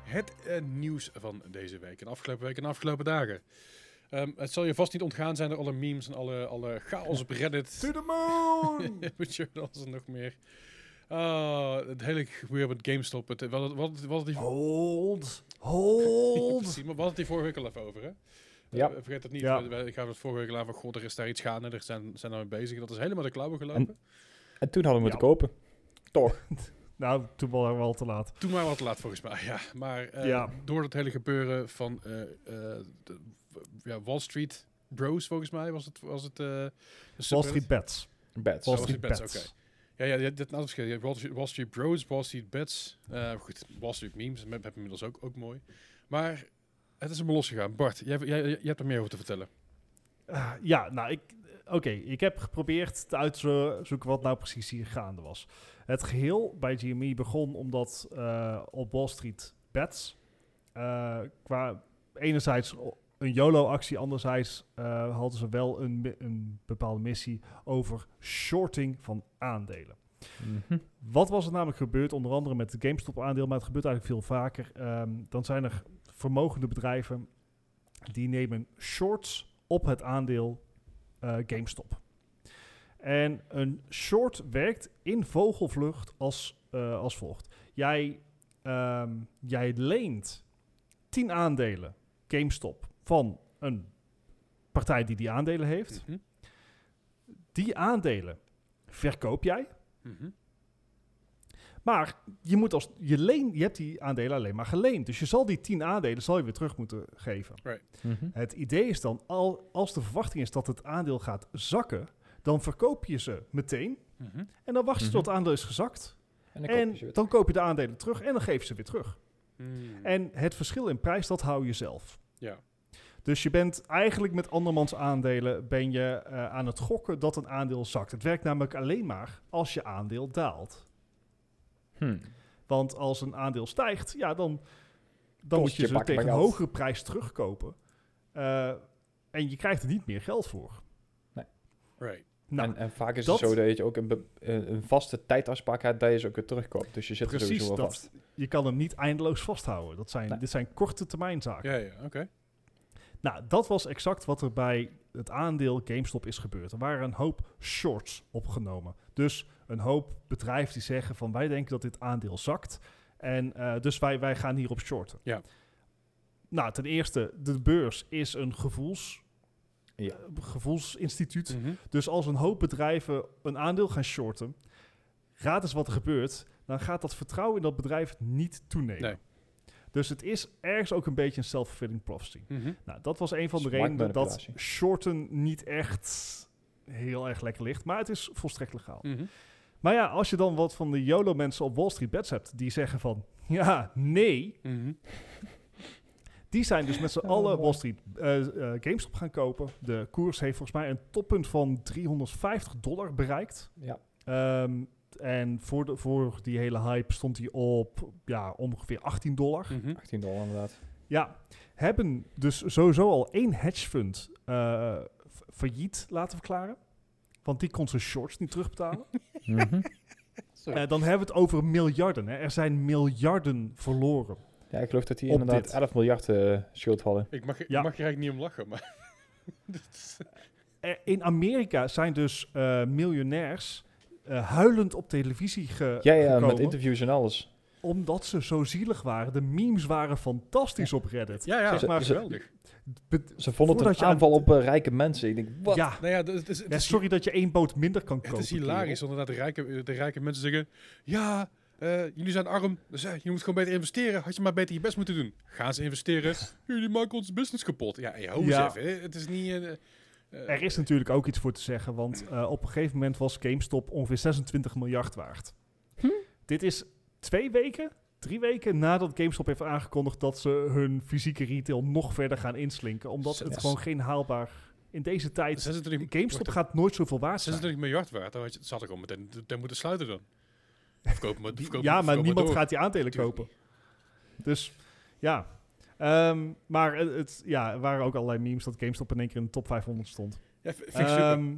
[SPEAKER 1] Het eh, nieuws van deze week en afgelopen week en afgelopen dagen. Ehm, het zal je vast niet ontgaan zijn door alle memes en alle, alle chaos op
[SPEAKER 2] [LAUGHS]
[SPEAKER 1] Reddit.
[SPEAKER 3] To the
[SPEAKER 1] [LAUGHS]
[SPEAKER 3] moon!
[SPEAKER 1] Met journals en nog meer. Ah, het hele gebeuren met GameStop. Het, wat, wat, wat, die,
[SPEAKER 3] Hold, hold.
[SPEAKER 1] [LAUGHS] precies, maar we hadden het die vorige week al even over, hè?
[SPEAKER 2] Ja.
[SPEAKER 1] Eh, vergeet dat niet.
[SPEAKER 3] Ja.
[SPEAKER 1] We- we- Ik had het vorige week al aan van, god, er is daar iets gaande. Er zijn, zijn daar mee bezig. Dat is helemaal de klauwen gelopen.
[SPEAKER 2] En toen hadden we moeten
[SPEAKER 3] Ja.
[SPEAKER 2] kopen.
[SPEAKER 3] Nou, toen waren we al te laat.
[SPEAKER 1] Toen maar wat laat volgens mij, [LAUGHS] ja. Maar eh,
[SPEAKER 3] Ja.
[SPEAKER 1] door dat hele gebeuren van eh, eh, de- ja, Wall Street, Bros, volgens mij, was het... Was het eh, de
[SPEAKER 3] Wall
[SPEAKER 1] subreddit?
[SPEAKER 3] Street Bets.
[SPEAKER 2] Bets.
[SPEAKER 3] Wall
[SPEAKER 1] Wall
[SPEAKER 3] Street
[SPEAKER 1] Street Bets,
[SPEAKER 3] Bets.
[SPEAKER 1] oké. Ja, ja, ja, dat naast verschil. Je hebt Wall Street, Wall Street Bros, Wall Street Bets. eh, goed, Wall Street Memes heb heb inmiddels ook, ook mooi. Maar het is hem losgegaan. Bart, jij, jij, jij hebt er meer over te vertellen.
[SPEAKER 3] Ah, ja, nou, ik, oké. ik heb geprobeerd te uitzoeken wat nou precies hier gaande was. Het geheel bij GME begon omdat eh, op Wall Street bets eh, qua enerzijds een YOLO-actie, anderzijds eh, hadden ze wel een, mi- een bepaalde missie over shorting van aandelen.
[SPEAKER 2] Mhm.
[SPEAKER 3] Wat was er namelijk gebeurd, onder andere met het GameStop-aandeel, maar het gebeurt eigenlijk veel vaker. Ehm, dan zijn er vermogende bedrijven die nemen shorts op het aandeel eh, GameStop. En een short werkt in vogelvlucht als, eh, als volgt. Jij, ehm, jij leent 10 aandelen GameStop van een partij die die aandelen heeft.
[SPEAKER 1] Mhm.
[SPEAKER 3] Die aandelen verkoop jij.
[SPEAKER 1] Mhm.
[SPEAKER 3] Maar je, moet als, je, leen, je hebt die aandelen alleen maar geleend. Dus je zal die 10 aandelen zal je weer terug moeten geven.
[SPEAKER 2] Mhm.
[SPEAKER 3] Het idee is dan, al, als de verwachting is dat het aandeel gaat zakken, dan verkoop je ze meteen.
[SPEAKER 1] Mhm.
[SPEAKER 3] En dan wacht je
[SPEAKER 2] Mhm.
[SPEAKER 3] tot het aandeel is gezakt.
[SPEAKER 2] En dan koop je
[SPEAKER 3] en
[SPEAKER 2] ze weer.
[SPEAKER 3] dan koop je de aandelen terug en dan geef je ze weer terug.
[SPEAKER 1] Hmm.
[SPEAKER 3] En het verschil in prijs, dat hou je zelf.
[SPEAKER 1] Ja.
[SPEAKER 3] Dus je bent eigenlijk met andermans aandelen ben je eh, aan het gokken dat een aandeel zakt. Het werkt namelijk alleen maar als je aandeel daalt.
[SPEAKER 2] Hm.
[SPEAKER 3] Want als een aandeel stijgt, ja, dan, dan
[SPEAKER 2] Kost
[SPEAKER 3] moet je,
[SPEAKER 2] je
[SPEAKER 3] ze
[SPEAKER 2] bakken
[SPEAKER 3] tegen een
[SPEAKER 2] geld.
[SPEAKER 3] hogere prijs terugkopen. Eh, en je krijgt er niet meer geld voor.
[SPEAKER 1] Right.
[SPEAKER 3] Nou,
[SPEAKER 2] en, en vaak is
[SPEAKER 3] dat-
[SPEAKER 2] het zo dat je ook een, be- een een vaste tijdafspraak hebt dat je ze ook weer terugkoopt. Dus je zit er
[SPEAKER 3] precies
[SPEAKER 2] sowieso wel
[SPEAKER 3] dat.
[SPEAKER 2] vast.
[SPEAKER 3] Je kan hem niet eindeloos vasthouden. Dat zijn,
[SPEAKER 2] Nee.
[SPEAKER 3] Dit zijn korte termijn zaken.
[SPEAKER 1] Ja, ja, oké.
[SPEAKER 3] Nou, dat was exact wat er bij het aandeel GameStop is gebeurd. Er waren een hoop shorts opgenomen. Dus een hoop bedrijven die zeggen van wij denken dat dit aandeel zakt. En eh, dus wij, wij gaan hierop shorten.
[SPEAKER 1] Ja.
[SPEAKER 3] Nou, ten eerste, de beurs is een gevoels,
[SPEAKER 2] Ja.
[SPEAKER 3] eh, gevoelsinstituut.
[SPEAKER 1] Mhm.
[SPEAKER 3] Dus als een hoop bedrijven een aandeel gaan shorten, raad eens wat er gebeurt, dan gaat dat vertrouwen in dat bedrijf niet toenemen.
[SPEAKER 1] Nee.
[SPEAKER 3] Dus het is ergens ook een beetje een self-fulfilling prophecy.
[SPEAKER 1] Mhm.
[SPEAKER 3] Nou, dat was een van de
[SPEAKER 2] Dus
[SPEAKER 3] redenen dat
[SPEAKER 2] marktmanipulatie.
[SPEAKER 3] shorten niet echt heel erg lekker ligt. Maar het is volstrekt legaal.
[SPEAKER 1] Mhm.
[SPEAKER 3] Maar ja, als je dan wat van de YOLO-mensen op Wall Street Bets hebt, die zeggen van, ja, nee.
[SPEAKER 1] Mhm.
[SPEAKER 3] Die zijn dus met z'n
[SPEAKER 2] Oh,
[SPEAKER 3] allen
[SPEAKER 2] mooi.
[SPEAKER 3] Wall Street eh, eh, GameStop gaan kopen. De koers heeft volgens mij een toppunt van 350 dollar bereikt.
[SPEAKER 2] Ja.
[SPEAKER 3] Ehm, en voor, de, voor die hele hype stond hij op ja, ongeveer 18 dollar.
[SPEAKER 1] Mhm.
[SPEAKER 2] 18 dollar inderdaad.
[SPEAKER 3] Ja, hebben dus sowieso al één hedge fund eh, f- failliet laten verklaren. Want die kon zijn shorts niet
[SPEAKER 1] [LAUGHS]
[SPEAKER 3] terugbetalen.
[SPEAKER 2] Mhm.
[SPEAKER 3] Eh, dan hebben we het over miljarden. Hè. Er zijn miljarden verloren.
[SPEAKER 2] [LAUGHS] Ja, ik geloof dat die
[SPEAKER 3] Op
[SPEAKER 2] inderdaad
[SPEAKER 3] dit.
[SPEAKER 2] 11 miljard eh, schuld hadden.
[SPEAKER 1] Ik mag,
[SPEAKER 3] Ja.
[SPEAKER 1] ik mag er eigenlijk niet om lachen, maar... [LAUGHS] dat is-
[SPEAKER 3] Eh, in Amerika zijn dus eh, miljonairs eh, huilend op televisie ge
[SPEAKER 2] Ja, ja, eh, met
[SPEAKER 3] Eh, gekomen.
[SPEAKER 2] interviews en alles.
[SPEAKER 3] omdat ze zo zielig waren. De memes waren fantastisch op Reddit.
[SPEAKER 1] ja, ja,
[SPEAKER 3] Zeg maar-
[SPEAKER 1] geweldig.
[SPEAKER 3] Be-
[SPEAKER 2] Ze vonden het
[SPEAKER 3] Voordat
[SPEAKER 2] een
[SPEAKER 3] je aan-
[SPEAKER 2] aanval op eh, rijke mensen. Ik denk, wat?
[SPEAKER 3] ja,
[SPEAKER 1] Nou ja, dat- het is, het
[SPEAKER 3] Ja,
[SPEAKER 1] is
[SPEAKER 3] sorry dat je één boot minder kan kopen.
[SPEAKER 1] Het is hilarisch,
[SPEAKER 3] kerel.
[SPEAKER 1] inderdaad. De rijke, de rijke mensen zeggen: Ja, eh, jullie zijn arm, dus eh, je moet gewoon beter investeren. Had je maar beter je best moeten doen. Gaan ze
[SPEAKER 3] [LAUGHS]
[SPEAKER 1] investeren? jullie maken ons business kapot. Ja, hey, hou eens
[SPEAKER 3] Ja.
[SPEAKER 1] even. hè. Het is niet. eh, eh,
[SPEAKER 3] Er is natuurlijk ook iets voor te zeggen, want eh, op een gegeven moment was GameStop ongeveer 26 miljard waard. Dit is twee weken, drie weken nadat GameStop heeft aangekondigd dat ze hun fysieke retail nog verder gaan inslinken. Omdat het
[SPEAKER 2] Yes.
[SPEAKER 3] gewoon geen haalbaar in deze tijd.
[SPEAKER 1] 26,
[SPEAKER 3] GameStop
[SPEAKER 1] wacht,
[SPEAKER 3] gaat nooit zoveel waard zijn.
[SPEAKER 1] 26 miljard waard. Dan had je- zat ik al meteen te- te moeten sluiten dan. Verkoop
[SPEAKER 3] [LAUGHS]
[SPEAKER 1] maar, verkoop,
[SPEAKER 3] ja, maar
[SPEAKER 1] verkoop
[SPEAKER 3] niemand
[SPEAKER 1] door.
[SPEAKER 3] gaat die aandelen
[SPEAKER 1] Tuurlijk
[SPEAKER 3] kopen. Dus ja. Ehm, maar het, het- ja, er waren ook allerlei memes dat GameStop in één keer in de top 500 stond.
[SPEAKER 1] Ja, v- vind ik super.
[SPEAKER 3] Ehm,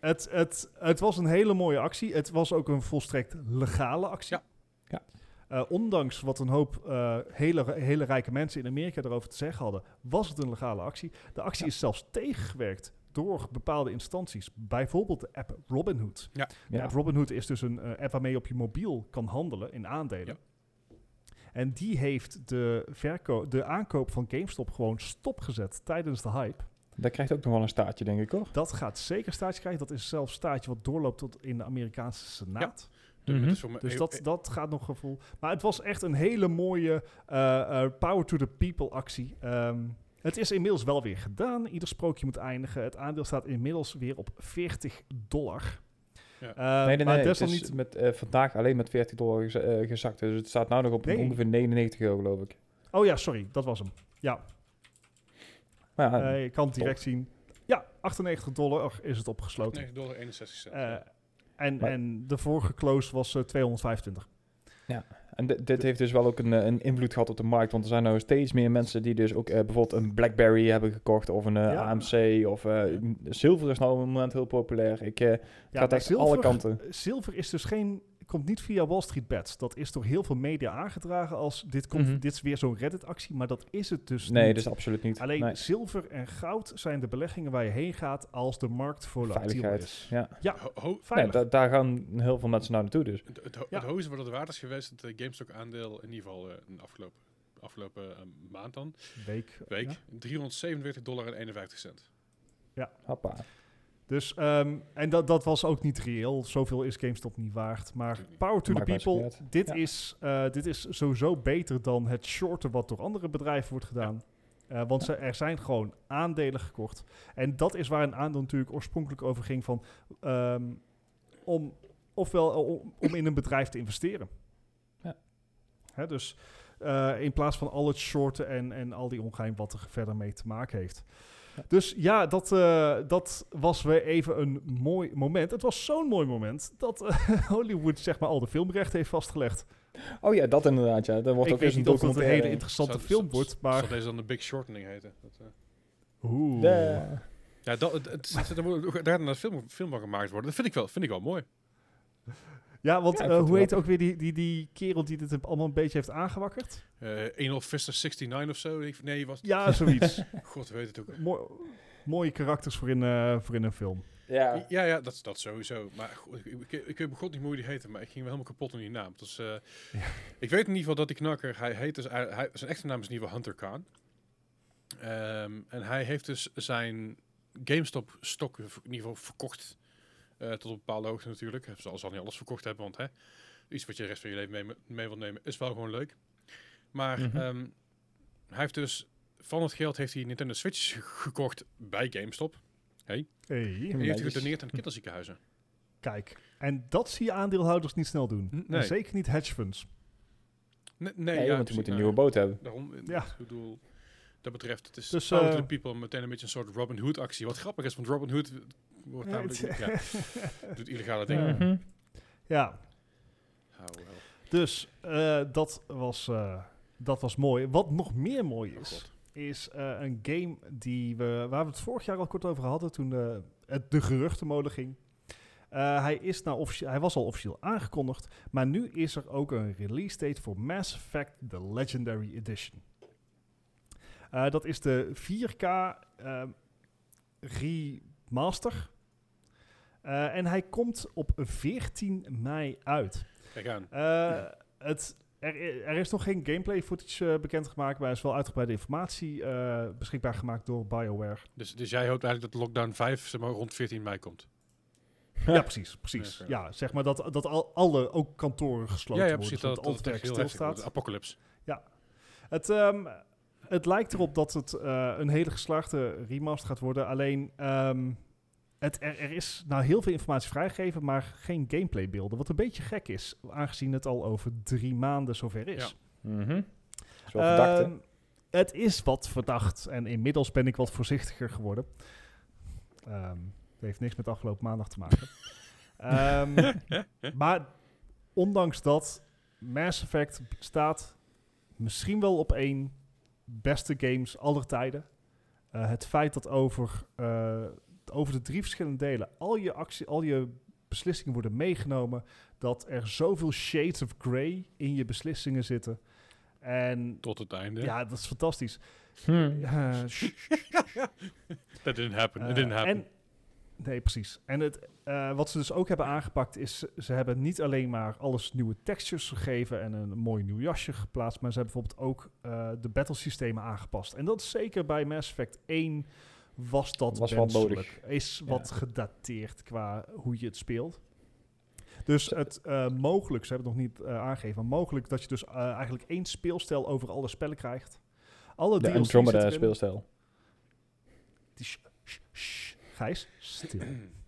[SPEAKER 3] het, het, het was een hele mooie actie. Het was ook een volstrekt legale actie.
[SPEAKER 1] Ja.
[SPEAKER 2] Ja.
[SPEAKER 3] Eh, ondanks wat een hoop eh, hele, hele rijke mensen in Amerika daarover te zeggen hadden, was het een legale actie. De actie
[SPEAKER 2] Ja.
[SPEAKER 3] is zelfs tegengewerkt door bepaalde instanties. Bijvoorbeeld de app Robinhood. De
[SPEAKER 2] Ja.
[SPEAKER 3] app Robinhood is dus een eh, app waarmee je op je mobiel kan handelen in aandelen. En die heeft de, verko- de aankoop van GameStop gewoon stopgezet tijdens de hype.
[SPEAKER 2] Dat krijgt ook nog wel een staartje, denk ik, hoor.
[SPEAKER 3] Dat gaat zeker staartje krijgen. Dat is zelfs staartje wat doorloopt tot in de Amerikaanse Senaat.
[SPEAKER 1] Dat
[SPEAKER 2] Mhm.
[SPEAKER 1] is voor mij-
[SPEAKER 3] Dus
[SPEAKER 1] eh,
[SPEAKER 3] dat,
[SPEAKER 1] eh,
[SPEAKER 3] dat gaat nog gevoel. Maar het was echt een hele mooie eh, eh, Power to the People actie. Ehm, Het is inmiddels wel weer gedaan. Ieder sprookje moet eindigen. Het aandeel staat inmiddels weer op 40 dollar.
[SPEAKER 1] Ja.
[SPEAKER 3] Eh,
[SPEAKER 2] nee, nee,
[SPEAKER 3] maar
[SPEAKER 2] nee. Het is
[SPEAKER 3] desalniet-
[SPEAKER 2] met, eh, vandaag alleen met 40 dollar gez- eh, gezakt. Dus het staat nou nog op
[SPEAKER 3] Nee.
[SPEAKER 2] ongeveer 99 euro, geloof ik.
[SPEAKER 3] Oh ja, sorry, dat was hem.
[SPEAKER 2] Maar ja,
[SPEAKER 3] Eh, je kan het direct zien. Ja, 98 dollar is het opgesloten.
[SPEAKER 1] Nee, dollar 61 cent.
[SPEAKER 3] Eh, en,
[SPEAKER 2] Maar-
[SPEAKER 3] en de vorige close was eh, 225.
[SPEAKER 2] En di- dit heeft dus wel ook een, eh, een invloed gehad op de markt. Want er zijn nou steeds meer mensen die dus ook eh, bijvoorbeeld een BlackBerry hebben gekocht. Of een eh,
[SPEAKER 3] Ja.
[SPEAKER 2] AMC. Of eh, m- zilver is nou op het moment heel populair. Ik eh, gaat
[SPEAKER 3] maar
[SPEAKER 2] echt alle kanten.
[SPEAKER 3] Zilver is dus geen, komt niet via Wall Street Bets. Dat is door heel veel media aangedragen als dit, komt,
[SPEAKER 2] Mhm.
[SPEAKER 3] dit is weer zo'n Reddit-actie, maar dat is het dus
[SPEAKER 2] Nee,
[SPEAKER 3] niet.
[SPEAKER 2] dat is absoluut niet.
[SPEAKER 3] Alleen
[SPEAKER 2] Nee.
[SPEAKER 3] zilver en goud zijn de beleggingen waar je heen gaat als de markt volatiel
[SPEAKER 2] Veiligheid.
[SPEAKER 3] is.
[SPEAKER 2] Ja.
[SPEAKER 1] Ho- ho-
[SPEAKER 2] Nee,
[SPEAKER 3] Veilig.
[SPEAKER 2] da- daar gaan heel veel mensen naar naartoe dus.
[SPEAKER 1] het, het, ho-
[SPEAKER 3] Ja.
[SPEAKER 1] het hoogste wat het waard is geweest, het eh, GameStop-aandeel, in ieder geval eh, in de afgelopen, afgelopen eh, maand dan,
[SPEAKER 3] Week.
[SPEAKER 1] week,
[SPEAKER 3] Ja.
[SPEAKER 1] 347 dollar en 51 cent.
[SPEAKER 2] Hoppa.
[SPEAKER 3] Dus, ehm, en dat, dat was ook niet reëel. Zoveel is GameStop niet waard. Maar
[SPEAKER 1] Natuurlijk niet.
[SPEAKER 3] power to the
[SPEAKER 2] Maakt mij
[SPEAKER 3] people.
[SPEAKER 2] niet uit.
[SPEAKER 3] Dit,
[SPEAKER 2] Ja.
[SPEAKER 3] is, eh, dit is sowieso beter dan het shorten wat door andere bedrijven wordt gedaan. Eh, want ze, er zijn gewoon aandelen gekocht. En dat is waar een aandeel natuurlijk oorspronkelijk over ging van... ehm, om, ofwel eh, om, om in een bedrijf te investeren.
[SPEAKER 2] Ja.
[SPEAKER 3] Hè, dus eh, in plaats van al het shorten en, en al die ongeheim wat er verder mee te maken heeft. Dus ja, dat, eh, dat was weer even een mooi moment. Het was zo'n mooi moment dat eh, [LAUGHS] Hollywood zeg maar al de filmrechten heeft vastgelegd.
[SPEAKER 2] Oh ja, dat inderdaad. Ja. Dan wordt
[SPEAKER 3] Ik
[SPEAKER 2] ook eens
[SPEAKER 3] weet
[SPEAKER 2] een
[SPEAKER 3] niet of dat een
[SPEAKER 2] documentaire.
[SPEAKER 3] hele interessante
[SPEAKER 1] Zou-
[SPEAKER 3] film
[SPEAKER 1] zou-
[SPEAKER 3] wordt, maar...
[SPEAKER 1] Zal deze dan de Big Shortening heten? Dat, eh.
[SPEAKER 3] Oeh.
[SPEAKER 2] Ja.
[SPEAKER 1] Ja, dat, het, het, het, er moet ook daar een film, film van gemaakt worden. Dat vind ik wel, vind ik wel mooi.
[SPEAKER 3] Ja, want
[SPEAKER 2] Ja, ik
[SPEAKER 3] eh,
[SPEAKER 2] vind het
[SPEAKER 3] hoe heet ook weer die, die, die kerel die dit allemaal een beetje heeft aangewakkerd?
[SPEAKER 1] Eh Adolf Vester 69 of zo. Ik- Nee, was,
[SPEAKER 2] [LAUGHS]
[SPEAKER 3] Ja, zoiets.
[SPEAKER 1] god weet het ook.
[SPEAKER 3] Mooi- mooie karakters voor in, eh, voor in een film.
[SPEAKER 2] Ja.
[SPEAKER 1] Ja, ja, dat, dat sowieso. Maar goh, ik, ik, ik weet bij god niet meer hoe die heette, maar ik ging wel helemaal kapot aan die naam. Dus, eh,
[SPEAKER 3] Ja.
[SPEAKER 1] Ik weet in ieder geval dat die knakker, hij heet dus, hij, hij- zijn echte naam is in ieder geval Hunter Khan. Ehm, en hij heeft dus zijn GameStop stok in ieder geval verkocht. eh, tot op een bepaalde hoogte natuurlijk. Hij zal, zal niet alles verkocht hebben, want hè, iets wat je de rest van je leven mee, mee wilt nemen is wel gewoon leuk. Maar
[SPEAKER 2] Mhm.
[SPEAKER 1] ehm, hij heeft dus van het geld heeft hij Nintendo Switch gekocht bij GameStop.
[SPEAKER 3] Hey.
[SPEAKER 1] En die heeft hij
[SPEAKER 2] Netjes.
[SPEAKER 1] gedoneerd aan de kinderziekenhuizen.
[SPEAKER 3] Kijk, en dat zie je aandeelhouders niet snel doen.
[SPEAKER 1] N- nee.
[SPEAKER 3] En zeker niet hedge funds. [LAUGHS]
[SPEAKER 1] Nee, nee,
[SPEAKER 2] Nee,
[SPEAKER 1] ja,
[SPEAKER 2] want je moet
[SPEAKER 1] precies.
[SPEAKER 2] een
[SPEAKER 1] Nou,
[SPEAKER 2] nieuwe boot hebben.
[SPEAKER 1] Daarom,
[SPEAKER 3] Ja.
[SPEAKER 1] ja. ik bedoel, dat betreft, het is
[SPEAKER 3] Dus,
[SPEAKER 1] dus,
[SPEAKER 3] eh,
[SPEAKER 1] the people meteen een beetje een soort Robin Hood actie. Wat grappig is, want Robin Hood wordt
[SPEAKER 3] Ja,
[SPEAKER 1] namelijk,
[SPEAKER 3] het-
[SPEAKER 1] ja, doet illegale dingen.
[SPEAKER 3] Ja.
[SPEAKER 2] Mhm.
[SPEAKER 3] Ja,
[SPEAKER 1] Hou wel.
[SPEAKER 2] Oh,
[SPEAKER 3] Dus eh, dat, was, eh, dat was mooi. Wat nog meer mooi
[SPEAKER 1] Oh,
[SPEAKER 3] is,
[SPEAKER 1] God.
[SPEAKER 3] is eh, een game die we, waar we het vorig jaar al kort over hadden toen eh, het de geruchtenmolen ging. Eh, hij, is nou officie- hij was al officieel aangekondigd, maar nu is er ook een release date voor Mass Effect The Legendary Edition. Eh, dat is de 4K ehm, remaster. Eh, en hij komt op 14 mei uit.
[SPEAKER 1] Kijk aan.
[SPEAKER 3] Eh, het, er, i- er is nog geen gameplay footage eh, bekendgemaakt, maar er is wel uitgebreide informatie eh, beschikbaar gemaakt door BioWare.
[SPEAKER 1] Dus, dus jij hoopt eigenlijk dat lockdown 5 zeg maar, rond 14 mei komt?
[SPEAKER 3] Ja, precies. precies.
[SPEAKER 1] Ja,
[SPEAKER 3] Ja,
[SPEAKER 1] oké.
[SPEAKER 3] zeg maar dat, dat al, alle ook kantoren gesloten
[SPEAKER 1] ja, ja,
[SPEAKER 3] worden,
[SPEAKER 1] precies.
[SPEAKER 3] zodat
[SPEAKER 1] Dat,
[SPEAKER 3] al
[SPEAKER 1] dat
[SPEAKER 3] het
[SPEAKER 1] het
[SPEAKER 3] werk
[SPEAKER 1] echt heel heftig wordt.
[SPEAKER 3] stilstaat.
[SPEAKER 1] Apocalypse.
[SPEAKER 3] Het, ehm, het lijkt erop dat het eh, een hele geslaagde remaster gaat worden. Alleen, ehm, het, er, er is nou heel veel informatie vrijgegeven, maar geen gameplaybeelden. Wat een beetje gek is, aangezien het al over drie maanden zover is.
[SPEAKER 1] Ja.
[SPEAKER 2] Mhm. Dat is wel
[SPEAKER 1] Eh,
[SPEAKER 2] verdacht, hè?
[SPEAKER 3] Ehm, het is wat verdacht. En inmiddels ben ik wat voorzichtiger geworden. Ehm dat heeft niks met afgelopen maandag te maken. Ehm, maar ondanks dat, Mass Effect staat misschien wel op één beste games aller tijden. Eh, het feit dat over, eh, over de drie verschillende delen al je, actie, al je beslissingen worden meegenomen. Dat er zoveel shades of grey in je beslissingen zitten. En
[SPEAKER 1] Tot het einde.
[SPEAKER 3] ja, dat is fantastisch.
[SPEAKER 2] Hmm.
[SPEAKER 3] Eh, sh-
[SPEAKER 1] That didn't happen. It
[SPEAKER 3] eh,
[SPEAKER 1] didn't happen.
[SPEAKER 3] en, nee, precies. En het, eh, wat ze dus ook hebben aangepakt is, ze- ze hebben niet alleen maar alles nieuwe textures gegeven en een mooi nieuw jasje geplaatst, maar ze hebben bijvoorbeeld ook eh, de battlesystemen aangepast. En dat is zeker bij Mass Effect 1 was dat
[SPEAKER 2] Was wel
[SPEAKER 3] wenselijk.
[SPEAKER 2] nodig.
[SPEAKER 3] Is
[SPEAKER 2] Ja.
[SPEAKER 3] wat gedateerd qua hoe je het speelt. Dus het eh, mogelijk, ze hebben het nog niet eh, aangegeven, maar mogelijk dat je dus eh, eigenlijk één speelstijl over alle spellen krijgt. Alle
[SPEAKER 2] De
[SPEAKER 3] DLC's zitten
[SPEAKER 2] Andromeda
[SPEAKER 3] erin.
[SPEAKER 2] speelstijl.
[SPEAKER 3] Die sh- sh- sh- Gijs, stil. stil.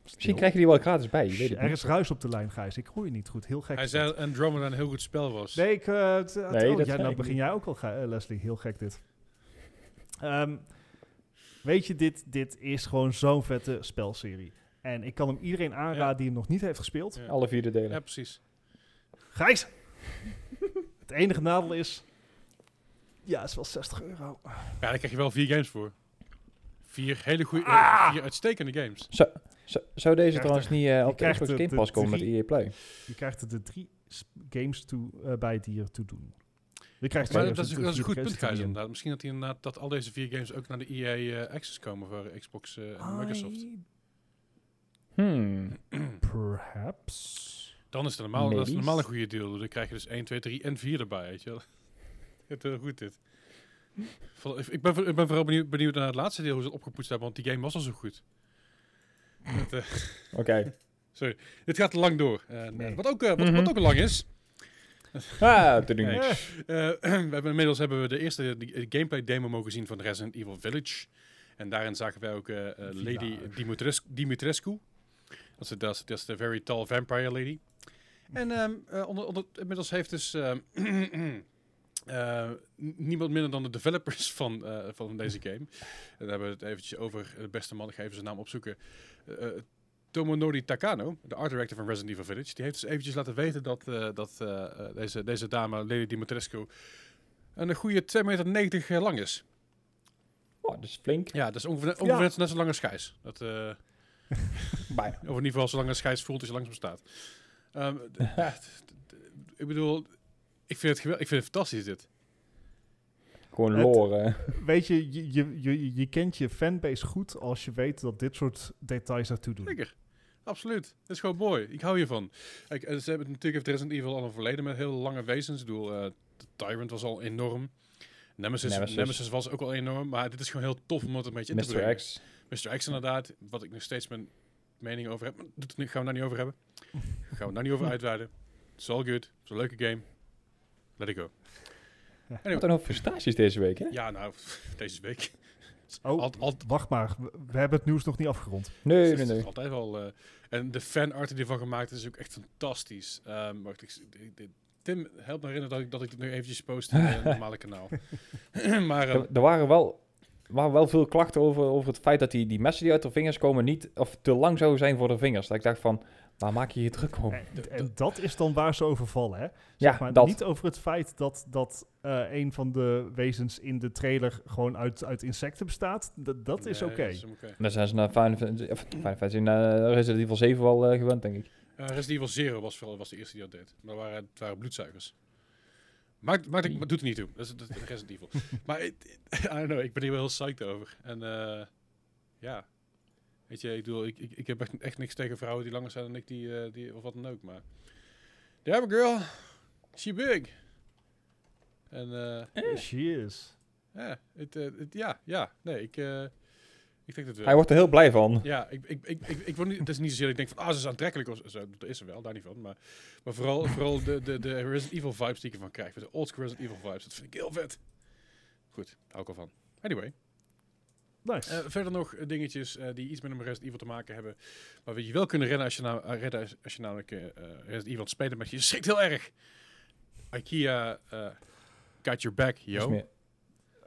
[SPEAKER 2] Misschien krijg je die wel gratis bij. Je weet
[SPEAKER 3] Sh,
[SPEAKER 2] het
[SPEAKER 3] er
[SPEAKER 2] niet.
[SPEAKER 3] is ruis op de lijn, Gijs. Ik hoor je niet goed. Heel gek.
[SPEAKER 1] Hij
[SPEAKER 3] is dat.
[SPEAKER 1] zei dat Andromeda een heel goed spel was.
[SPEAKER 3] Nee, ik, eh, t- oh,
[SPEAKER 2] Nee, dat
[SPEAKER 3] ja,
[SPEAKER 2] zei
[SPEAKER 3] nou
[SPEAKER 2] ik
[SPEAKER 3] begin
[SPEAKER 2] niet.
[SPEAKER 3] jij ook al, Gij- eh, Leslie. Heel gek dit. Ehm, weet je, dit, dit is gewoon zo'n vette spelserie. En ik kan hem iedereen aanraden
[SPEAKER 1] Ja.
[SPEAKER 3] die hem nog niet heeft gespeeld.
[SPEAKER 1] Ja.
[SPEAKER 2] Alle vierde delen.
[SPEAKER 1] Ja, precies. [LAUGHS]
[SPEAKER 3] Gijs! het enige nadeel is... Ja, het is wel 60 euro.
[SPEAKER 1] Ja, daar krijg je wel vier games voor. Vier hele goede,
[SPEAKER 3] Ah!
[SPEAKER 1] vier uitstekende games.
[SPEAKER 2] Zo- zou deze
[SPEAKER 3] Krijgt
[SPEAKER 2] trouwens niet eh op de
[SPEAKER 3] krijgt
[SPEAKER 2] Xbox
[SPEAKER 3] de-
[SPEAKER 2] Game
[SPEAKER 3] de
[SPEAKER 2] Pass komen met
[SPEAKER 3] drie-
[SPEAKER 2] EA Play?
[SPEAKER 3] Je krijgt er de drie sp- games toe, eh, bij die er toe doen. Je krijgt
[SPEAKER 1] Maar
[SPEAKER 3] zelfs
[SPEAKER 1] dat is,
[SPEAKER 3] de
[SPEAKER 1] dat is een
[SPEAKER 3] vier
[SPEAKER 1] goed
[SPEAKER 3] games
[SPEAKER 1] punt, Gijs,
[SPEAKER 3] die er niet in.
[SPEAKER 1] inderdaad. Misschien dat, die inderdaad, dat al deze vier games ook naar de EA eh, Access komen voor Xbox eh, en Microsoft.
[SPEAKER 3] I-
[SPEAKER 2] Hmm.
[SPEAKER 3] Perhaps...
[SPEAKER 1] Dan is het normaal, dat is
[SPEAKER 2] Maybe.
[SPEAKER 1] normaal een goede deal. Dan krijg je dus 1, 2, 3 en 4 erbij, weet je wel. [LAUGHS] Het is heel goed, dit. Vol- Ik ben, voor- ik ben vooral benieuwd, benieuwd naar het laatste deel, hoe ze het opgepoetst hebben, want die game was al zo goed.
[SPEAKER 3] Ah.
[SPEAKER 1] Het, eh, [LAUGHS]
[SPEAKER 2] Oké.
[SPEAKER 1] dit gaat lang door. En, eh,
[SPEAKER 3] Nee.
[SPEAKER 1] wat, ook, eh, wat,
[SPEAKER 2] Mhm.
[SPEAKER 1] wat ook lang is,
[SPEAKER 2] Ah, te doen.
[SPEAKER 1] Nee.
[SPEAKER 3] Eh,
[SPEAKER 1] Eh, we hebben, inmiddels hebben we de eerste die- eh, gameplay demo mogen zien van Resident Evil Village. En daarin zagen wij ook eh, eh, Lady
[SPEAKER 3] Village.
[SPEAKER 1] Dimitrescu. Dimitrescu. Dat is, de- dat, is, dat is de very tall vampire lady. En ehm, eh, onder, onder, inmiddels heeft dus ehm, [CLEARS THROAT] eh, n- niemand minder dan de developers van, eh, van deze game. En dan hebben we het eventjes over de beste man. Ik ga even zijn naam opzoeken. Eh, eh, Tomonori Takano, de art director van Resident Evil Village, die heeft dus eventjes laten weten dat, eh, dat eh, eh, deze, deze dame, Lady Dimitrescu, een goede 2,90 meter eh, lang is.
[SPEAKER 2] Oh, dat is flink.
[SPEAKER 1] Ja, dat is ongeveer, ongeveer
[SPEAKER 3] Ja.
[SPEAKER 1] net, net zo lang als Gijs. Dat, eh,
[SPEAKER 2] Bijna.
[SPEAKER 1] of in ieder geval zo lang als Gijs voelt als je langs hem staat. Ehm,
[SPEAKER 2] [LAUGHS]
[SPEAKER 1] d- d- d- ik bedoel, ik vind, het gewel- ik vind het fantastisch dit.
[SPEAKER 2] Gewoon
[SPEAKER 3] Het-
[SPEAKER 2] lore. eh.
[SPEAKER 3] Weet je, je, je, je, je kent je fanbase goed als je weet dat dit soort details ertoe doen.
[SPEAKER 1] Zeker. Absoluut. Het is gewoon mooi. Ik hou hiervan. Kijk, eh, ze hebben natuurlijk heeft Resident Evil al een verleden met heel lange wezens. Ik bedoel, eh, de Tyrant was al enorm. Nemesis, Nemesis.
[SPEAKER 2] Nemesis.
[SPEAKER 1] was ook al enorm. Maar dit is gewoon heel tof om dat een beetje in te
[SPEAKER 2] Mr.
[SPEAKER 1] brengen.
[SPEAKER 2] X.
[SPEAKER 1] Mr. X inderdaad, wat ik nog steeds mijn mening over heb. Maar dat gaan we het daar niet over hebben. Gaan we het daar niet over uitweiden. It's all good. Het is een leuke game. Let it go.
[SPEAKER 2] Wat een hoop frustraties deze week, hè?
[SPEAKER 1] Ja, nou, [LAUGHS] deze week.
[SPEAKER 3] Oh,
[SPEAKER 1] Alt- alt-
[SPEAKER 3] wacht maar. We, we hebben het nieuws nog niet afgerond. [LAUGHS]
[SPEAKER 2] Nee,
[SPEAKER 1] Het
[SPEAKER 2] nee,
[SPEAKER 1] is
[SPEAKER 2] nee.
[SPEAKER 1] Altijd wel. eh, en de fanart die ervan gemaakt is ook echt fantastisch. Ehm, wacht, ik, ik- ik- Tim, help me herinneren dat ik, dat ik dit nu eventjes post in het normale kanaal. [CLEARS THROAT] maar ehm,
[SPEAKER 2] Er, er waren wel... er waren wel veel klachten over, over het feit dat die, die messen die uit de vingers komen niet of te lang zouden zijn voor de vingers. Dat ik dacht van, waar maak je je druk om?
[SPEAKER 3] En, en dat is dan waar ze over vallen, hè?
[SPEAKER 2] ja,
[SPEAKER 3] Maar
[SPEAKER 2] dat.
[SPEAKER 3] niet over het feit dat, dat eh, een van de wezens in de trailer gewoon uit, uit insecten bestaat. Dat, dat is
[SPEAKER 1] nee,
[SPEAKER 3] oké.
[SPEAKER 1] dat is hem oké.
[SPEAKER 2] Dan zijn ze naar Final Fantasy, of Final Fantasy, naar Resident Evil 7 wel eh, gewend, denk ik.
[SPEAKER 1] Eh, Resident Evil Zero was, vooral, was de eerste die dat deed. Maar dat waren, het waren bloedzuigers. Maakt, maakt, het- maar doet er niet toe. Dat is, dat is Resident Evil. [LAUGHS] maar it- I don't know, ik ben hier wel heel psyched over. En eh, ja, weet je, ik, bedoel, ik, ik, ik heb echt, echt niks tegen vrouwen die langer zijn dan ik, die, eh, die, of wat dan ook. Maar damn girl, she big. En eh,
[SPEAKER 3] She is.
[SPEAKER 1] ja, het, eh, het- ja, ja, nee, ik, eh, ik denk dat wel.
[SPEAKER 2] Hij wordt er heel blij van.
[SPEAKER 1] Ja, ik, ik, ik, ik, ik word niet, het is niet zozeer dat ik denk van, ah, ze is aantrekkelijk. Of, zo, dat is ze wel, daar niet van. Maar, maar vooral, vooral de, de, de Resident Evil vibes die ik ervan krijg. Dus De old school Resident Evil vibes, dat vind ik heel vet. Goed, hou ik al van. Anyway,
[SPEAKER 3] Nice.
[SPEAKER 1] eh, verder nog eh, dingetjes eh, die iets met een Resident Evil te maken hebben. Maar we je wel kunnen rennen als je, nou, eh, redden als, als je namelijk eh eh, Resident Evil aan het spelen bent. Je schrikt heel erg. Ikea, eh got your back,
[SPEAKER 2] Dus
[SPEAKER 1] yo.
[SPEAKER 2] meer-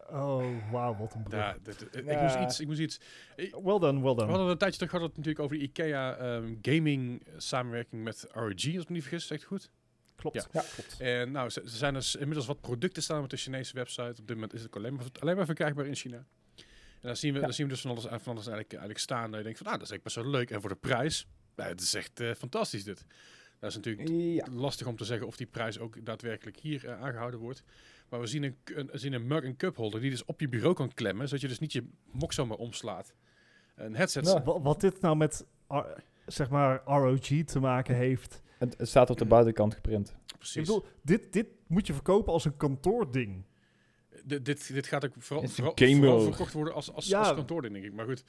[SPEAKER 3] oh, wauw, wat een brug.
[SPEAKER 1] Ja, dat- eh, Ik
[SPEAKER 2] Ja.
[SPEAKER 1] moest iets, ik moest iets.
[SPEAKER 3] Well done, well
[SPEAKER 1] We
[SPEAKER 3] done.
[SPEAKER 1] hadden een tijdje terug hadden we het natuurlijk over de IKEA ehm, gaming eh, samenwerking met ROG, als ik me niet vergis, zegt goed.
[SPEAKER 3] Klopt.
[SPEAKER 1] Ja.
[SPEAKER 2] Ja.
[SPEAKER 3] klopt.
[SPEAKER 1] En nou, ze- er zijn dus inmiddels wat producten staan op de Chinese website. Op dit moment is het ook alleen maar, alleen maar verkrijgbaar in China. En dan zien we,
[SPEAKER 2] Ja.
[SPEAKER 1] dan zien we dus van alles, van alles eigenlijk, eigenlijk staan. En je denkt van, ah, dat is echt best wel leuk. En voor de prijs, nou, het is echt eh, fantastisch dit. Dat is natuurlijk
[SPEAKER 2] Ja.
[SPEAKER 1] lastig om te zeggen of die prijs ook daadwerkelijk hier eh, aangehouden wordt. Maar we zien een, k- een, we zien een mug en cup holder die dus op je bureau kan klemmen, zodat je dus niet je mok zomaar omslaat. Een headset
[SPEAKER 2] Ja.
[SPEAKER 3] Wa- Wat dit nou met, R- zeg maar, ROG te maken heeft...
[SPEAKER 2] Het, het staat op de buitenkant geprint.
[SPEAKER 1] Precies.
[SPEAKER 3] Ik bedoel, dit, dit moet je verkopen als een kantoording.
[SPEAKER 1] Dit, dit, dit gaat ook vooral,
[SPEAKER 2] Het is een
[SPEAKER 1] vooral,
[SPEAKER 2] game
[SPEAKER 1] vooral
[SPEAKER 2] world.
[SPEAKER 1] verkocht worden als, als,
[SPEAKER 3] Ja.
[SPEAKER 1] als kantoording, denk ik. Maar goed,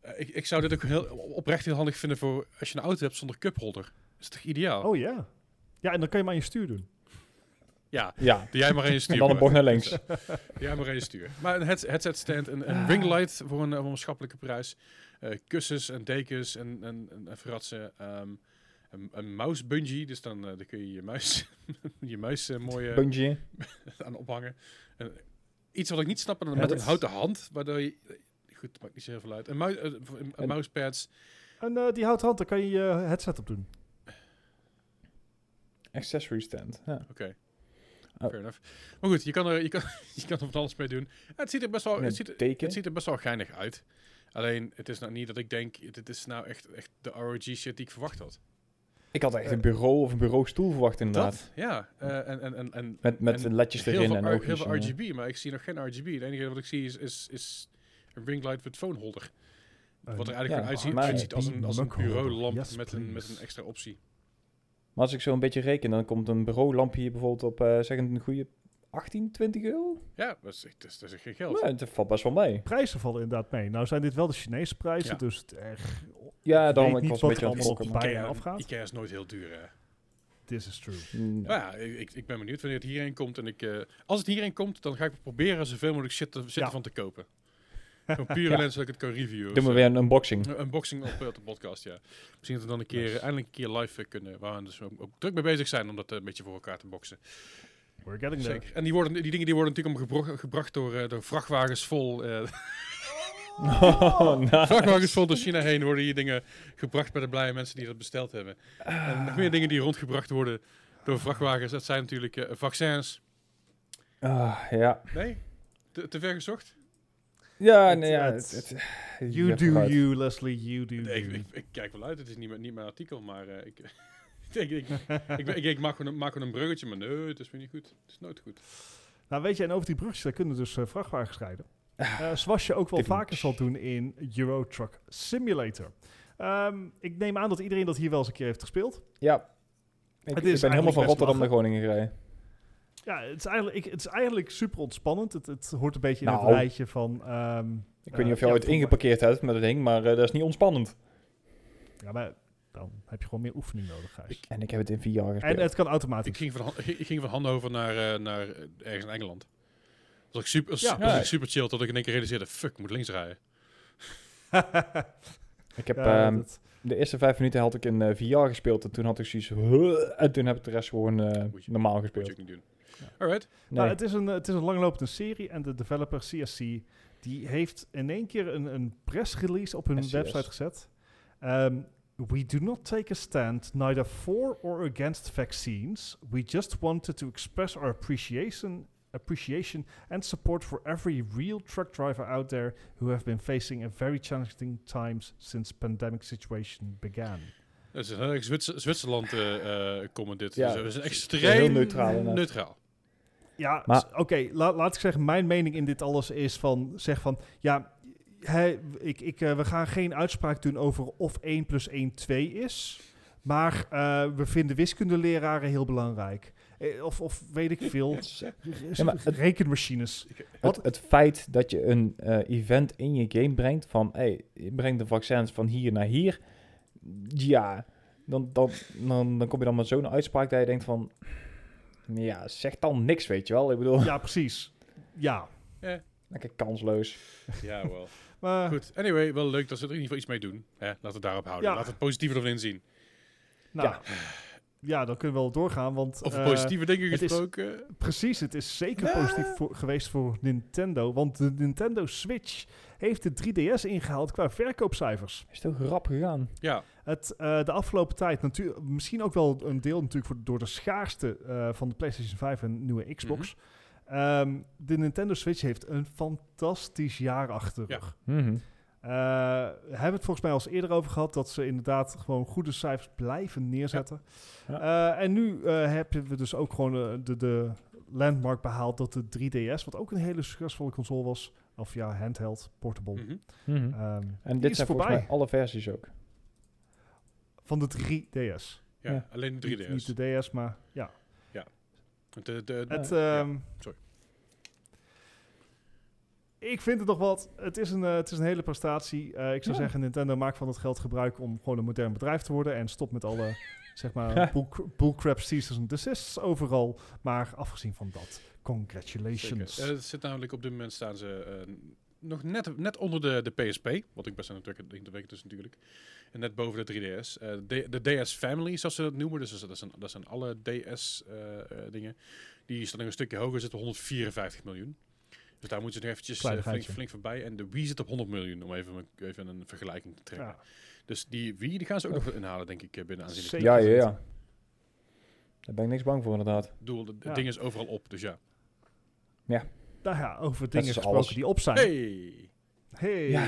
[SPEAKER 1] Eh, ik, ik zou dit ook heel, oprecht heel handig vinden voor als je een auto hebt zonder cupholder. Is het toch ideaal?
[SPEAKER 3] Oh ja. Ja, en dan kan je hem aan je stuur doen.
[SPEAKER 1] Ja,
[SPEAKER 2] Ja,
[SPEAKER 1] doe jij maar
[SPEAKER 2] [LAUGHS]
[SPEAKER 1] eens
[SPEAKER 2] en
[SPEAKER 1] stuur.
[SPEAKER 2] dan een bocht naar links.
[SPEAKER 1] Doe jij maar eens stuur. Maar een heads- headset stand, een, een ringlight voor een, eh, voor een schappelijke prijs. eh, kussens en dekens en, en, en, en fratsen. ehm, een, een mouse bungee, dus dan, eh, dan kun je je muis, [LAUGHS] je muis eh, mooi eh,
[SPEAKER 2] Bungee.
[SPEAKER 1] aan ophangen. En iets wat ik niet snap, en dan
[SPEAKER 2] Ja,
[SPEAKER 1] met
[SPEAKER 2] dat
[SPEAKER 1] een
[SPEAKER 2] is-
[SPEAKER 1] houten hand, waardoor je... Goed, maakt niet zo heel veel uit. Een, mou- eh, een- een
[SPEAKER 2] En-
[SPEAKER 1] mousepads.
[SPEAKER 3] En eh, die houten hand, daar kan je je headset op doen.
[SPEAKER 2] Accessory stand. Ja. Oh.
[SPEAKER 1] Fair enough. Maar goed, je kan er, je kan, [LAUGHS] je kan er van alles mee doen. Ja, het, ziet er best wel,
[SPEAKER 2] En
[SPEAKER 1] het,
[SPEAKER 2] een
[SPEAKER 1] ziet er,
[SPEAKER 2] teken.
[SPEAKER 1] het ziet er best wel geinig uit. Alleen, het is nou niet dat ik denk, dit is nou echt, echt de ROG shit die ik verwacht had.
[SPEAKER 2] Ik had echt een bureau of een bureaustoel verwacht inderdaad.
[SPEAKER 1] Dat? Ja. eh, en, en, en, en,
[SPEAKER 2] Met, met
[SPEAKER 1] en
[SPEAKER 2] ledjes
[SPEAKER 1] heel
[SPEAKER 2] erin
[SPEAKER 1] veel,
[SPEAKER 2] en
[SPEAKER 1] R-
[SPEAKER 2] ook
[SPEAKER 1] heel veel RGB, maar ik zie nog geen RGB. Het enige wat ik zie is, is, is een ringlight met phone holder. Wat er eigenlijk
[SPEAKER 2] Ja,
[SPEAKER 1] gewoon uitziet,
[SPEAKER 2] maar-
[SPEAKER 1] uitziet als een, als een
[SPEAKER 3] Mugholder.
[SPEAKER 1] bureaulamp
[SPEAKER 3] Yes,
[SPEAKER 1] met, een, met
[SPEAKER 3] please.
[SPEAKER 1] een extra optie.
[SPEAKER 2] eh. Maar als ik zo een beetje reken, dan komt een bureaulampje hier bijvoorbeeld op, eh zeg een goede 18, 20 euro.
[SPEAKER 1] Ja, dat is, dat is, dat is echt geen geld.
[SPEAKER 2] Nou, dat valt best wel mee.
[SPEAKER 3] Prijzen vallen inderdaad mee. Nou zijn dit wel de Chinese prijzen,
[SPEAKER 1] Ja.
[SPEAKER 3] dus het erg...
[SPEAKER 2] Ja, daarom
[SPEAKER 3] weet
[SPEAKER 2] ik
[SPEAKER 3] niet
[SPEAKER 2] was een
[SPEAKER 3] wat
[SPEAKER 2] beetje aan het
[SPEAKER 3] er allemaal
[SPEAKER 2] gokken.
[SPEAKER 3] bij-
[SPEAKER 2] maar-
[SPEAKER 1] Ikea,
[SPEAKER 3] afgaat.
[SPEAKER 1] Ikea is nooit heel duur, hè.
[SPEAKER 3] This is true.
[SPEAKER 2] Mm,
[SPEAKER 1] Nou ja, ik, ik- ik ben benieuwd wanneer het hierheen komt. En ik, eh, als het hierheen komt, dan ga ik proberen zoveel mogelijk shit, te, shit
[SPEAKER 3] Ja.
[SPEAKER 1] ervan te kopen. Gewoon puur
[SPEAKER 2] Ja.
[SPEAKER 1] alleen zodat ik het kan reviewen.
[SPEAKER 2] Doen we
[SPEAKER 1] of
[SPEAKER 2] weer
[SPEAKER 1] zo.
[SPEAKER 2] een unboxing.
[SPEAKER 1] Een unboxing op, eh, op de podcast, ja. Misschien dat we dan een keer,
[SPEAKER 3] Nice.
[SPEAKER 1] eh, eindelijk een keer live eh, kunnen. Waar we dus ook, ook druk mee bezig zijn om dat eh, een beetje voor elkaar te boksen.
[SPEAKER 3] We're getting there.
[SPEAKER 1] Zeker. En die, worden, die dingen die worden natuurlijk om gebro- gebracht door, eh, door vrachtwagens vol... eh, [LAUGHS]
[SPEAKER 2] Oh, nice.
[SPEAKER 1] vrachtwagens vol door China heen worden hier dingen gebracht bij de blije mensen die dat besteld hebben. En nog meer dingen die rondgebracht worden door vrachtwagens. Dat zijn natuurlijk eh, vaccins.
[SPEAKER 2] Ah, ja.
[SPEAKER 1] Nee? Te, te ver gezocht?
[SPEAKER 2] Ja,
[SPEAKER 3] Het-
[SPEAKER 2] nee, ja.
[SPEAKER 3] het-
[SPEAKER 2] het- het-
[SPEAKER 3] You
[SPEAKER 2] ja,
[SPEAKER 3] do
[SPEAKER 2] vooruit.
[SPEAKER 3] you, Leslie, you do
[SPEAKER 1] Nee, ik,
[SPEAKER 3] you.
[SPEAKER 1] ik, ik kijk wel uit, het is niet mijn, niet mijn artikel, maar eh, ik, [LAUGHS] ik, ik, ik, ik- ik maak, gewoon een, maak gewoon een bruggetje, maar nee, het is weer niet goed. Het is nooit goed.
[SPEAKER 3] Nou weet je, en over die brugjes, daar kunnen dus eh, vrachtwagens rijden.
[SPEAKER 1] Ah,
[SPEAKER 3] Eh, zoals je ook wel
[SPEAKER 2] Tidding.
[SPEAKER 3] vaker zal doen in Euro Truck Simulator. Ehm, ik neem aan dat iedereen dat hier wel eens een keer heeft gespeeld.
[SPEAKER 2] Ja. Ik,
[SPEAKER 3] Het is
[SPEAKER 2] ik ben helemaal
[SPEAKER 3] eigenlijk
[SPEAKER 2] van
[SPEAKER 3] best
[SPEAKER 2] Rotterdam naar
[SPEAKER 3] lachen.
[SPEAKER 2] Groningen gereden.
[SPEAKER 3] Ja, het is eigenlijk, ik, het is eigenlijk super ontspannend. Het, het hoort een beetje in
[SPEAKER 2] Nou.
[SPEAKER 3] het rijtje van... ehm,
[SPEAKER 2] Ik
[SPEAKER 3] eh,
[SPEAKER 2] weet niet of jou
[SPEAKER 3] ja,
[SPEAKER 2] het ingeparkeerd hebt met het ding, maar eh, dat is niet ontspannend.
[SPEAKER 3] Ja, maar dan heb je gewoon meer oefening nodig, Gijs.
[SPEAKER 2] En ik heb het in vier jaar
[SPEAKER 3] en
[SPEAKER 2] gespeeld.
[SPEAKER 3] het kan
[SPEAKER 1] Ik
[SPEAKER 3] automatisch.
[SPEAKER 1] ging van, Han- ik ging van Hannover naar, eh, naar eh, ergens in Engeland. Dat was ik super, was,
[SPEAKER 3] Ja.
[SPEAKER 1] was
[SPEAKER 2] Ja.
[SPEAKER 1] ik super chill, tot ik in één keer realiseerde, fuck, ik moet links rijden.
[SPEAKER 3] [LAUGHS]
[SPEAKER 2] Ik heb
[SPEAKER 3] Ja,
[SPEAKER 2] ehm,
[SPEAKER 3] dat-
[SPEAKER 2] de eerste vijf minuten had ik in eh, VR gespeeld en toen had ik zoiets... "Huh," En toen heb ik de rest gewoon eh,
[SPEAKER 1] Moet je-
[SPEAKER 2] normaal
[SPEAKER 1] Dat moet je
[SPEAKER 2] gespeeld.
[SPEAKER 1] ook niet doen. Alright.
[SPEAKER 2] Nee.
[SPEAKER 3] Nou, het, is een, het is een langlopende serie en de developer CSC die heeft in één keer een, een press release op hun
[SPEAKER 2] SCS.
[SPEAKER 3] website gezet. Ehm, we do not take a stand neither for or against vaccines. We just wanted to express our appreciation, appreciation and support for every real truck driver out there who have been facing a very challenging times since pandemic situation began.
[SPEAKER 1] Dat is een heel erg Zwitser, Zwitserland eh, eh, comment dit.
[SPEAKER 2] Ja.
[SPEAKER 1] Dus we zijn
[SPEAKER 2] Heel
[SPEAKER 1] extreem
[SPEAKER 2] neutraal inderdaad.
[SPEAKER 1] neutraal.
[SPEAKER 3] Ja,
[SPEAKER 2] Maar-
[SPEAKER 3] s- oké, la- laat ik zeggen, mijn mening in dit alles is van, zeg van, ja, hè, ik, ik, eh, we gaan geen uitspraak doen over of 1 plus 1 2 is, maar eh, we vinden wiskundeleraren heel belangrijk. Eh, Of, of weet ik veel,
[SPEAKER 2] Ja, maar het- [LAUGHS]
[SPEAKER 3] rekenmachines.
[SPEAKER 2] Het,
[SPEAKER 3] Wat-
[SPEAKER 2] het feit dat je een eh, event in je game brengt van, hey, je brengt de vaccins van hier naar hier, ja, dan, dan, dan, dan kom je dan met zo'n uitspraak dat je denkt van, ja, zeg dan niks, weet je wel. Ik bedoel, [LAUGHS]
[SPEAKER 3] Ja, precies. Ja,
[SPEAKER 2] lekker kansloos.
[SPEAKER 1] Ja, wel.
[SPEAKER 3] maar
[SPEAKER 1] Goed, anyway, wel leuk dat ze er in ieder geval iets mee doen. Hè, laten we het daarop houden.
[SPEAKER 3] Ja.
[SPEAKER 1] Laten we het positieve ervan inzien.
[SPEAKER 3] nou,
[SPEAKER 2] Ja.
[SPEAKER 3] ja. dan kunnen we wel doorgaan, want...
[SPEAKER 1] Over
[SPEAKER 3] eh,
[SPEAKER 1] positieve dingen
[SPEAKER 3] het is-
[SPEAKER 1] gesproken.
[SPEAKER 3] Precies, het is zeker positief voor- geweest voor Nintendo. Want de Nintendo Switch heeft de 3DS ingehaald qua verkoopcijfers.
[SPEAKER 2] Is toch rap gegaan?
[SPEAKER 1] Ja,
[SPEAKER 3] Het, eh, de afgelopen tijd, natu- misschien ook wel een deel natuurlijk voor, door de schaarste eh, van de PlayStation 5 en nieuwe Xbox. Ehm, de Nintendo Switch heeft een fantastisch jaar achter de
[SPEAKER 1] Ja.
[SPEAKER 3] rug. Eh, we hebben het volgens mij al eens eerder over gehad dat ze inderdaad gewoon goede cijfers blijven neerzetten.
[SPEAKER 2] Ja.
[SPEAKER 3] Eh, en nu eh, hebben we dus ook gewoon eh, de, de landmark behaald dat de 3DS, wat ook een hele succesvolle console was, of ja, handheld, portable.
[SPEAKER 1] Mhm.
[SPEAKER 2] Mhm.
[SPEAKER 3] ehm,
[SPEAKER 2] en
[SPEAKER 3] die
[SPEAKER 2] dit
[SPEAKER 3] is
[SPEAKER 2] zijn
[SPEAKER 3] voorbij
[SPEAKER 2] volgens mij alle versies ook.
[SPEAKER 3] van de 3DS.
[SPEAKER 1] ja,
[SPEAKER 2] Ja.
[SPEAKER 1] alleen de 3DS.
[SPEAKER 3] Niet, niet de DS, maar ja.
[SPEAKER 1] Want de- de-
[SPEAKER 2] Ja.
[SPEAKER 3] Het, ehm,
[SPEAKER 1] sorry.
[SPEAKER 3] Ik vind het nog wat. Het is een, eh, het is een hele prestatie. Eh, ik zou
[SPEAKER 2] Ja.
[SPEAKER 3] zeggen, Nintendo maakt van het geld gebruik om gewoon een modern bedrijf te worden en stop met alle zeg maar bull, bullcrap ceases and desists overal. Maar afgezien van dat, congratulations.
[SPEAKER 1] Zeker. Eh, het zit namelijk op dit moment staan ze eh, nog net, net onder de, de PSP, wat ik best aan het indrukwekkend is dus natuurlijk. En net boven de 3DS. Eh, de, de DS Family, zoals ze dat noemen, dus dat is- dat zijn, dat zijn alle DS eh, eh, dingen. Die staan nog een stukje hoger, zit op 154 miljoen. Dus daar moeten ze nog eventjes eh, flink,
[SPEAKER 3] Kleinigheidje.
[SPEAKER 1] flink voorbij. En de Wii zit op 100 miljoen, om even, een- even een vergelijking te trekken.
[SPEAKER 3] ja.
[SPEAKER 1] Dus die Wii, die gaan ze ook nog inhalen, denk ik, eh, binnen aanzienlijk.
[SPEAKER 3] Zeker.
[SPEAKER 2] Ja, ja, ja. Daar ben ik niks bang voor, inderdaad.
[SPEAKER 1] Ik bedoel, het
[SPEAKER 3] Ja.
[SPEAKER 1] ding is overal op, dus ja.
[SPEAKER 3] Nou ja, over dingen
[SPEAKER 2] is
[SPEAKER 3] gesproken
[SPEAKER 2] alles.
[SPEAKER 3] die op zijn.
[SPEAKER 1] Hey!
[SPEAKER 3] Hey.
[SPEAKER 2] Ja.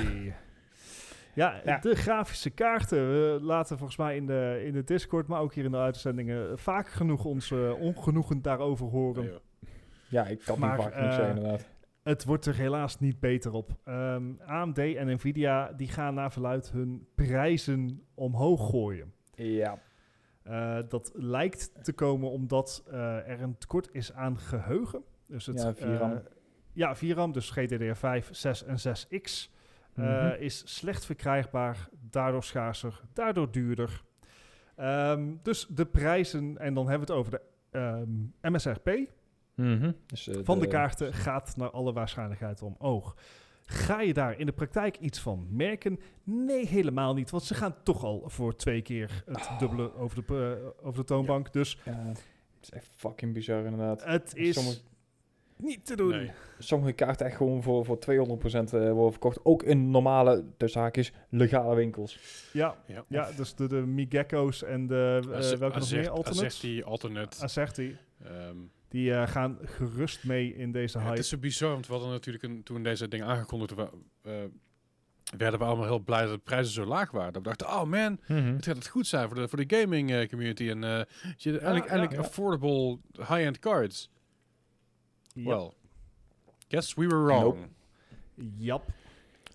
[SPEAKER 3] Ja.
[SPEAKER 2] Ja.
[SPEAKER 3] de grafische kaarten. We laten volgens mij in de, in de Discord, maar ook hier in de uitzendingen, vaak genoeg ons eh, ongenoegen daarover horen.
[SPEAKER 1] Nee, joh.
[SPEAKER 2] Ja, ik kan
[SPEAKER 3] Maar,
[SPEAKER 2] niet vaak genoeg
[SPEAKER 3] eh,
[SPEAKER 2] zeggen, inderdaad.
[SPEAKER 3] Het wordt er helaas niet beter op. Ehm, AMD en Nvidia die gaan naar verluid hun prijzen omhoog gooien.
[SPEAKER 2] Ja.
[SPEAKER 3] Eh, dat lijkt te komen omdat eh, er een tekort is aan geheugen. Dus het,
[SPEAKER 2] Ja, 4
[SPEAKER 3] eh,
[SPEAKER 2] RAM.
[SPEAKER 3] ja, 4 RAM, dus GDDR5, 6 en 6X. eh,
[SPEAKER 2] Mhm.
[SPEAKER 3] Is slecht verkrijgbaar, daardoor schaarser, daardoor duurder. Ehm, dus de prijzen, en dan hebben we het over de ehm, MSRP
[SPEAKER 2] Dus, eh,
[SPEAKER 3] van de kaarten, gaat naar alle waarschijnlijkheid omhoog. Ga je daar in de praktijk iets van merken? Nee, helemaal niet. Want ze gaan toch al voor twee keer het dubbele over de, eh, over de toonbank. Dus
[SPEAKER 2] Ja, het is echt fucking bizar, inderdaad.
[SPEAKER 3] het is
[SPEAKER 2] Sommige,
[SPEAKER 3] niet te doen.
[SPEAKER 1] Nee.
[SPEAKER 2] sommige kaarten echt gewoon voor, voor 200% eh, worden verkocht. Ook in normale, tussen haakjes, legale winkels.
[SPEAKER 3] Ja,
[SPEAKER 1] Ja.
[SPEAKER 3] ja, dus de, de Migekko's en de eh,
[SPEAKER 1] Azert-
[SPEAKER 3] welke nog meer
[SPEAKER 1] Azert-
[SPEAKER 3] alternates? Ah,
[SPEAKER 1] Azerty, Alternate.
[SPEAKER 3] Azerti.
[SPEAKER 1] Ehm,
[SPEAKER 3] Die eh, gaan gerust mee in deze
[SPEAKER 1] ja, het
[SPEAKER 3] hype.
[SPEAKER 1] is zo bizar, want we hadden natuurlijk een, toen deze dingen aangekondigd wa- eh, werden we allemaal heel blij dat de prijzen zo laag waren. Dat we dachten, oh man, het gaat het goed zijn voor de, voor de gaming eh, community. En eh je eindelijk,
[SPEAKER 3] ja,
[SPEAKER 1] eindelijk
[SPEAKER 3] ja.
[SPEAKER 1] affordable high-end cards.
[SPEAKER 3] Yep.
[SPEAKER 1] Well, guess we were wrong.
[SPEAKER 2] Nope.
[SPEAKER 3] Yep.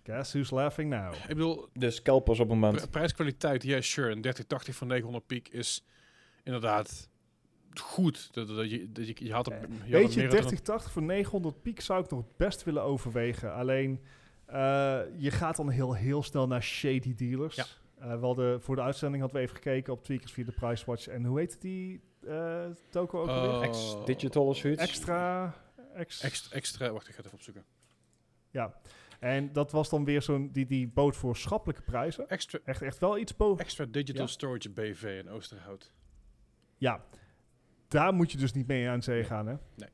[SPEAKER 3] Guess who's laughing now?
[SPEAKER 1] Ik bedoel,
[SPEAKER 2] De Dus scalpers op het moment.
[SPEAKER 1] pri- prijskwaliteit, ja sure, een 3080 van 900 piek is inderdaad goed. Dat, dat, dat je, dat je, je had
[SPEAKER 3] Eh,
[SPEAKER 1] er, je had
[SPEAKER 3] Weet
[SPEAKER 1] er
[SPEAKER 3] je,
[SPEAKER 1] meer dan-
[SPEAKER 3] 3080 voor 900 piek zou ik nog best willen overwegen. Alleen, eh, je gaat dan heel, heel snel naar shady dealers.
[SPEAKER 1] Ja.
[SPEAKER 3] Eh, we hadden, voor de uitzending hadden we even gekeken op Tweakers via de Pricewatch. En hoe heet die eh toko ook alweer?
[SPEAKER 1] Oh,
[SPEAKER 2] Ex-digital of zoiets.
[SPEAKER 3] Extra... Ex-
[SPEAKER 1] Ext- extra, wacht, ik ga het even opzoeken.
[SPEAKER 3] Ja, en dat was dan weer zo'n die, die bood voor schappelijke prijzen.
[SPEAKER 1] Extra,
[SPEAKER 3] Echt, echt wel iets boven.
[SPEAKER 1] Extra Digital
[SPEAKER 3] Ja.
[SPEAKER 1] Storage BV in Oosterhout.
[SPEAKER 3] Ja, daar moet je dus niet mee aan zee gaan, hè?
[SPEAKER 1] Nee.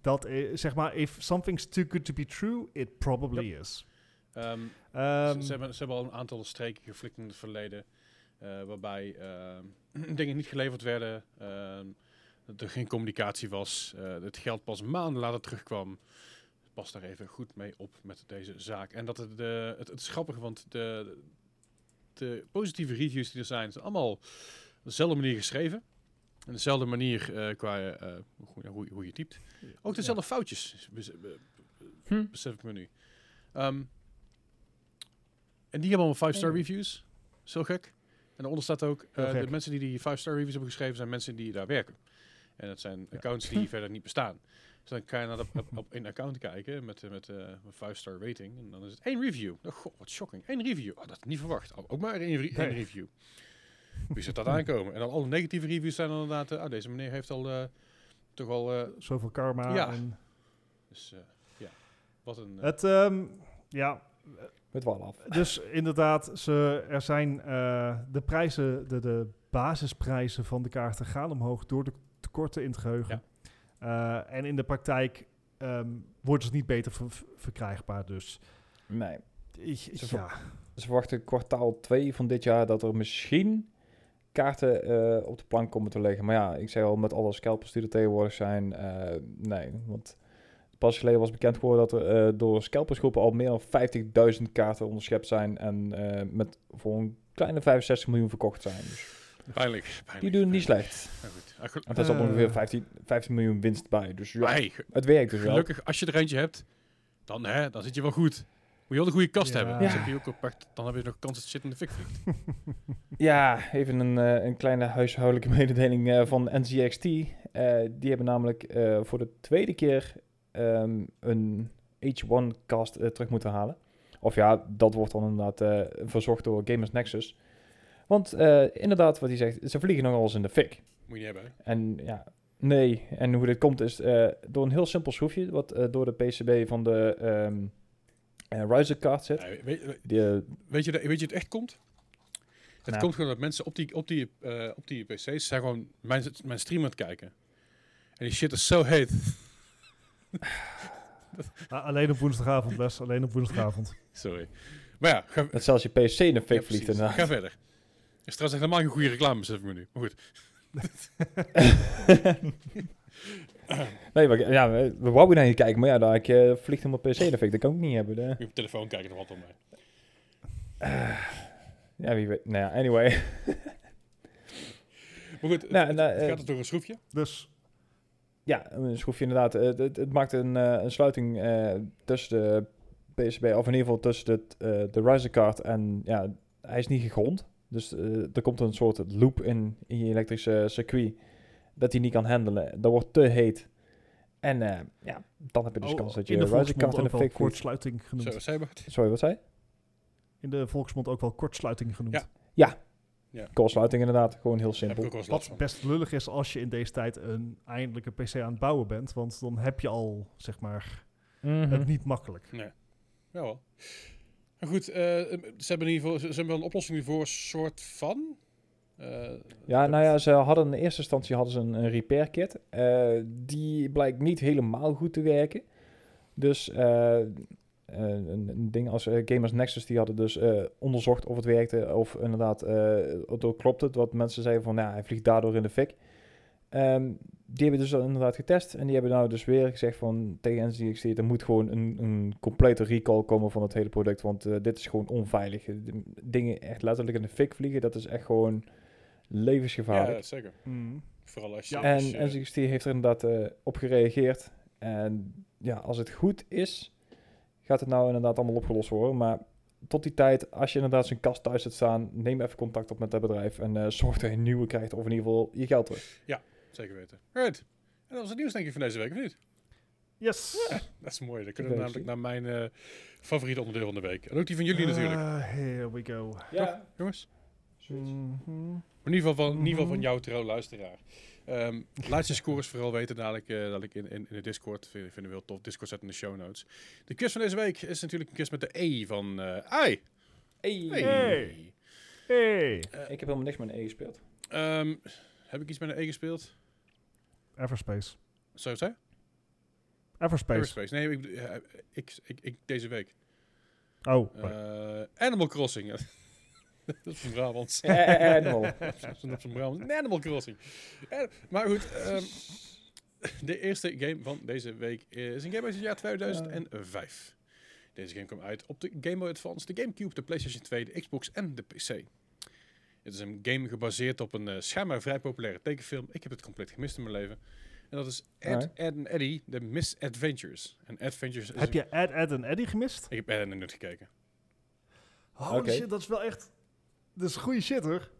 [SPEAKER 3] Dat is, zeg maar, if something's too good to be true, it probably is.
[SPEAKER 1] Ehm,
[SPEAKER 3] Ehm,
[SPEAKER 1] ze, ze hebben, ze hebben al een aantal streken geflikt in het verleden. eh, waarbij ehm, [CLEARS THROAT] dingen niet geleverd werden. ehm, dat er geen communicatie was. eh, het geld pas maanden later terugkwam. Pas daar even goed mee op met deze zaak. En dat het, de, het, het is grappig, want de, de positieve reviews die er zijn, zijn allemaal op dezelfde manier geschreven. En dezelfde manier eh, qua eh, hoe, hoe, hoe je typt. Ook dezelfde foutjes, bes- be-
[SPEAKER 2] Hm.
[SPEAKER 1] besef ik me nu. Ehm, en die hebben allemaal 5-star
[SPEAKER 2] Oké.
[SPEAKER 1] reviews. Zo gek. En daaronder staat ook, eh,
[SPEAKER 3] Heel gek.
[SPEAKER 1] de mensen die die 5-star reviews hebben geschreven, zijn mensen die daar werken. En dat zijn
[SPEAKER 3] Ja.
[SPEAKER 1] accounts
[SPEAKER 3] [LAUGHS]
[SPEAKER 1] die verder niet bestaan. Dus dan kan je naar op, op, op een account kijken met, eh, met eh, een 5-star rating. En dan is het één review. Oh, god, wat shocking. Eén review. Oh, dat had ik niet verwacht. Oh, ook maar één, re- één
[SPEAKER 3] Nee.
[SPEAKER 1] review. Wie zit dat aankomen? En dan alle negatieve reviews zijn dan inderdaad... eh, oh, deze meneer heeft al eh, toch al... eh,
[SPEAKER 3] Zoveel karma.
[SPEAKER 1] Ja.
[SPEAKER 3] en-
[SPEAKER 1] dus eh, ja, wat een... eh,
[SPEAKER 3] het, ehm, ja,
[SPEAKER 2] Met wel af.
[SPEAKER 3] dus inderdaad, ze, er zijn eh, de prijzen, de, de basisprijzen van de kaarten gaan omhoog door de tekorten in het geheugen. Eh, en in de praktijk ehm wordt het niet beter ver- verkrijgbaar. Dus
[SPEAKER 2] Nee.
[SPEAKER 3] Ik-
[SPEAKER 2] ver-
[SPEAKER 3] ja,
[SPEAKER 2] Ze verwachten kwartaal 2 van dit jaar dat er misschien kaarten eh, op de plank komen te liggen. Maar ja, ik zei al, met alle scalpers die er tegenwoordig zijn, eh, nee. Want pas geleden was bekend geworden dat er eh, door scalpersgroepen al meer dan 50.000 kaarten onderschept zijn. En eh, met voor een kleine 65 miljoen verkocht zijn. Dus
[SPEAKER 1] Pijnlijk. pijnlijk.
[SPEAKER 2] die doen niet slecht.
[SPEAKER 1] Maar goed. Ah, gel-
[SPEAKER 2] En daar zat
[SPEAKER 3] Eh.
[SPEAKER 2] ongeveer 15, 15 miljoen winst bij. Dus ja,
[SPEAKER 1] Hey, ge-
[SPEAKER 2] het werkt dus wel.
[SPEAKER 1] gelukkig, als je er eentje hebt, dan, hè, dan zit je wel goed. Moet je wel een goede kast
[SPEAKER 3] Ja.
[SPEAKER 1] hebben.
[SPEAKER 2] Ja.
[SPEAKER 1] Dan, heb je ook een pak- dan heb je nog kans dat shit in de fik vliegt.
[SPEAKER 2] Ja, even een, eh, een kleine huishoudelijke [LAUGHS] mededeling eh, van NCXT. Eh, die hebben namelijk eh, voor de tweede keer ehm, een H1-cast eh, terug moeten halen. Of ja, dat wordt dan inderdaad eh, verzocht door Gamers Nexus. Want eh, inderdaad, wat hij zegt, ze vliegen nogal eens in de fik.
[SPEAKER 1] Moet je niet hebben. hè?
[SPEAKER 2] En ja, nee. En hoe dit komt is eh, door een heel simpel schroefje, wat eh, door de PCB van de ehm eh, riser card zit.
[SPEAKER 1] Ja, weet, weet-
[SPEAKER 2] Die, eh,
[SPEAKER 1] weet je, dat- weet je het echt komt? Het
[SPEAKER 2] Nou.
[SPEAKER 1] komt gewoon dat mensen op die, op die, eh, op die PC's zijn gewoon mijn, mijn stream aan het kijken. En die shit is zo heet.
[SPEAKER 3] Ah, alleen op woensdagavond, Les. Alleen op woensdagavond.
[SPEAKER 1] Sorry. Maar ja, ga,
[SPEAKER 2] dat zelfs je PC in
[SPEAKER 1] ja,
[SPEAKER 2] de fik
[SPEAKER 1] precies.
[SPEAKER 2] vliegt. inderdaad. [LAUGHS]
[SPEAKER 1] ga verder. Is trouwens echt helemaal geen goede reclame, besef ik me nu. Maar goed.
[SPEAKER 2] nee, maar ik- ja, we, we wouden naar je kijken, maar ja, daar eh, vliegt helemaal PC in de fik. Dat kan ik niet hebben. hè.
[SPEAKER 1] Je op telefoon kijken nog wat om mij.
[SPEAKER 2] Ja, wie weet. Nou ja, anyway. [LAUGHS]
[SPEAKER 1] Maar goed, het-
[SPEAKER 2] Nou,
[SPEAKER 1] het,
[SPEAKER 2] nou,
[SPEAKER 1] het
[SPEAKER 2] eh,
[SPEAKER 1] gaat dus door een schroefje.
[SPEAKER 3] Dus
[SPEAKER 2] Ja, een schroefje inderdaad. Eh, Het, het, het maakt een, eh, een sluiting eh, tussen de PCB, of in ieder geval tussen het, eh, de riser card en ja, hij is niet gegrond. Dus eh, er komt een soort loop in, in je elektrische circuit dat hij niet kan handelen. Dat wordt te heet. En eh, ja, dan heb je dus
[SPEAKER 3] oh,
[SPEAKER 2] kans dat je
[SPEAKER 3] in de
[SPEAKER 2] riser
[SPEAKER 3] volksmond
[SPEAKER 2] card in de
[SPEAKER 3] ook wel
[SPEAKER 2] fik vliegt.
[SPEAKER 3] kortsluiting genoemd.
[SPEAKER 1] Zo, zei Bart.
[SPEAKER 2] Sorry, wat zei je?
[SPEAKER 3] In de volksmond ook wel kortsluiting genoemd.
[SPEAKER 1] Ja,
[SPEAKER 2] Koolsluiting inderdaad, gewoon heel
[SPEAKER 1] Heb ik
[SPEAKER 2] simpel.
[SPEAKER 1] ook wel eens last
[SPEAKER 3] Wat
[SPEAKER 1] van.
[SPEAKER 3] best lullig is als je in deze tijd een eindelijke PC aan het bouwen bent. Want dan heb je al, zeg maar,
[SPEAKER 2] Mhm.
[SPEAKER 3] het niet makkelijk.
[SPEAKER 1] Jawel. Maar goed, eh, ze hebben in ieder geval ze, ze hebben wel een oplossing voor, soort van. Eh,
[SPEAKER 2] Ja,
[SPEAKER 1] dat-
[SPEAKER 2] nou ja, ze hadden in eerste instantie hadden ze een, een repair kit. Eh, die blijkt niet helemaal goed te werken. Dus eh, eh, een, een ding als eh, Gamers Nexus, die hadden dus eh, onderzocht of het werkte. Of inderdaad, eh het ook klopt het. Wat mensen zeiden van, nou, hij vliegt daardoor in de fik. Ehm, die hebben dus inderdaad getest. En die hebben nou dus weer gezegd van, tegen NZXT, er moet gewoon een, een complete recall komen van het hele product. Want eh, dit is gewoon onveilig. De dingen echt letterlijk in de fik vliegen, dat is echt gewoon
[SPEAKER 1] Ja,
[SPEAKER 2] levensgevaarlijk.
[SPEAKER 1] zeker.
[SPEAKER 3] Mm.
[SPEAKER 1] Vooral als je...
[SPEAKER 3] Ja.
[SPEAKER 1] als
[SPEAKER 2] En
[SPEAKER 1] je-
[SPEAKER 2] NZXT heeft er inderdaad eh, op gereageerd. En ja, als het goed is, gaat het nou inderdaad allemaal opgelost worden. Maar tot die tijd, als je inderdaad zijn kast thuis hebt staan, neem even contact op met dat bedrijf. En eh, zorg dat je een nieuwe krijgt, of in ieder geval je geld terug.
[SPEAKER 1] Zeker weten. Right. En dat was het nieuws denk ik van deze week, of niet?
[SPEAKER 3] Yes!
[SPEAKER 1] Dat is mooi. Dan kunnen we
[SPEAKER 2] Leuk,
[SPEAKER 1] namelijk
[SPEAKER 2] zie.
[SPEAKER 1] naar mijn eh, favoriete onderdeel van de week. En ook die van jullie natuurlijk,
[SPEAKER 3] Eh, here we go.
[SPEAKER 2] Ja,
[SPEAKER 1] jongens.
[SPEAKER 3] Mhm.
[SPEAKER 1] Maar in ieder geval van, in ieder geval van
[SPEAKER 3] Mhm.
[SPEAKER 1] jou trouw luisteraar. Ehm, laat je scores vooral weten dadelijk, eh, dadelijk in, in, in de Discord. Vind- Vinden we heel tof. Discord zet in de show notes. De quiz van deze week is natuurlijk een quiz met de E van eh AI. Hey. Eh.
[SPEAKER 3] Hey. Hey!
[SPEAKER 2] Eh, Ik heb helemaal niks met een E gespeeld.
[SPEAKER 1] Ehm, heb ik iets met een E gespeeld?
[SPEAKER 3] Everspace.
[SPEAKER 1] Zou je het zeggen?
[SPEAKER 3] Everspace.
[SPEAKER 1] Everspace. Nee, ik, bedoel- eh, ik, ik, ik- deze week.
[SPEAKER 3] Oh.
[SPEAKER 1] Eh, Animal Crossing. [LAUGHS] dat is van Brabants.
[SPEAKER 2] [LAUGHS]
[SPEAKER 1] [LAUGHS]
[SPEAKER 2] Animal.
[SPEAKER 1] Zo'n op zijn Brabants. Een Animal Crossing. Eh, maar goed, ehm, [LAUGHS] de eerste game van deze week is een game uit het jaar 2005. Deze game kwam uit op de Game Boy Advance, de Gamecube, de PlayStation 2, de Xbox en de PC. Het is een game gebaseerd op een eh, schijnbaar vrij populaire tekenfilm. Ik heb het compleet gemist in mijn leven. En dat is Ed,
[SPEAKER 2] Alright.
[SPEAKER 1] Ed en Eddie, The Misadventures. En Adventures is
[SPEAKER 3] Heb
[SPEAKER 1] een-
[SPEAKER 3] je Ed, Ed en Eddie gemist?
[SPEAKER 1] Ik heb Ed en Nut gekeken.
[SPEAKER 3] Holy
[SPEAKER 2] Oké.
[SPEAKER 3] shit, dat is wel echt... Dat is goede shit, hoor.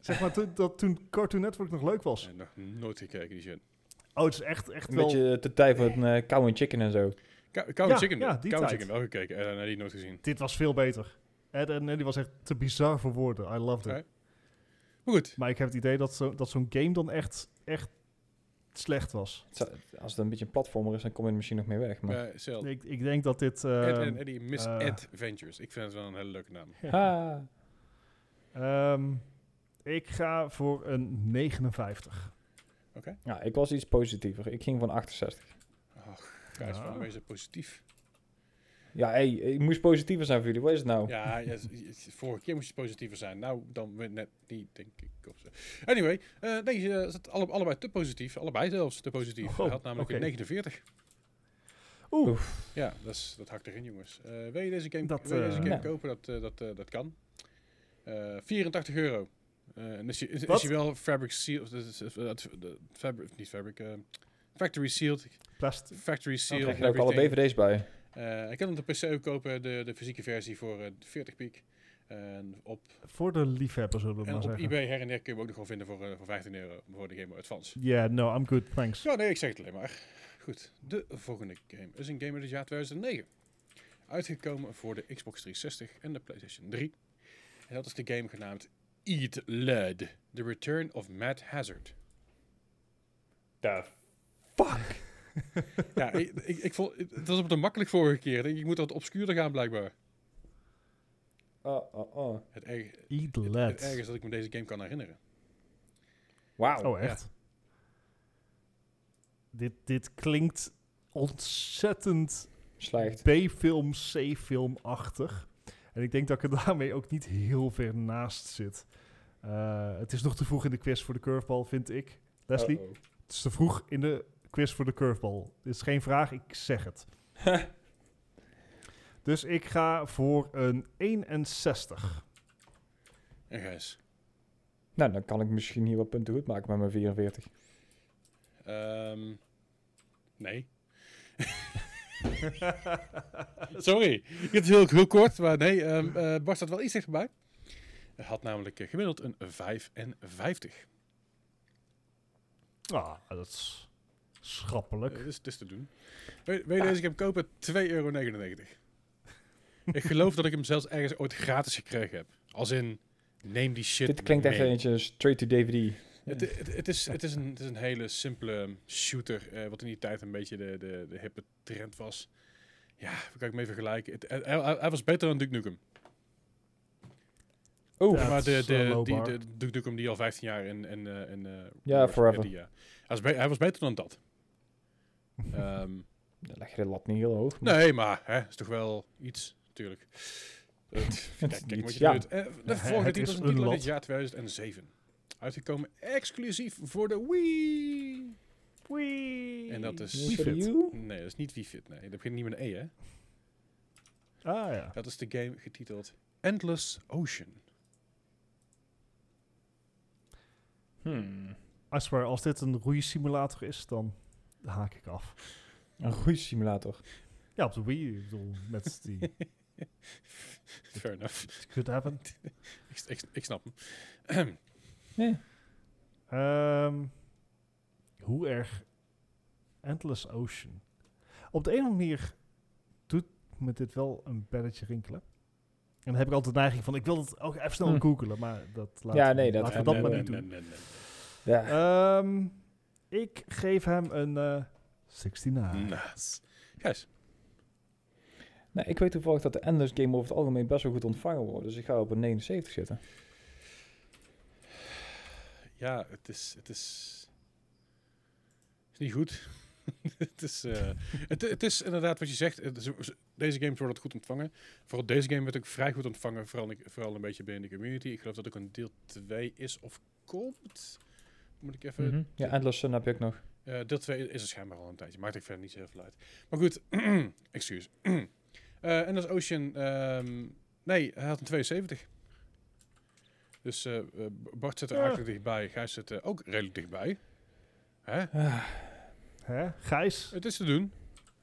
[SPEAKER 3] Zeg maar toen- dat toen Cartoon Network nog leuk was.
[SPEAKER 1] En nog nooit gekeken, die shit.
[SPEAKER 3] Oh, het is echt, echt
[SPEAKER 2] Een
[SPEAKER 3] wel...
[SPEAKER 2] beetje te tij van eh cow and chicken en zo.
[SPEAKER 1] Cow Cow
[SPEAKER 3] Ja,
[SPEAKER 1] Chicken,
[SPEAKER 3] ja,
[SPEAKER 1] ja,
[SPEAKER 3] die
[SPEAKER 1] Cow
[SPEAKER 3] tijd.
[SPEAKER 1] Chicken wel gekeken. Ed en Eddie nooit gezien.
[SPEAKER 3] Dit was veel beter. Ed en Eddie was echt te bizar voor woorden. I loved it.
[SPEAKER 1] Oké. Maar goed,
[SPEAKER 3] Maar ik heb het idee dat, zo, dat zo'n game dan echt, echt slecht was.
[SPEAKER 2] Het zou- Als het een beetje een platformer is, dan kom je er misschien nog mee weg. Maar...
[SPEAKER 1] Eh, Cel.
[SPEAKER 3] Ik, ik denk dat dit... eh,
[SPEAKER 1] Ed en Eddie Miss
[SPEAKER 3] eh.
[SPEAKER 1] Adventures. Ik vind het wel een hele leuke naam.
[SPEAKER 2] Ha.
[SPEAKER 3] ehm, ik ga voor een 59.
[SPEAKER 2] Ja, ik was iets positiever. Ik ging van 68.
[SPEAKER 1] Kijk,
[SPEAKER 3] Ja.
[SPEAKER 1] van wees er positief.
[SPEAKER 2] Ja, hey, ik moest positiever zijn voor jullie. Wat is het
[SPEAKER 3] Oh.
[SPEAKER 2] nou?
[SPEAKER 1] Ja, ja, s- s- vorige keer moest je positiever zijn. Nou, dan weer net niet, denk ik. of zo. Anyway, eh, nee, ze zat alle, allebei te positief. Allebei zelfs te positief.
[SPEAKER 3] Oh,
[SPEAKER 1] Hij had namelijk een
[SPEAKER 3] oké.
[SPEAKER 1] 49.
[SPEAKER 3] Oeh.
[SPEAKER 1] Ja, dat, is, dat hakt erin, jongens. Eh, wil je deze game,
[SPEAKER 3] Dat,
[SPEAKER 1] wil je deze
[SPEAKER 3] eh,
[SPEAKER 1] game
[SPEAKER 2] ja.
[SPEAKER 1] kopen? Dat, eh, dat, eh, dat kan. Eh, 84 euro. Eh, en is je, is,
[SPEAKER 3] Wat?
[SPEAKER 1] is je wel fabric sealed? Dat is, eh, dat- dat- fabric, niet fabric. eh, factory sealed.
[SPEAKER 3] Plast-
[SPEAKER 1] Factory
[SPEAKER 2] Dan
[SPEAKER 1] sealed.
[SPEAKER 2] krijg je er ook alle
[SPEAKER 1] everything.
[SPEAKER 2] DVD's bij.
[SPEAKER 1] Eh, ik kan hem op de PC ook kopen, de, de fysieke versie voor eh, 40 piek. En op,
[SPEAKER 3] Voor de liefhebbers, zullen we
[SPEAKER 1] en
[SPEAKER 3] maar
[SPEAKER 1] op
[SPEAKER 3] zeggen.
[SPEAKER 1] eBay her en der kun je hem ook nog gewoon vinden voor, eh, voor 15 euro voor de Game Boy Advance.
[SPEAKER 3] Yeah, no, I'm good, thanks.
[SPEAKER 1] Zo, nee, ik zeg het alleen maar. Goed, de volgende game is een game uit het jaar 2009. Uitgekomen voor de Xbox 360 en de PlayStation 3. En dat is de game genaamd Eat Lead. The Return of Mad Hazard.
[SPEAKER 2] The fuck?
[SPEAKER 1] ja, ik, ik, ik vond, het was op de makkelijk vorige keer. Ik denk, Ik moet wat obscuurder gaan blijkbaar.
[SPEAKER 2] Oh, oh, oh.
[SPEAKER 1] Het, erg,
[SPEAKER 3] Eat
[SPEAKER 1] het, het
[SPEAKER 3] Led.
[SPEAKER 1] erg is dat ik me deze game kan herinneren.
[SPEAKER 2] Wauw.
[SPEAKER 3] Oh, echt? Dit, dit klinkt ontzettend
[SPEAKER 2] Slecht.
[SPEAKER 3] B-film, C-film-achtig. En ik denk dat ik er [LAUGHS] daarmee ook niet heel ver naast zit. Eh, het is nog te vroeg in de quiz voor de curveball, vind ik. Leslie,
[SPEAKER 2] Uh-oh.
[SPEAKER 3] het is te vroeg in de quiz voor de curveball. Dit is geen vraag, ik zeg het. dus ik ga voor een 61.
[SPEAKER 1] En Gijs.
[SPEAKER 2] Nou, dan kan ik misschien hier wat punten goed maken met mijn 44.
[SPEAKER 1] Ehm, nee. [LAUGHS] Sorry. Het is heel, heel kort, maar nee. ehm eh Bart staat wel iets dichterbij. Hij had namelijk eh, gemiddeld een 55.
[SPEAKER 3] Ah, dat is
[SPEAKER 1] Eh,
[SPEAKER 3] schappelijk.
[SPEAKER 1] dus het is te doen. Wil wil je deze game kopen? 2,99 euro. ik geloof dat ik hem zelfs ergens ooit gratis gekregen heb. Als in, neem die shit
[SPEAKER 2] Dit klinkt echt
[SPEAKER 1] mee.
[SPEAKER 2] eentje straight to DVD.
[SPEAKER 1] Het, het, het is, het, is een, het is een hele simpele shooter, eh, wat in die tijd een beetje de, de, de hippe trend was. Ja, waar kan ik mee vergelijken? Het- hij- hij, hij was beter dan Duke Nukem.
[SPEAKER 2] Oeh.
[SPEAKER 3] Ja.
[SPEAKER 1] maar de,
[SPEAKER 3] is, eh,
[SPEAKER 1] de,
[SPEAKER 3] low
[SPEAKER 1] die,
[SPEAKER 3] bar.
[SPEAKER 1] de Duke Nukem die al 15 jaar in... in, eh, in eh,
[SPEAKER 2] Ja,
[SPEAKER 1] Warcraft-
[SPEAKER 2] forever.
[SPEAKER 1] die, ja. hij, was be- hij was beter dan
[SPEAKER 2] [LAUGHS]
[SPEAKER 1] dat. Ehm,
[SPEAKER 2] Dan leg je de lat niet heel hoog. maar-
[SPEAKER 1] nee, maar hè, is toch wel iets, natuurlijk.
[SPEAKER 2] [LAUGHS]
[SPEAKER 1] Het- kijk,
[SPEAKER 2] is
[SPEAKER 1] kijk wat
[SPEAKER 2] iets,
[SPEAKER 1] je
[SPEAKER 2] ja.
[SPEAKER 1] doet. Eh, de
[SPEAKER 3] Ja, [LAUGHS]
[SPEAKER 1] volgende
[SPEAKER 3] het
[SPEAKER 1] titel
[SPEAKER 3] is
[SPEAKER 1] is een
[SPEAKER 3] een
[SPEAKER 1] titel uit
[SPEAKER 3] lot.
[SPEAKER 1] het jaar 2007. Uitgekomen exclusief voor de Wii.
[SPEAKER 3] Wee.
[SPEAKER 1] En dat is-
[SPEAKER 2] Voor
[SPEAKER 3] Wii Fit.
[SPEAKER 2] you?
[SPEAKER 1] Nee, dat is niet Wii Fit. Nee, dat begint niet met een E, hè?
[SPEAKER 3] Ah ja.
[SPEAKER 1] Dat is de game getiteld Endless
[SPEAKER 3] [LAUGHS]
[SPEAKER 1] Ocean.
[SPEAKER 2] Hmm.
[SPEAKER 3] I swear, als dit een roeisimulator is, dan haak ik af.
[SPEAKER 2] Een goede simulator.
[SPEAKER 3] Ja, op de Wii, ik bedoel, met die
[SPEAKER 1] Fair enough.
[SPEAKER 3] it could happen.
[SPEAKER 1] Ik, ik, ik snap hem.
[SPEAKER 2] Nee.
[SPEAKER 3] Ehm, hoe erg Endless Ocean. Op de een of andere manier doet me dit wel een belletje rinkelen. En dan heb ik altijd de neiging van, ik wil het ook even snel
[SPEAKER 2] Hm.
[SPEAKER 3] googelen, maar dat laat
[SPEAKER 2] Ja, nee, dat-
[SPEAKER 3] laten
[SPEAKER 1] En,
[SPEAKER 3] we dat
[SPEAKER 1] eh,
[SPEAKER 3] maar
[SPEAKER 1] en,
[SPEAKER 3] niet doen.
[SPEAKER 1] en, en, en.
[SPEAKER 2] Ja.
[SPEAKER 3] Ehm, ik geef hem een eh
[SPEAKER 1] Nou.
[SPEAKER 3] 69.
[SPEAKER 1] Nice. Gijs.
[SPEAKER 2] Nou, ik weet toevallig dat de Endless Game over het algemeen best wel goed ontvangen wordt. Dus ik ga op een 79 zitten.
[SPEAKER 1] Ja, het is... Het is, het is niet goed. [LAUGHS] het, is, eh, het, het is inderdaad wat je zegt. het is- deze games worden goed ontvangen. Vooral deze game werd ook vrij goed ontvangen. Vooral, vooral een beetje binnen de community. Ik geloof dat ook een deel 2 is of komt. Moet ik even
[SPEAKER 2] Mhm. Ja, Endless Sun heb je ook nog.
[SPEAKER 1] Eh, deel 2 is er schijnbaar al een tijdje. Maakt ik verder niet zo heel veel uit. Maar goed, [CLEARS THROAT] excuus. [CLEARS THROAT] Eh, en dat is Ocean. ehm, nee, hij had een 72. Dus eh, eh, Bart zit er
[SPEAKER 3] Ja.
[SPEAKER 1] eigenlijk dichtbij. Gijs zit er ook redelijk dichtbij. Hè?
[SPEAKER 2] Ah.
[SPEAKER 3] Hè? Gijs?
[SPEAKER 1] Het is te doen.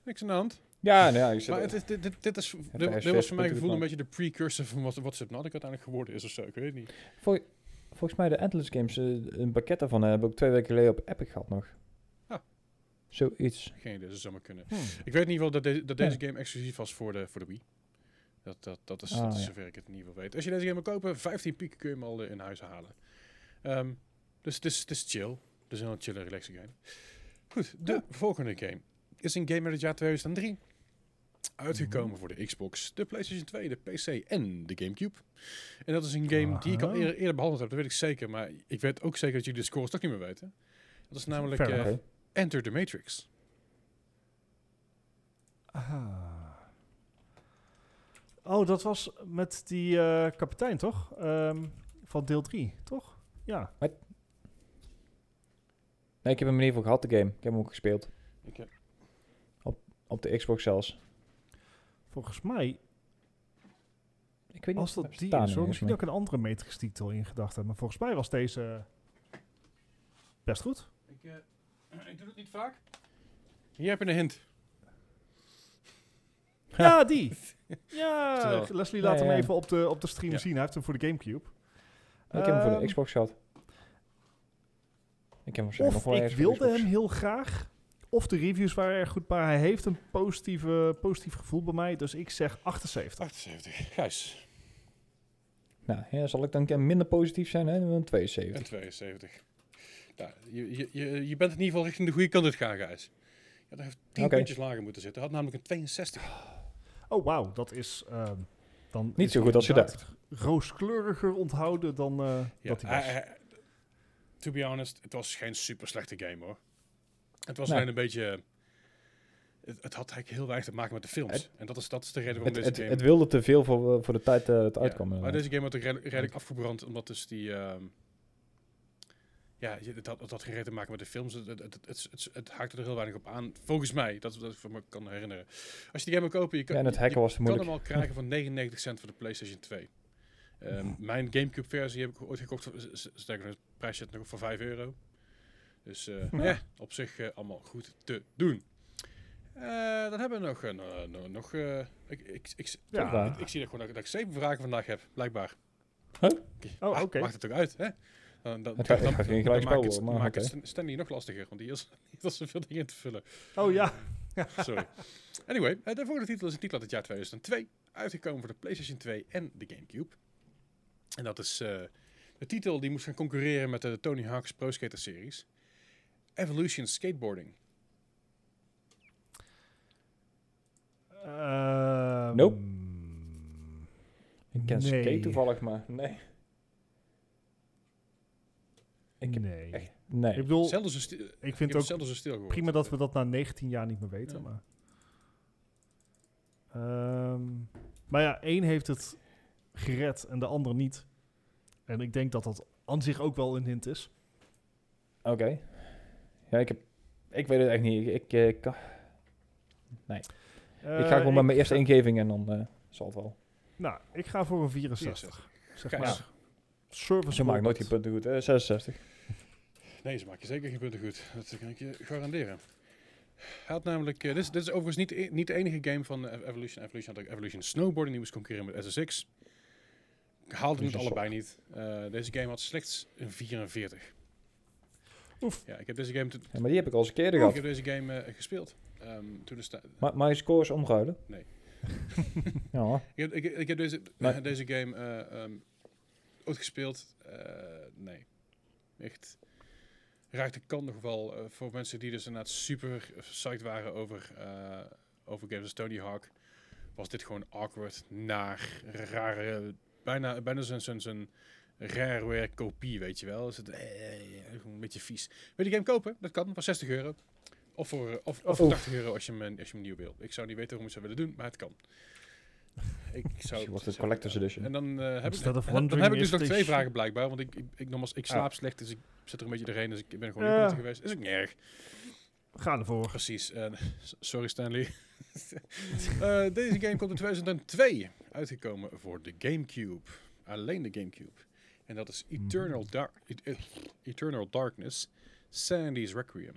[SPEAKER 1] Niks aan de hand.
[SPEAKER 2] Ja, nou ja, ik zit
[SPEAKER 1] Maar het is, dit, dit, dit, is, dit,
[SPEAKER 2] is
[SPEAKER 1] dit
[SPEAKER 2] zes
[SPEAKER 1] was voor mijn gevoel
[SPEAKER 2] punten
[SPEAKER 1] een
[SPEAKER 2] ervan.
[SPEAKER 1] beetje de precursor van wat, wat Subnautica uiteindelijk geworden is of zo. Ik weet het niet.
[SPEAKER 2] Vol- volgens mij de Endless Games, eh, een pakket daarvan eh, heb ik twee weken geleden op Epic gehad nog.
[SPEAKER 1] Ah.
[SPEAKER 2] Zoiets.
[SPEAKER 1] Geen idee, dat zou maar kunnen.
[SPEAKER 3] Hm.
[SPEAKER 1] Ik weet in ieder geval dat, deze- dat deze
[SPEAKER 2] Ja.
[SPEAKER 1] game exclusief was voor de, voor de Wii. Dat, dat, dat is,
[SPEAKER 2] Ah,
[SPEAKER 1] dat is
[SPEAKER 2] ja.
[SPEAKER 1] zover ik het in ieder geval weet. Als je deze game wil kopen, 15 piek kun je hem al eh, in huis halen. Ehm, dus het is, het is chill. Het is een heel chill en relaxing game. Goed, de volgende game is een game uit het jaar 2003. Uitgekomen
[SPEAKER 2] Mhm.
[SPEAKER 1] voor de Xbox, de PlayStation 2, de PC en de Gamecube. En dat is een game die ik al
[SPEAKER 3] Aha.
[SPEAKER 1] eerder, eerder behandeld heb, dat weet ik zeker. Maar ik weet ook zeker dat jullie de scores toch niet meer weten. Dat is namelijk
[SPEAKER 3] Fair
[SPEAKER 1] eh,
[SPEAKER 2] Oké.
[SPEAKER 1] Enter the Matrix.
[SPEAKER 3] Ah. Oh, dat was met die eh, kapitein, toch? Ehm, van deel 3, toch? Ja.
[SPEAKER 2] Nee, ik heb hem in ieder geval gehad, de game. Ik heb hem ook gespeeld.
[SPEAKER 1] Ik heb
[SPEAKER 2] Op de Xbox zelfs.
[SPEAKER 3] Volgens mij
[SPEAKER 2] Ik weet niet
[SPEAKER 3] was
[SPEAKER 2] of
[SPEAKER 3] dat
[SPEAKER 2] het
[SPEAKER 3] die.
[SPEAKER 2] staan
[SPEAKER 3] Zo,
[SPEAKER 2] is,
[SPEAKER 3] misschien
[SPEAKER 2] maar-
[SPEAKER 3] dat ik een andere matrix titel in gedacht heb. Maar volgens mij was deze best goed.
[SPEAKER 1] Ik, eh, [CLEARS THROAT] ik doe het niet vaak. Hier heb je een hint.
[SPEAKER 3] Ja,
[SPEAKER 2] [LAUGHS]
[SPEAKER 3] die. ja,
[SPEAKER 1] Terwijl-
[SPEAKER 3] Leslie
[SPEAKER 2] Ja,
[SPEAKER 3] laat
[SPEAKER 2] ja.
[SPEAKER 3] hem even op de, op de stream
[SPEAKER 1] Ja.
[SPEAKER 3] zien. Hij heeft hem voor de
[SPEAKER 2] Ik
[SPEAKER 3] Gamecube.
[SPEAKER 2] heb hem voor de
[SPEAKER 3] Ehm,
[SPEAKER 2] Xbox gehad. Ik heb hem waarschijnlijk nog
[SPEAKER 3] Of
[SPEAKER 2] wel
[SPEAKER 3] ik
[SPEAKER 2] ergens voor de
[SPEAKER 3] wilde hem
[SPEAKER 2] Xbox.
[SPEAKER 3] heel graag. Of de reviews waren erg goed. Maar hij heeft een positieve, positief gevoel bij mij. Dus ik zeg 78.
[SPEAKER 1] 78. Gijs.
[SPEAKER 2] Nou, ja, zal ik dan een keer minder positief zijn? Hè? Dan
[SPEAKER 1] En
[SPEAKER 2] 72.
[SPEAKER 1] 72. Nou, je, je, je, je bent in ieder geval richting de goede kant uit gaan, guys. Ja, daar heeft 10
[SPEAKER 2] Oké. Ah,
[SPEAKER 1] puntjes lager moeten zitten. Hij had namelijk een 62.
[SPEAKER 3] Oh, wauw, dat is ehm, dan...
[SPEAKER 2] Niet
[SPEAKER 3] is
[SPEAKER 2] zo
[SPEAKER 3] hij
[SPEAKER 2] goed als je
[SPEAKER 3] inderdaad Rooskleuriger onthouden dan eh,
[SPEAKER 1] Ja,
[SPEAKER 3] dat hij was.
[SPEAKER 1] hij- hij- to be honest, het was geen super slechte game hoor. Het was
[SPEAKER 2] Nee.
[SPEAKER 1] alleen een beetje. eh, Het, het had eigenlijk heel weinig te maken met de films.
[SPEAKER 2] Het-
[SPEAKER 1] en dat is, dat is de reden waarom
[SPEAKER 2] Het,
[SPEAKER 1] deze
[SPEAKER 2] het,
[SPEAKER 1] game.
[SPEAKER 2] het wilde te veel voor, voor de tijd eh, het
[SPEAKER 1] Ja,
[SPEAKER 2] uitkwam.
[SPEAKER 1] Maar dus deze
[SPEAKER 2] inderdaad.
[SPEAKER 1] game werd ook redelijk, redelijk afgebrand, omdat dus die. ehm, ja, je- het had, het had geen reden te maken met de films. Het, het, het, het, het- het haakte er heel weinig op aan. Volgens mij, dat, dat ik van me kan herinneren. Als je die game wil kopen, je kan,
[SPEAKER 2] Ja, en het
[SPEAKER 1] je-
[SPEAKER 2] hacken
[SPEAKER 1] je
[SPEAKER 2] was te
[SPEAKER 1] kan
[SPEAKER 2] moeilijk.
[SPEAKER 1] hem al krijgen van 99 cent voor de PlayStation 2. Ehm,
[SPEAKER 2] [LAUGHS]
[SPEAKER 1] mijn GameCube-versie heb ik ooit gekocht. voor- s- s- Sterker nog, het prijsje nog voor 5 euro. Dus
[SPEAKER 2] [LAUGHS]
[SPEAKER 1] eh,
[SPEAKER 2] Ja.
[SPEAKER 1] ja, op zich eh, allemaal goed te doen. Eh, dan hebben we nog... eh, nou, nou, nog eh, ik, ik, ik,
[SPEAKER 3] Ja.
[SPEAKER 1] ja. ik, ik zie dat, gewoon, dat ik zeven vragen vandaag heb, blijkbaar.
[SPEAKER 2] Huh?
[SPEAKER 3] Oh,
[SPEAKER 1] Ah,
[SPEAKER 3] oké.
[SPEAKER 1] Maakt het ook uit, hè? Dan, dan,
[SPEAKER 2] Het gaat- het gaat geen
[SPEAKER 1] maak ik
[SPEAKER 2] gelijk spel
[SPEAKER 1] het,
[SPEAKER 2] worden, maar
[SPEAKER 1] maak ik
[SPEAKER 2] oké.
[SPEAKER 1] het Stan- Stanley nog lastiger, want die is [LAUGHS] niet als zoveel dingen in te vullen.
[SPEAKER 3] Oh ja,
[SPEAKER 1] [LAUGHS] Sorry. Anyway, eh, de volgende titel is een titel uit het jaar 2002. Uitgekomen voor de PlayStation 2 en de GameCube. En dat is eh, de titel die moest gaan concurreren met de Tony Hawk's Pro Skater series. Evolution Skateboarding.
[SPEAKER 3] Ehm,
[SPEAKER 2] Nope. Ik ken Skate
[SPEAKER 3] nee.
[SPEAKER 2] toevallig, maar nee. Ik heb
[SPEAKER 3] nee.
[SPEAKER 2] echt-
[SPEAKER 3] Ik
[SPEAKER 2] Nee.
[SPEAKER 3] bedoel,
[SPEAKER 1] Zelden zo stil, ik
[SPEAKER 3] ik
[SPEAKER 1] heb
[SPEAKER 3] vind
[SPEAKER 1] het
[SPEAKER 3] het ook
[SPEAKER 1] zelden zo stil gehoord.
[SPEAKER 3] prima dat we dat na 19 jaar niet meer weten.
[SPEAKER 1] Ja.
[SPEAKER 3] Maar, Ehm, maar ja, één heeft het gered en de ander niet. En ik denk dat dat aan zich ook wel een hint is.
[SPEAKER 2] Oké. Ja, ik heb... Ik weet het echt niet. Ik, ik, eh, kan- ik ga gewoon met mijn eerste ingeving en dan eh, zal het wel.
[SPEAKER 3] Eh, Nou, ik ga voor een 64.
[SPEAKER 1] 64.
[SPEAKER 3] Zeg
[SPEAKER 1] Gijs.
[SPEAKER 3] maar. Service
[SPEAKER 2] Ze maakt nooit die
[SPEAKER 3] robot.
[SPEAKER 2] punten goed. eh, 66.
[SPEAKER 1] Nee, ze maken zeker geen punten goed. Dat kan ik je garanderen. Hij had namelijk, eh, dit, is, dit is overigens niet, e- niet de enige game van eh, Evolution. Evolution had ook Evolution Snowboarding, die moest concurreren met SSX. Haalde het
[SPEAKER 2] Dus een
[SPEAKER 1] allebei niet. Eh, deze game had slechts een 44.
[SPEAKER 3] Oef.
[SPEAKER 1] Ja, ik heb deze game, te-
[SPEAKER 2] Ja, maar die heb ik al eens een
[SPEAKER 1] ik
[SPEAKER 2] keer gehad.
[SPEAKER 1] heb deze game eh, gespeeld. Ehm, toen is da-
[SPEAKER 2] Maar mijn score is omgehouden.
[SPEAKER 1] Nee.
[SPEAKER 2] [LAUGHS] ja.
[SPEAKER 1] ik, heb, ik, ik heb deze,
[SPEAKER 2] Maar-
[SPEAKER 1] deze game eh, ehm, ooit gespeeld. Eh, nee. Echt. Raakte kan nog wel eh, voor mensen die dus inderdaad super psyched waren over, eh, over games als Tony Hawk. Was dit gewoon awkward, naar, rare, bijna, bijna zo'n zo'n zo'n rareware kopie, weet je wel. Is het, eh, gewoon een beetje vies. Wil je die game kopen? Dat kan, voor 60 euro. Of voor, eh, of, of voor
[SPEAKER 2] Oef.
[SPEAKER 1] 80 euro als je, hem, eh, als je hem nieuw wil. Ik zou niet weten hoe ik het zou willen doen, maar het kan.
[SPEAKER 2] [LAUGHS]
[SPEAKER 1] Ik zou
[SPEAKER 2] Misschien wordt het collector's edition.
[SPEAKER 1] en dan, eh, heb, ik,
[SPEAKER 3] Instead of
[SPEAKER 1] dan, dan heb ik
[SPEAKER 3] wondering
[SPEAKER 1] dus
[SPEAKER 3] if
[SPEAKER 1] nog
[SPEAKER 3] they
[SPEAKER 1] twee
[SPEAKER 3] should-
[SPEAKER 1] vragen blijkbaar. Want ik, ik, ik, nogmaals,
[SPEAKER 2] Ah.
[SPEAKER 1] ik slaap slecht, dus ik zit er een beetje doorheen. Dus ik ben gewoon
[SPEAKER 3] Ja.
[SPEAKER 1] niet goed geweest. Is ook niet erg.
[SPEAKER 3] Ga ervoor.
[SPEAKER 1] Precies. eh, s- sorry Stanley. [LAUGHS] Eh, deze game komt in 2002 uitgekomen voor de Gamecube. Alleen de Gamecube. En dat is
[SPEAKER 2] Mhm.
[SPEAKER 1] Eternal, Dark, Eternal Darkness, Sandy's Requiem.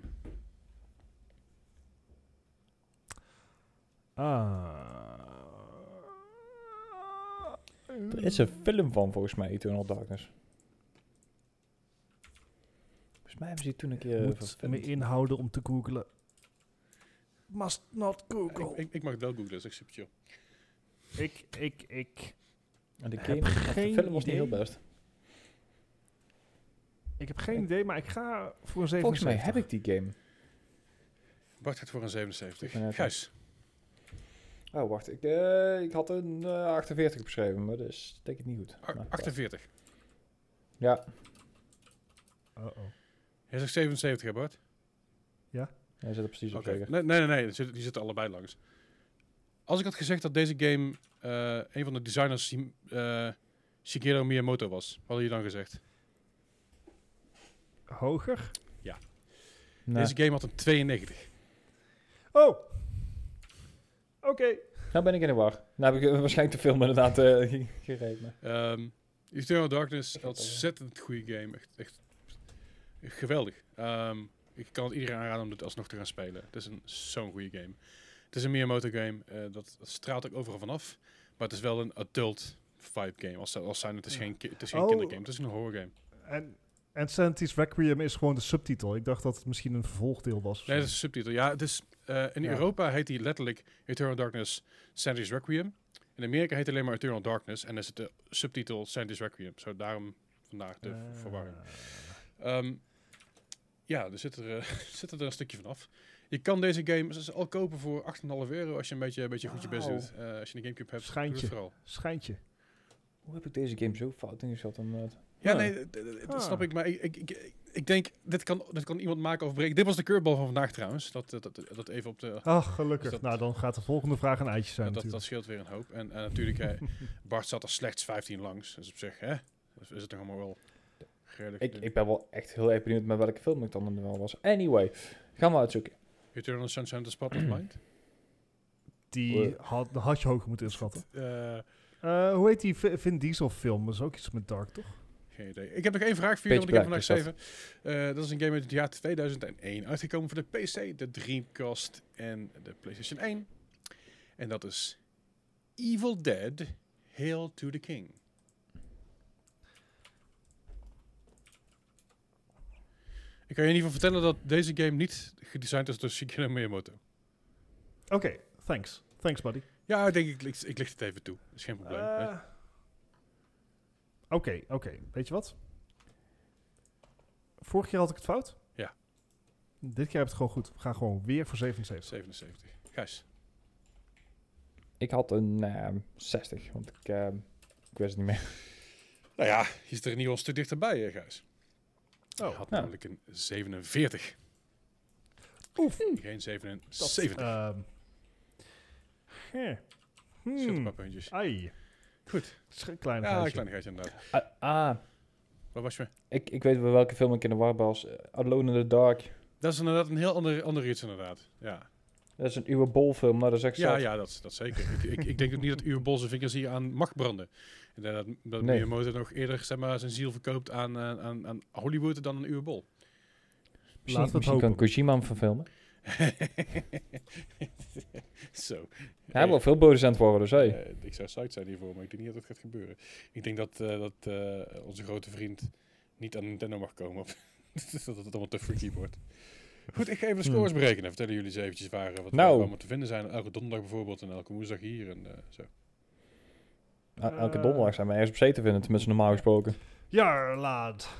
[SPEAKER 3] Ah.
[SPEAKER 2] Er is een film van volgens mij, Eternal Darkness. Volgens mij hebben ze die toen een keer... eh,
[SPEAKER 3] moet me
[SPEAKER 2] verfilmd.
[SPEAKER 3] inhouden om te googlen. Must not
[SPEAKER 1] Ik,
[SPEAKER 3] google.
[SPEAKER 1] ik, ik mag het wel googlen, dus ik zit chill.
[SPEAKER 3] Ik, ik, ik.
[SPEAKER 2] En de,
[SPEAKER 3] Heb
[SPEAKER 2] game, of de
[SPEAKER 3] geen
[SPEAKER 2] film was niet heel
[SPEAKER 3] idee.
[SPEAKER 2] best.
[SPEAKER 3] Ik heb geen idee, maar ik ga voor een 7.
[SPEAKER 2] Volgens mij heb ik die game.
[SPEAKER 1] Bart gaat voor een
[SPEAKER 2] Ik ben
[SPEAKER 1] 77.
[SPEAKER 2] net-
[SPEAKER 1] Gijs,
[SPEAKER 2] Oh, wacht. Ik, eh, ik had een eh, 48 beschreven, maar dus denk ik niet goed.
[SPEAKER 1] a-
[SPEAKER 2] Maar-
[SPEAKER 1] 48.
[SPEAKER 2] Ja,
[SPEAKER 3] Oh,
[SPEAKER 1] Hij zegt 77, hè Bart?
[SPEAKER 2] hij zit er precies op
[SPEAKER 1] Oké.
[SPEAKER 2] zeker.
[SPEAKER 1] Nee, nee, nee, nee, die zitten- die zitten allebei langs. Als ik had gezegd dat deze game eh, een van de designers Shim- eh, Shigeru Miyamoto was, wat had je dan gezegd?
[SPEAKER 3] Hoger?
[SPEAKER 2] Nee.
[SPEAKER 1] Deze game had een 92.
[SPEAKER 3] Oh! Oké.
[SPEAKER 2] Nou ben ik in de war. Nou heb ik eh, [LAUGHS] waarschijnlijk te film inderdaad eh [LAUGHS] gereden. maar-
[SPEAKER 1] Ehm Eternal Darkness,
[SPEAKER 2] Ik heb het al, ja.
[SPEAKER 1] ontzettend goede game. Echt, echt geweldig. Ehm, ik kan het iedereen aanraden om dit alsnog te gaan spelen. Het is een- zo'n goede game. Het is een Miyamoto game, eh, dat, dat straalt ook overal vanaf. Maar het is wel een adult vibe game. Als, als zijn het is geen, ki- het is geen
[SPEAKER 3] Oh.
[SPEAKER 1] kindergame, het is een horror game.
[SPEAKER 3] En, en Sanity's Requiem is gewoon de subtitel. Ik dacht dat het misschien een vervolgdeel was. of
[SPEAKER 1] Nee,
[SPEAKER 3] zo.
[SPEAKER 1] dat is een subtitel. Ja, het is, eh, in
[SPEAKER 2] Ja.
[SPEAKER 1] Europa heet die letterlijk Eternal Darkness Sandy's Requiem. In Amerika heet het alleen maar Eternal Darkness en is het de subtitel Sandy's Requiem. Zo daarom vandaar de
[SPEAKER 3] Eh,
[SPEAKER 1] verwarring. Ehm, ja, er zit er, eh, [LAUGHS] zit er een stukje vanaf. Je kan deze game ze- ze al kopen voor 8,5 euro als je een beetje, een beetje goed je best
[SPEAKER 2] Wauw.
[SPEAKER 1] doet. Eh, als je een Gamecube hebt, doe
[SPEAKER 3] Schijntje.
[SPEAKER 1] het vooral.
[SPEAKER 3] Schijntje.
[SPEAKER 2] Hoe heb ik deze game zo fout eh, ingezet? inderdaad?
[SPEAKER 1] Ja,
[SPEAKER 2] Ja.
[SPEAKER 1] nee, d- d- d- dat
[SPEAKER 3] Ah.
[SPEAKER 1] snap ik. Maar ik, ik, ik, ik denk, dit kan, dit kan iemand maken of breken. Dit was de curveball van vandaag trouwens. Dat, dat, dat, dat even op de...
[SPEAKER 3] Ach, gelukkig.
[SPEAKER 1] Dus dat-
[SPEAKER 3] nou, dan gaat de volgende vraag een eitje zijn
[SPEAKER 1] Dat, dat, dat
[SPEAKER 3] natuurlijk.
[SPEAKER 1] scheelt weer een hoop. En, en natuurlijk, eh, Bart zat er slechts 15 langs. Dus op zich, hè? Dus is het toch allemaal wel redelijk.
[SPEAKER 2] Ik,
[SPEAKER 1] te
[SPEAKER 2] ik ben wel echt heel erg benieuwd met welke film ik dan wel was. Anyway, gaan we uitzoeken.
[SPEAKER 1] doen. Eternal Sunshine of the Spotless Mind.
[SPEAKER 3] Die had, dat had je hoger moeten inschatten.
[SPEAKER 1] Eh,
[SPEAKER 3] Eh, hoe heet die V- Vin Diesel film? Dat is ook iets met Dark, toch?
[SPEAKER 1] geen idee. Ik heb nog één vraag voor jullie, want ik heb vandaag
[SPEAKER 2] Pitch
[SPEAKER 1] geschreven. Eh, dat is een game uit het jaar 2001 uitgekomen voor de PC, de Dreamcast en de PlayStation 1. En dat is Evil Dead, Hail to the King. Ik kan je in ieder geval vertellen dat deze game niet gedesigned is door Shigeru Miyamoto.
[SPEAKER 3] Oké, thanks. Thanks, buddy.
[SPEAKER 1] Ja, ik denk ik, licht- ik licht het even toe. is geen probleem. hè.
[SPEAKER 3] Eh, Oké, oké. Weet je wat? Vorig jaar had ik het fout.
[SPEAKER 1] Ja.
[SPEAKER 3] Dit keer heb ik het gewoon goed. We gaan gewoon weer voor 77.
[SPEAKER 1] 77. Gijs.
[SPEAKER 2] Ik had een eh, 60, want ik, eh, ik wist het niet meer. [LAUGHS]
[SPEAKER 1] Nou ja, je zit er in ieder geval een stuk dichterbij, hè, Gijs.
[SPEAKER 3] Oh.
[SPEAKER 1] Oh, had
[SPEAKER 2] Ja.
[SPEAKER 1] namelijk een 47.
[SPEAKER 3] Oef.
[SPEAKER 1] Geen 77.
[SPEAKER 3] Ehm. Hè. Hmm.
[SPEAKER 1] Scheelt een paar puntjes.
[SPEAKER 3] Ai.
[SPEAKER 1] Goed.
[SPEAKER 3] Sch- Klein
[SPEAKER 1] Ja, een
[SPEAKER 3] huisje.
[SPEAKER 1] klein gaatje inderdaad.
[SPEAKER 2] Ah, ah,
[SPEAKER 1] Waar was je?
[SPEAKER 2] ik, ik weet wel welke film ik in de war was. Eh, Alone in the Dark.
[SPEAKER 1] Dat is inderdaad een heel ander, ander iets, inderdaad. Ja,
[SPEAKER 2] Dat is een uwe bolfilm, nou dat is echt
[SPEAKER 1] ja,
[SPEAKER 2] zat.
[SPEAKER 1] ja dat, dat zeker. ik, ik, ik denk ook niet dat uw bolse vingers hier aan mag branden. En dat, dat
[SPEAKER 2] Nee.
[SPEAKER 1] Miyamoto nog eerder zeg maar, zijn ziel verkoopt aan, eh, aan, aan Hollywood dan aan uw bol. [LAUGHS]
[SPEAKER 2] Misschien,
[SPEAKER 3] Laten we het
[SPEAKER 2] misschien kan
[SPEAKER 3] hopen.
[SPEAKER 2] Kojima hem verfilmen.
[SPEAKER 1] Zo.
[SPEAKER 2] Hij wil veel producent worden, dus hey.
[SPEAKER 1] Eh, ik zou psyched zijn hiervoor, maar ik denk niet dat het gaat gebeuren. Ik denk dat, eh, dat eh, onze grote vriend niet aan Nintendo mag komen. Op. [LAUGHS] dat het allemaal te freaky wordt. Goed, ik ga even de scores berekenen. Vertellen jullie eens eventjes waar, eh, wat er
[SPEAKER 2] Hmm. Nou.
[SPEAKER 1] allemaal te vinden zijn. Elke donderdag bijvoorbeeld en elke woensdag hier en eh, zo.
[SPEAKER 2] El- Elke
[SPEAKER 3] Eh.
[SPEAKER 2] donderdag zijn we ergens op zee te vinden, tenminste normaal gesproken.
[SPEAKER 3] Ja, laat.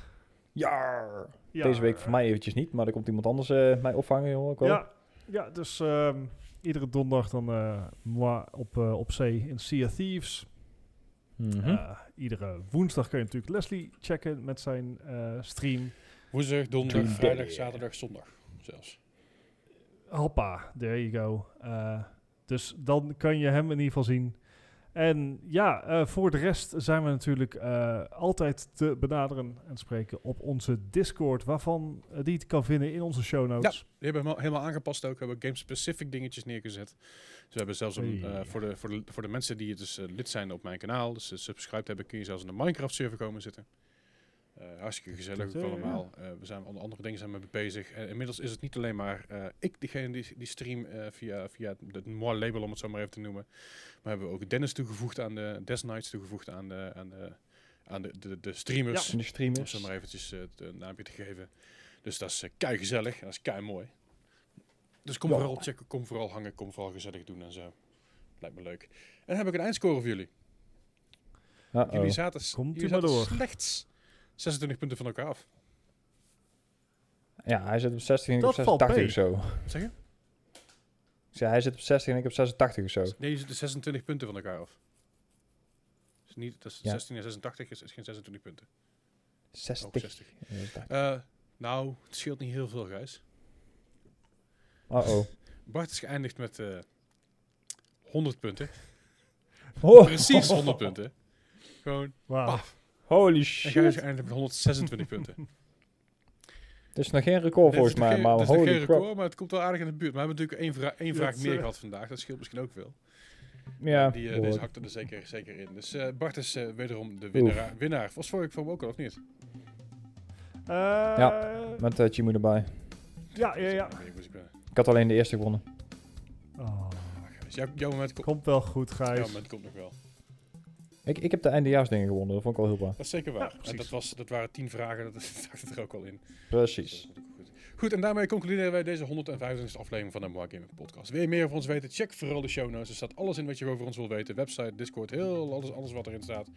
[SPEAKER 2] Ja.
[SPEAKER 3] Ja.
[SPEAKER 2] Deze week voor mij eventjes niet, maar er komt iemand anders eh, mij opvangen, joh. Ook wel.
[SPEAKER 3] Ja, ja dus ehm, iedere donderdag dan eh, moi op, eh, op zee in Sea of Thieves.
[SPEAKER 2] Mhm.
[SPEAKER 3] Eh, iedere woensdag kun je natuurlijk Leslie checken met zijn eh, stream.
[SPEAKER 1] Woensdag, donderdag,
[SPEAKER 2] Today.
[SPEAKER 1] vrijdag, zaterdag, zondag zelfs.
[SPEAKER 3] Hoppa, there you go. Eh, dus dan kan je hem in ieder geval zien. En ja, eh, voor de rest zijn we natuurlijk eh, altijd te benaderen en spreken op onze Discord, waarvan eh, die je kan vinden in onze show notes.
[SPEAKER 1] Die hebben we helemaal- helemaal aangepast ook. We hebben game-specific dingetjes neergezet. Dus we hebben zelfs een,
[SPEAKER 3] Hey.
[SPEAKER 1] eh, voor, de, voor, de, voor de mensen die dus eh, lid zijn op mijn kanaal, dus eh, subscribed hebben, kun je zelfs in de Minecraft-server komen zitten. Eh, hartstikke gezellig ook
[SPEAKER 3] Ja.
[SPEAKER 1] allemaal. Eh, we zijn onder andere dingen zijn we mee bezig. Eh, inmiddels is het niet alleen maar eh, ik degene die, die stream eh, via, via het mooi label, om het zo maar even te noemen. Maar hebben we ook Dennis toegevoegd aan de Des Nights toegevoegd aan de, aan de, aan de, de, de streamers.
[SPEAKER 2] En de
[SPEAKER 1] Om
[SPEAKER 2] streamers.
[SPEAKER 1] ze maar eventjes eh, het eh, naampje te geven. Dus dat is kei gezellig en dat is kei mooi. Dus kom
[SPEAKER 2] Ja.
[SPEAKER 1] vooral checken, kom vooral hangen, kom vooral gezellig doen en zo. Lijkt me leuk. En dan heb ik een eindscore voor jullie.
[SPEAKER 2] Uh-oh.
[SPEAKER 1] Jullie zaten, s-
[SPEAKER 3] Komt-ie
[SPEAKER 1] jullie zaten
[SPEAKER 3] maar door.
[SPEAKER 1] slechts 26 punten van elkaar af.
[SPEAKER 2] Ja, hij zit op 60 en ik
[SPEAKER 3] Dat
[SPEAKER 2] op
[SPEAKER 3] valt
[SPEAKER 2] 86 of zo.
[SPEAKER 1] Wat zeg je?
[SPEAKER 2] Ik zei, hij zit op 60 en ik op 86 of zo.
[SPEAKER 1] Nee, jullie zitten 26 punten van elkaar af. Dus niet, dat is
[SPEAKER 2] Ja.
[SPEAKER 1] 16 en 86 is, is geen 26 punten.
[SPEAKER 2] 60.
[SPEAKER 1] Ook 60. Eh, nou, het scheelt niet heel veel, Gijs. [LAUGHS]
[SPEAKER 2] Uh-oh.
[SPEAKER 1] Bart is geëindigd met eh 100 punten.
[SPEAKER 2] Oh,
[SPEAKER 1] Precies [LAUGHS] 100 punten. Gewoon
[SPEAKER 3] Wauw.
[SPEAKER 1] Paf.
[SPEAKER 2] Holy
[SPEAKER 1] En Gijs
[SPEAKER 2] shit.
[SPEAKER 1] eindigt met 126
[SPEAKER 2] [LAUGHS]
[SPEAKER 1] punten.
[SPEAKER 2] Het is nog geen record
[SPEAKER 1] Dit is
[SPEAKER 2] volgens
[SPEAKER 1] nog
[SPEAKER 2] mij,
[SPEAKER 1] geen-
[SPEAKER 2] maar
[SPEAKER 1] dit is nog
[SPEAKER 2] holy
[SPEAKER 1] geen
[SPEAKER 2] crap.
[SPEAKER 1] record, maar het komt wel aardig in de buurt. Maar we hebben natuurlijk één, vra- één
[SPEAKER 3] Dat
[SPEAKER 1] vraag
[SPEAKER 3] is,
[SPEAKER 1] meer
[SPEAKER 3] eh,
[SPEAKER 1] gehad vandaag. Dat scheelt misschien ook veel.
[SPEAKER 2] Ja,
[SPEAKER 1] Die, eh, deze
[SPEAKER 2] behoorlijk.
[SPEAKER 1] hakte er zeker, zeker in. Dus eh, Bart is eh, wederom de winnaar. winnaar. Was vorige keer ook al, of niet?
[SPEAKER 3] ja.
[SPEAKER 2] met eh, Chimu erbij.
[SPEAKER 3] ja, ja, ja.
[SPEAKER 1] Ik weet niet hoe ik ben.
[SPEAKER 2] Ik had alleen de eerste gewonnen.
[SPEAKER 3] Oh,
[SPEAKER 1] eh. Ah, Gijs, jouw- jouw moment komt.
[SPEAKER 3] komt wel goed,
[SPEAKER 1] Jouw
[SPEAKER 3] Gijs.
[SPEAKER 1] moment komt nog wel.
[SPEAKER 2] Ik, ik heb de eindejaarsdingen gewonnen, dat vond ik wel heel waar.
[SPEAKER 1] Dat is zeker
[SPEAKER 3] Ja,
[SPEAKER 1] waar. en
[SPEAKER 3] precies.
[SPEAKER 1] [LAUGHS] dat, was, dat waren tien vragen, dat zag het er ook al in. Dus
[SPEAKER 2] Precies.
[SPEAKER 1] dat is natuurlijk goed. Goed, en daarmee concluderen wij deze 125e aflevering van de Mark Gaming Podcast. Wil je meer over ons weten? Check vooral de show notes. Er staat alles in wat je over ons wil weten. Website, Discord, heel alles, alles wat erin staat.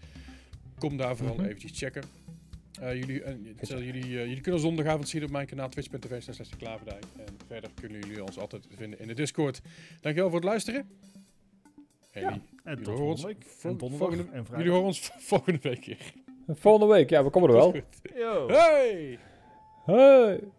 [SPEAKER 1] Kom daar vooral
[SPEAKER 2] Mhm.
[SPEAKER 1] eventjes checken. Eh, jullie, en, stel, jullie, eh, jullie kunnen zondagavond zien op mijn kanaal twitch.tv slash de Klaverdijk. En verder kunnen jullie ons altijd vinden in de Discord. Dankjewel voor het luisteren. En
[SPEAKER 3] Ja,
[SPEAKER 1] jullie-
[SPEAKER 3] En
[SPEAKER 1] jullie
[SPEAKER 3] tot
[SPEAKER 1] horen ons
[SPEAKER 3] volgende week.
[SPEAKER 1] vol-
[SPEAKER 3] En donderdag.
[SPEAKER 1] volgende-
[SPEAKER 3] En
[SPEAKER 1] jullie
[SPEAKER 3] vrijdag.
[SPEAKER 1] horen ons volgende week weer. [LAUGHS]
[SPEAKER 2] Volgende week, ja, we komen er wel.
[SPEAKER 1] Tot goed.
[SPEAKER 3] Yo.
[SPEAKER 1] Hey! [LAUGHS]
[SPEAKER 2] Hey!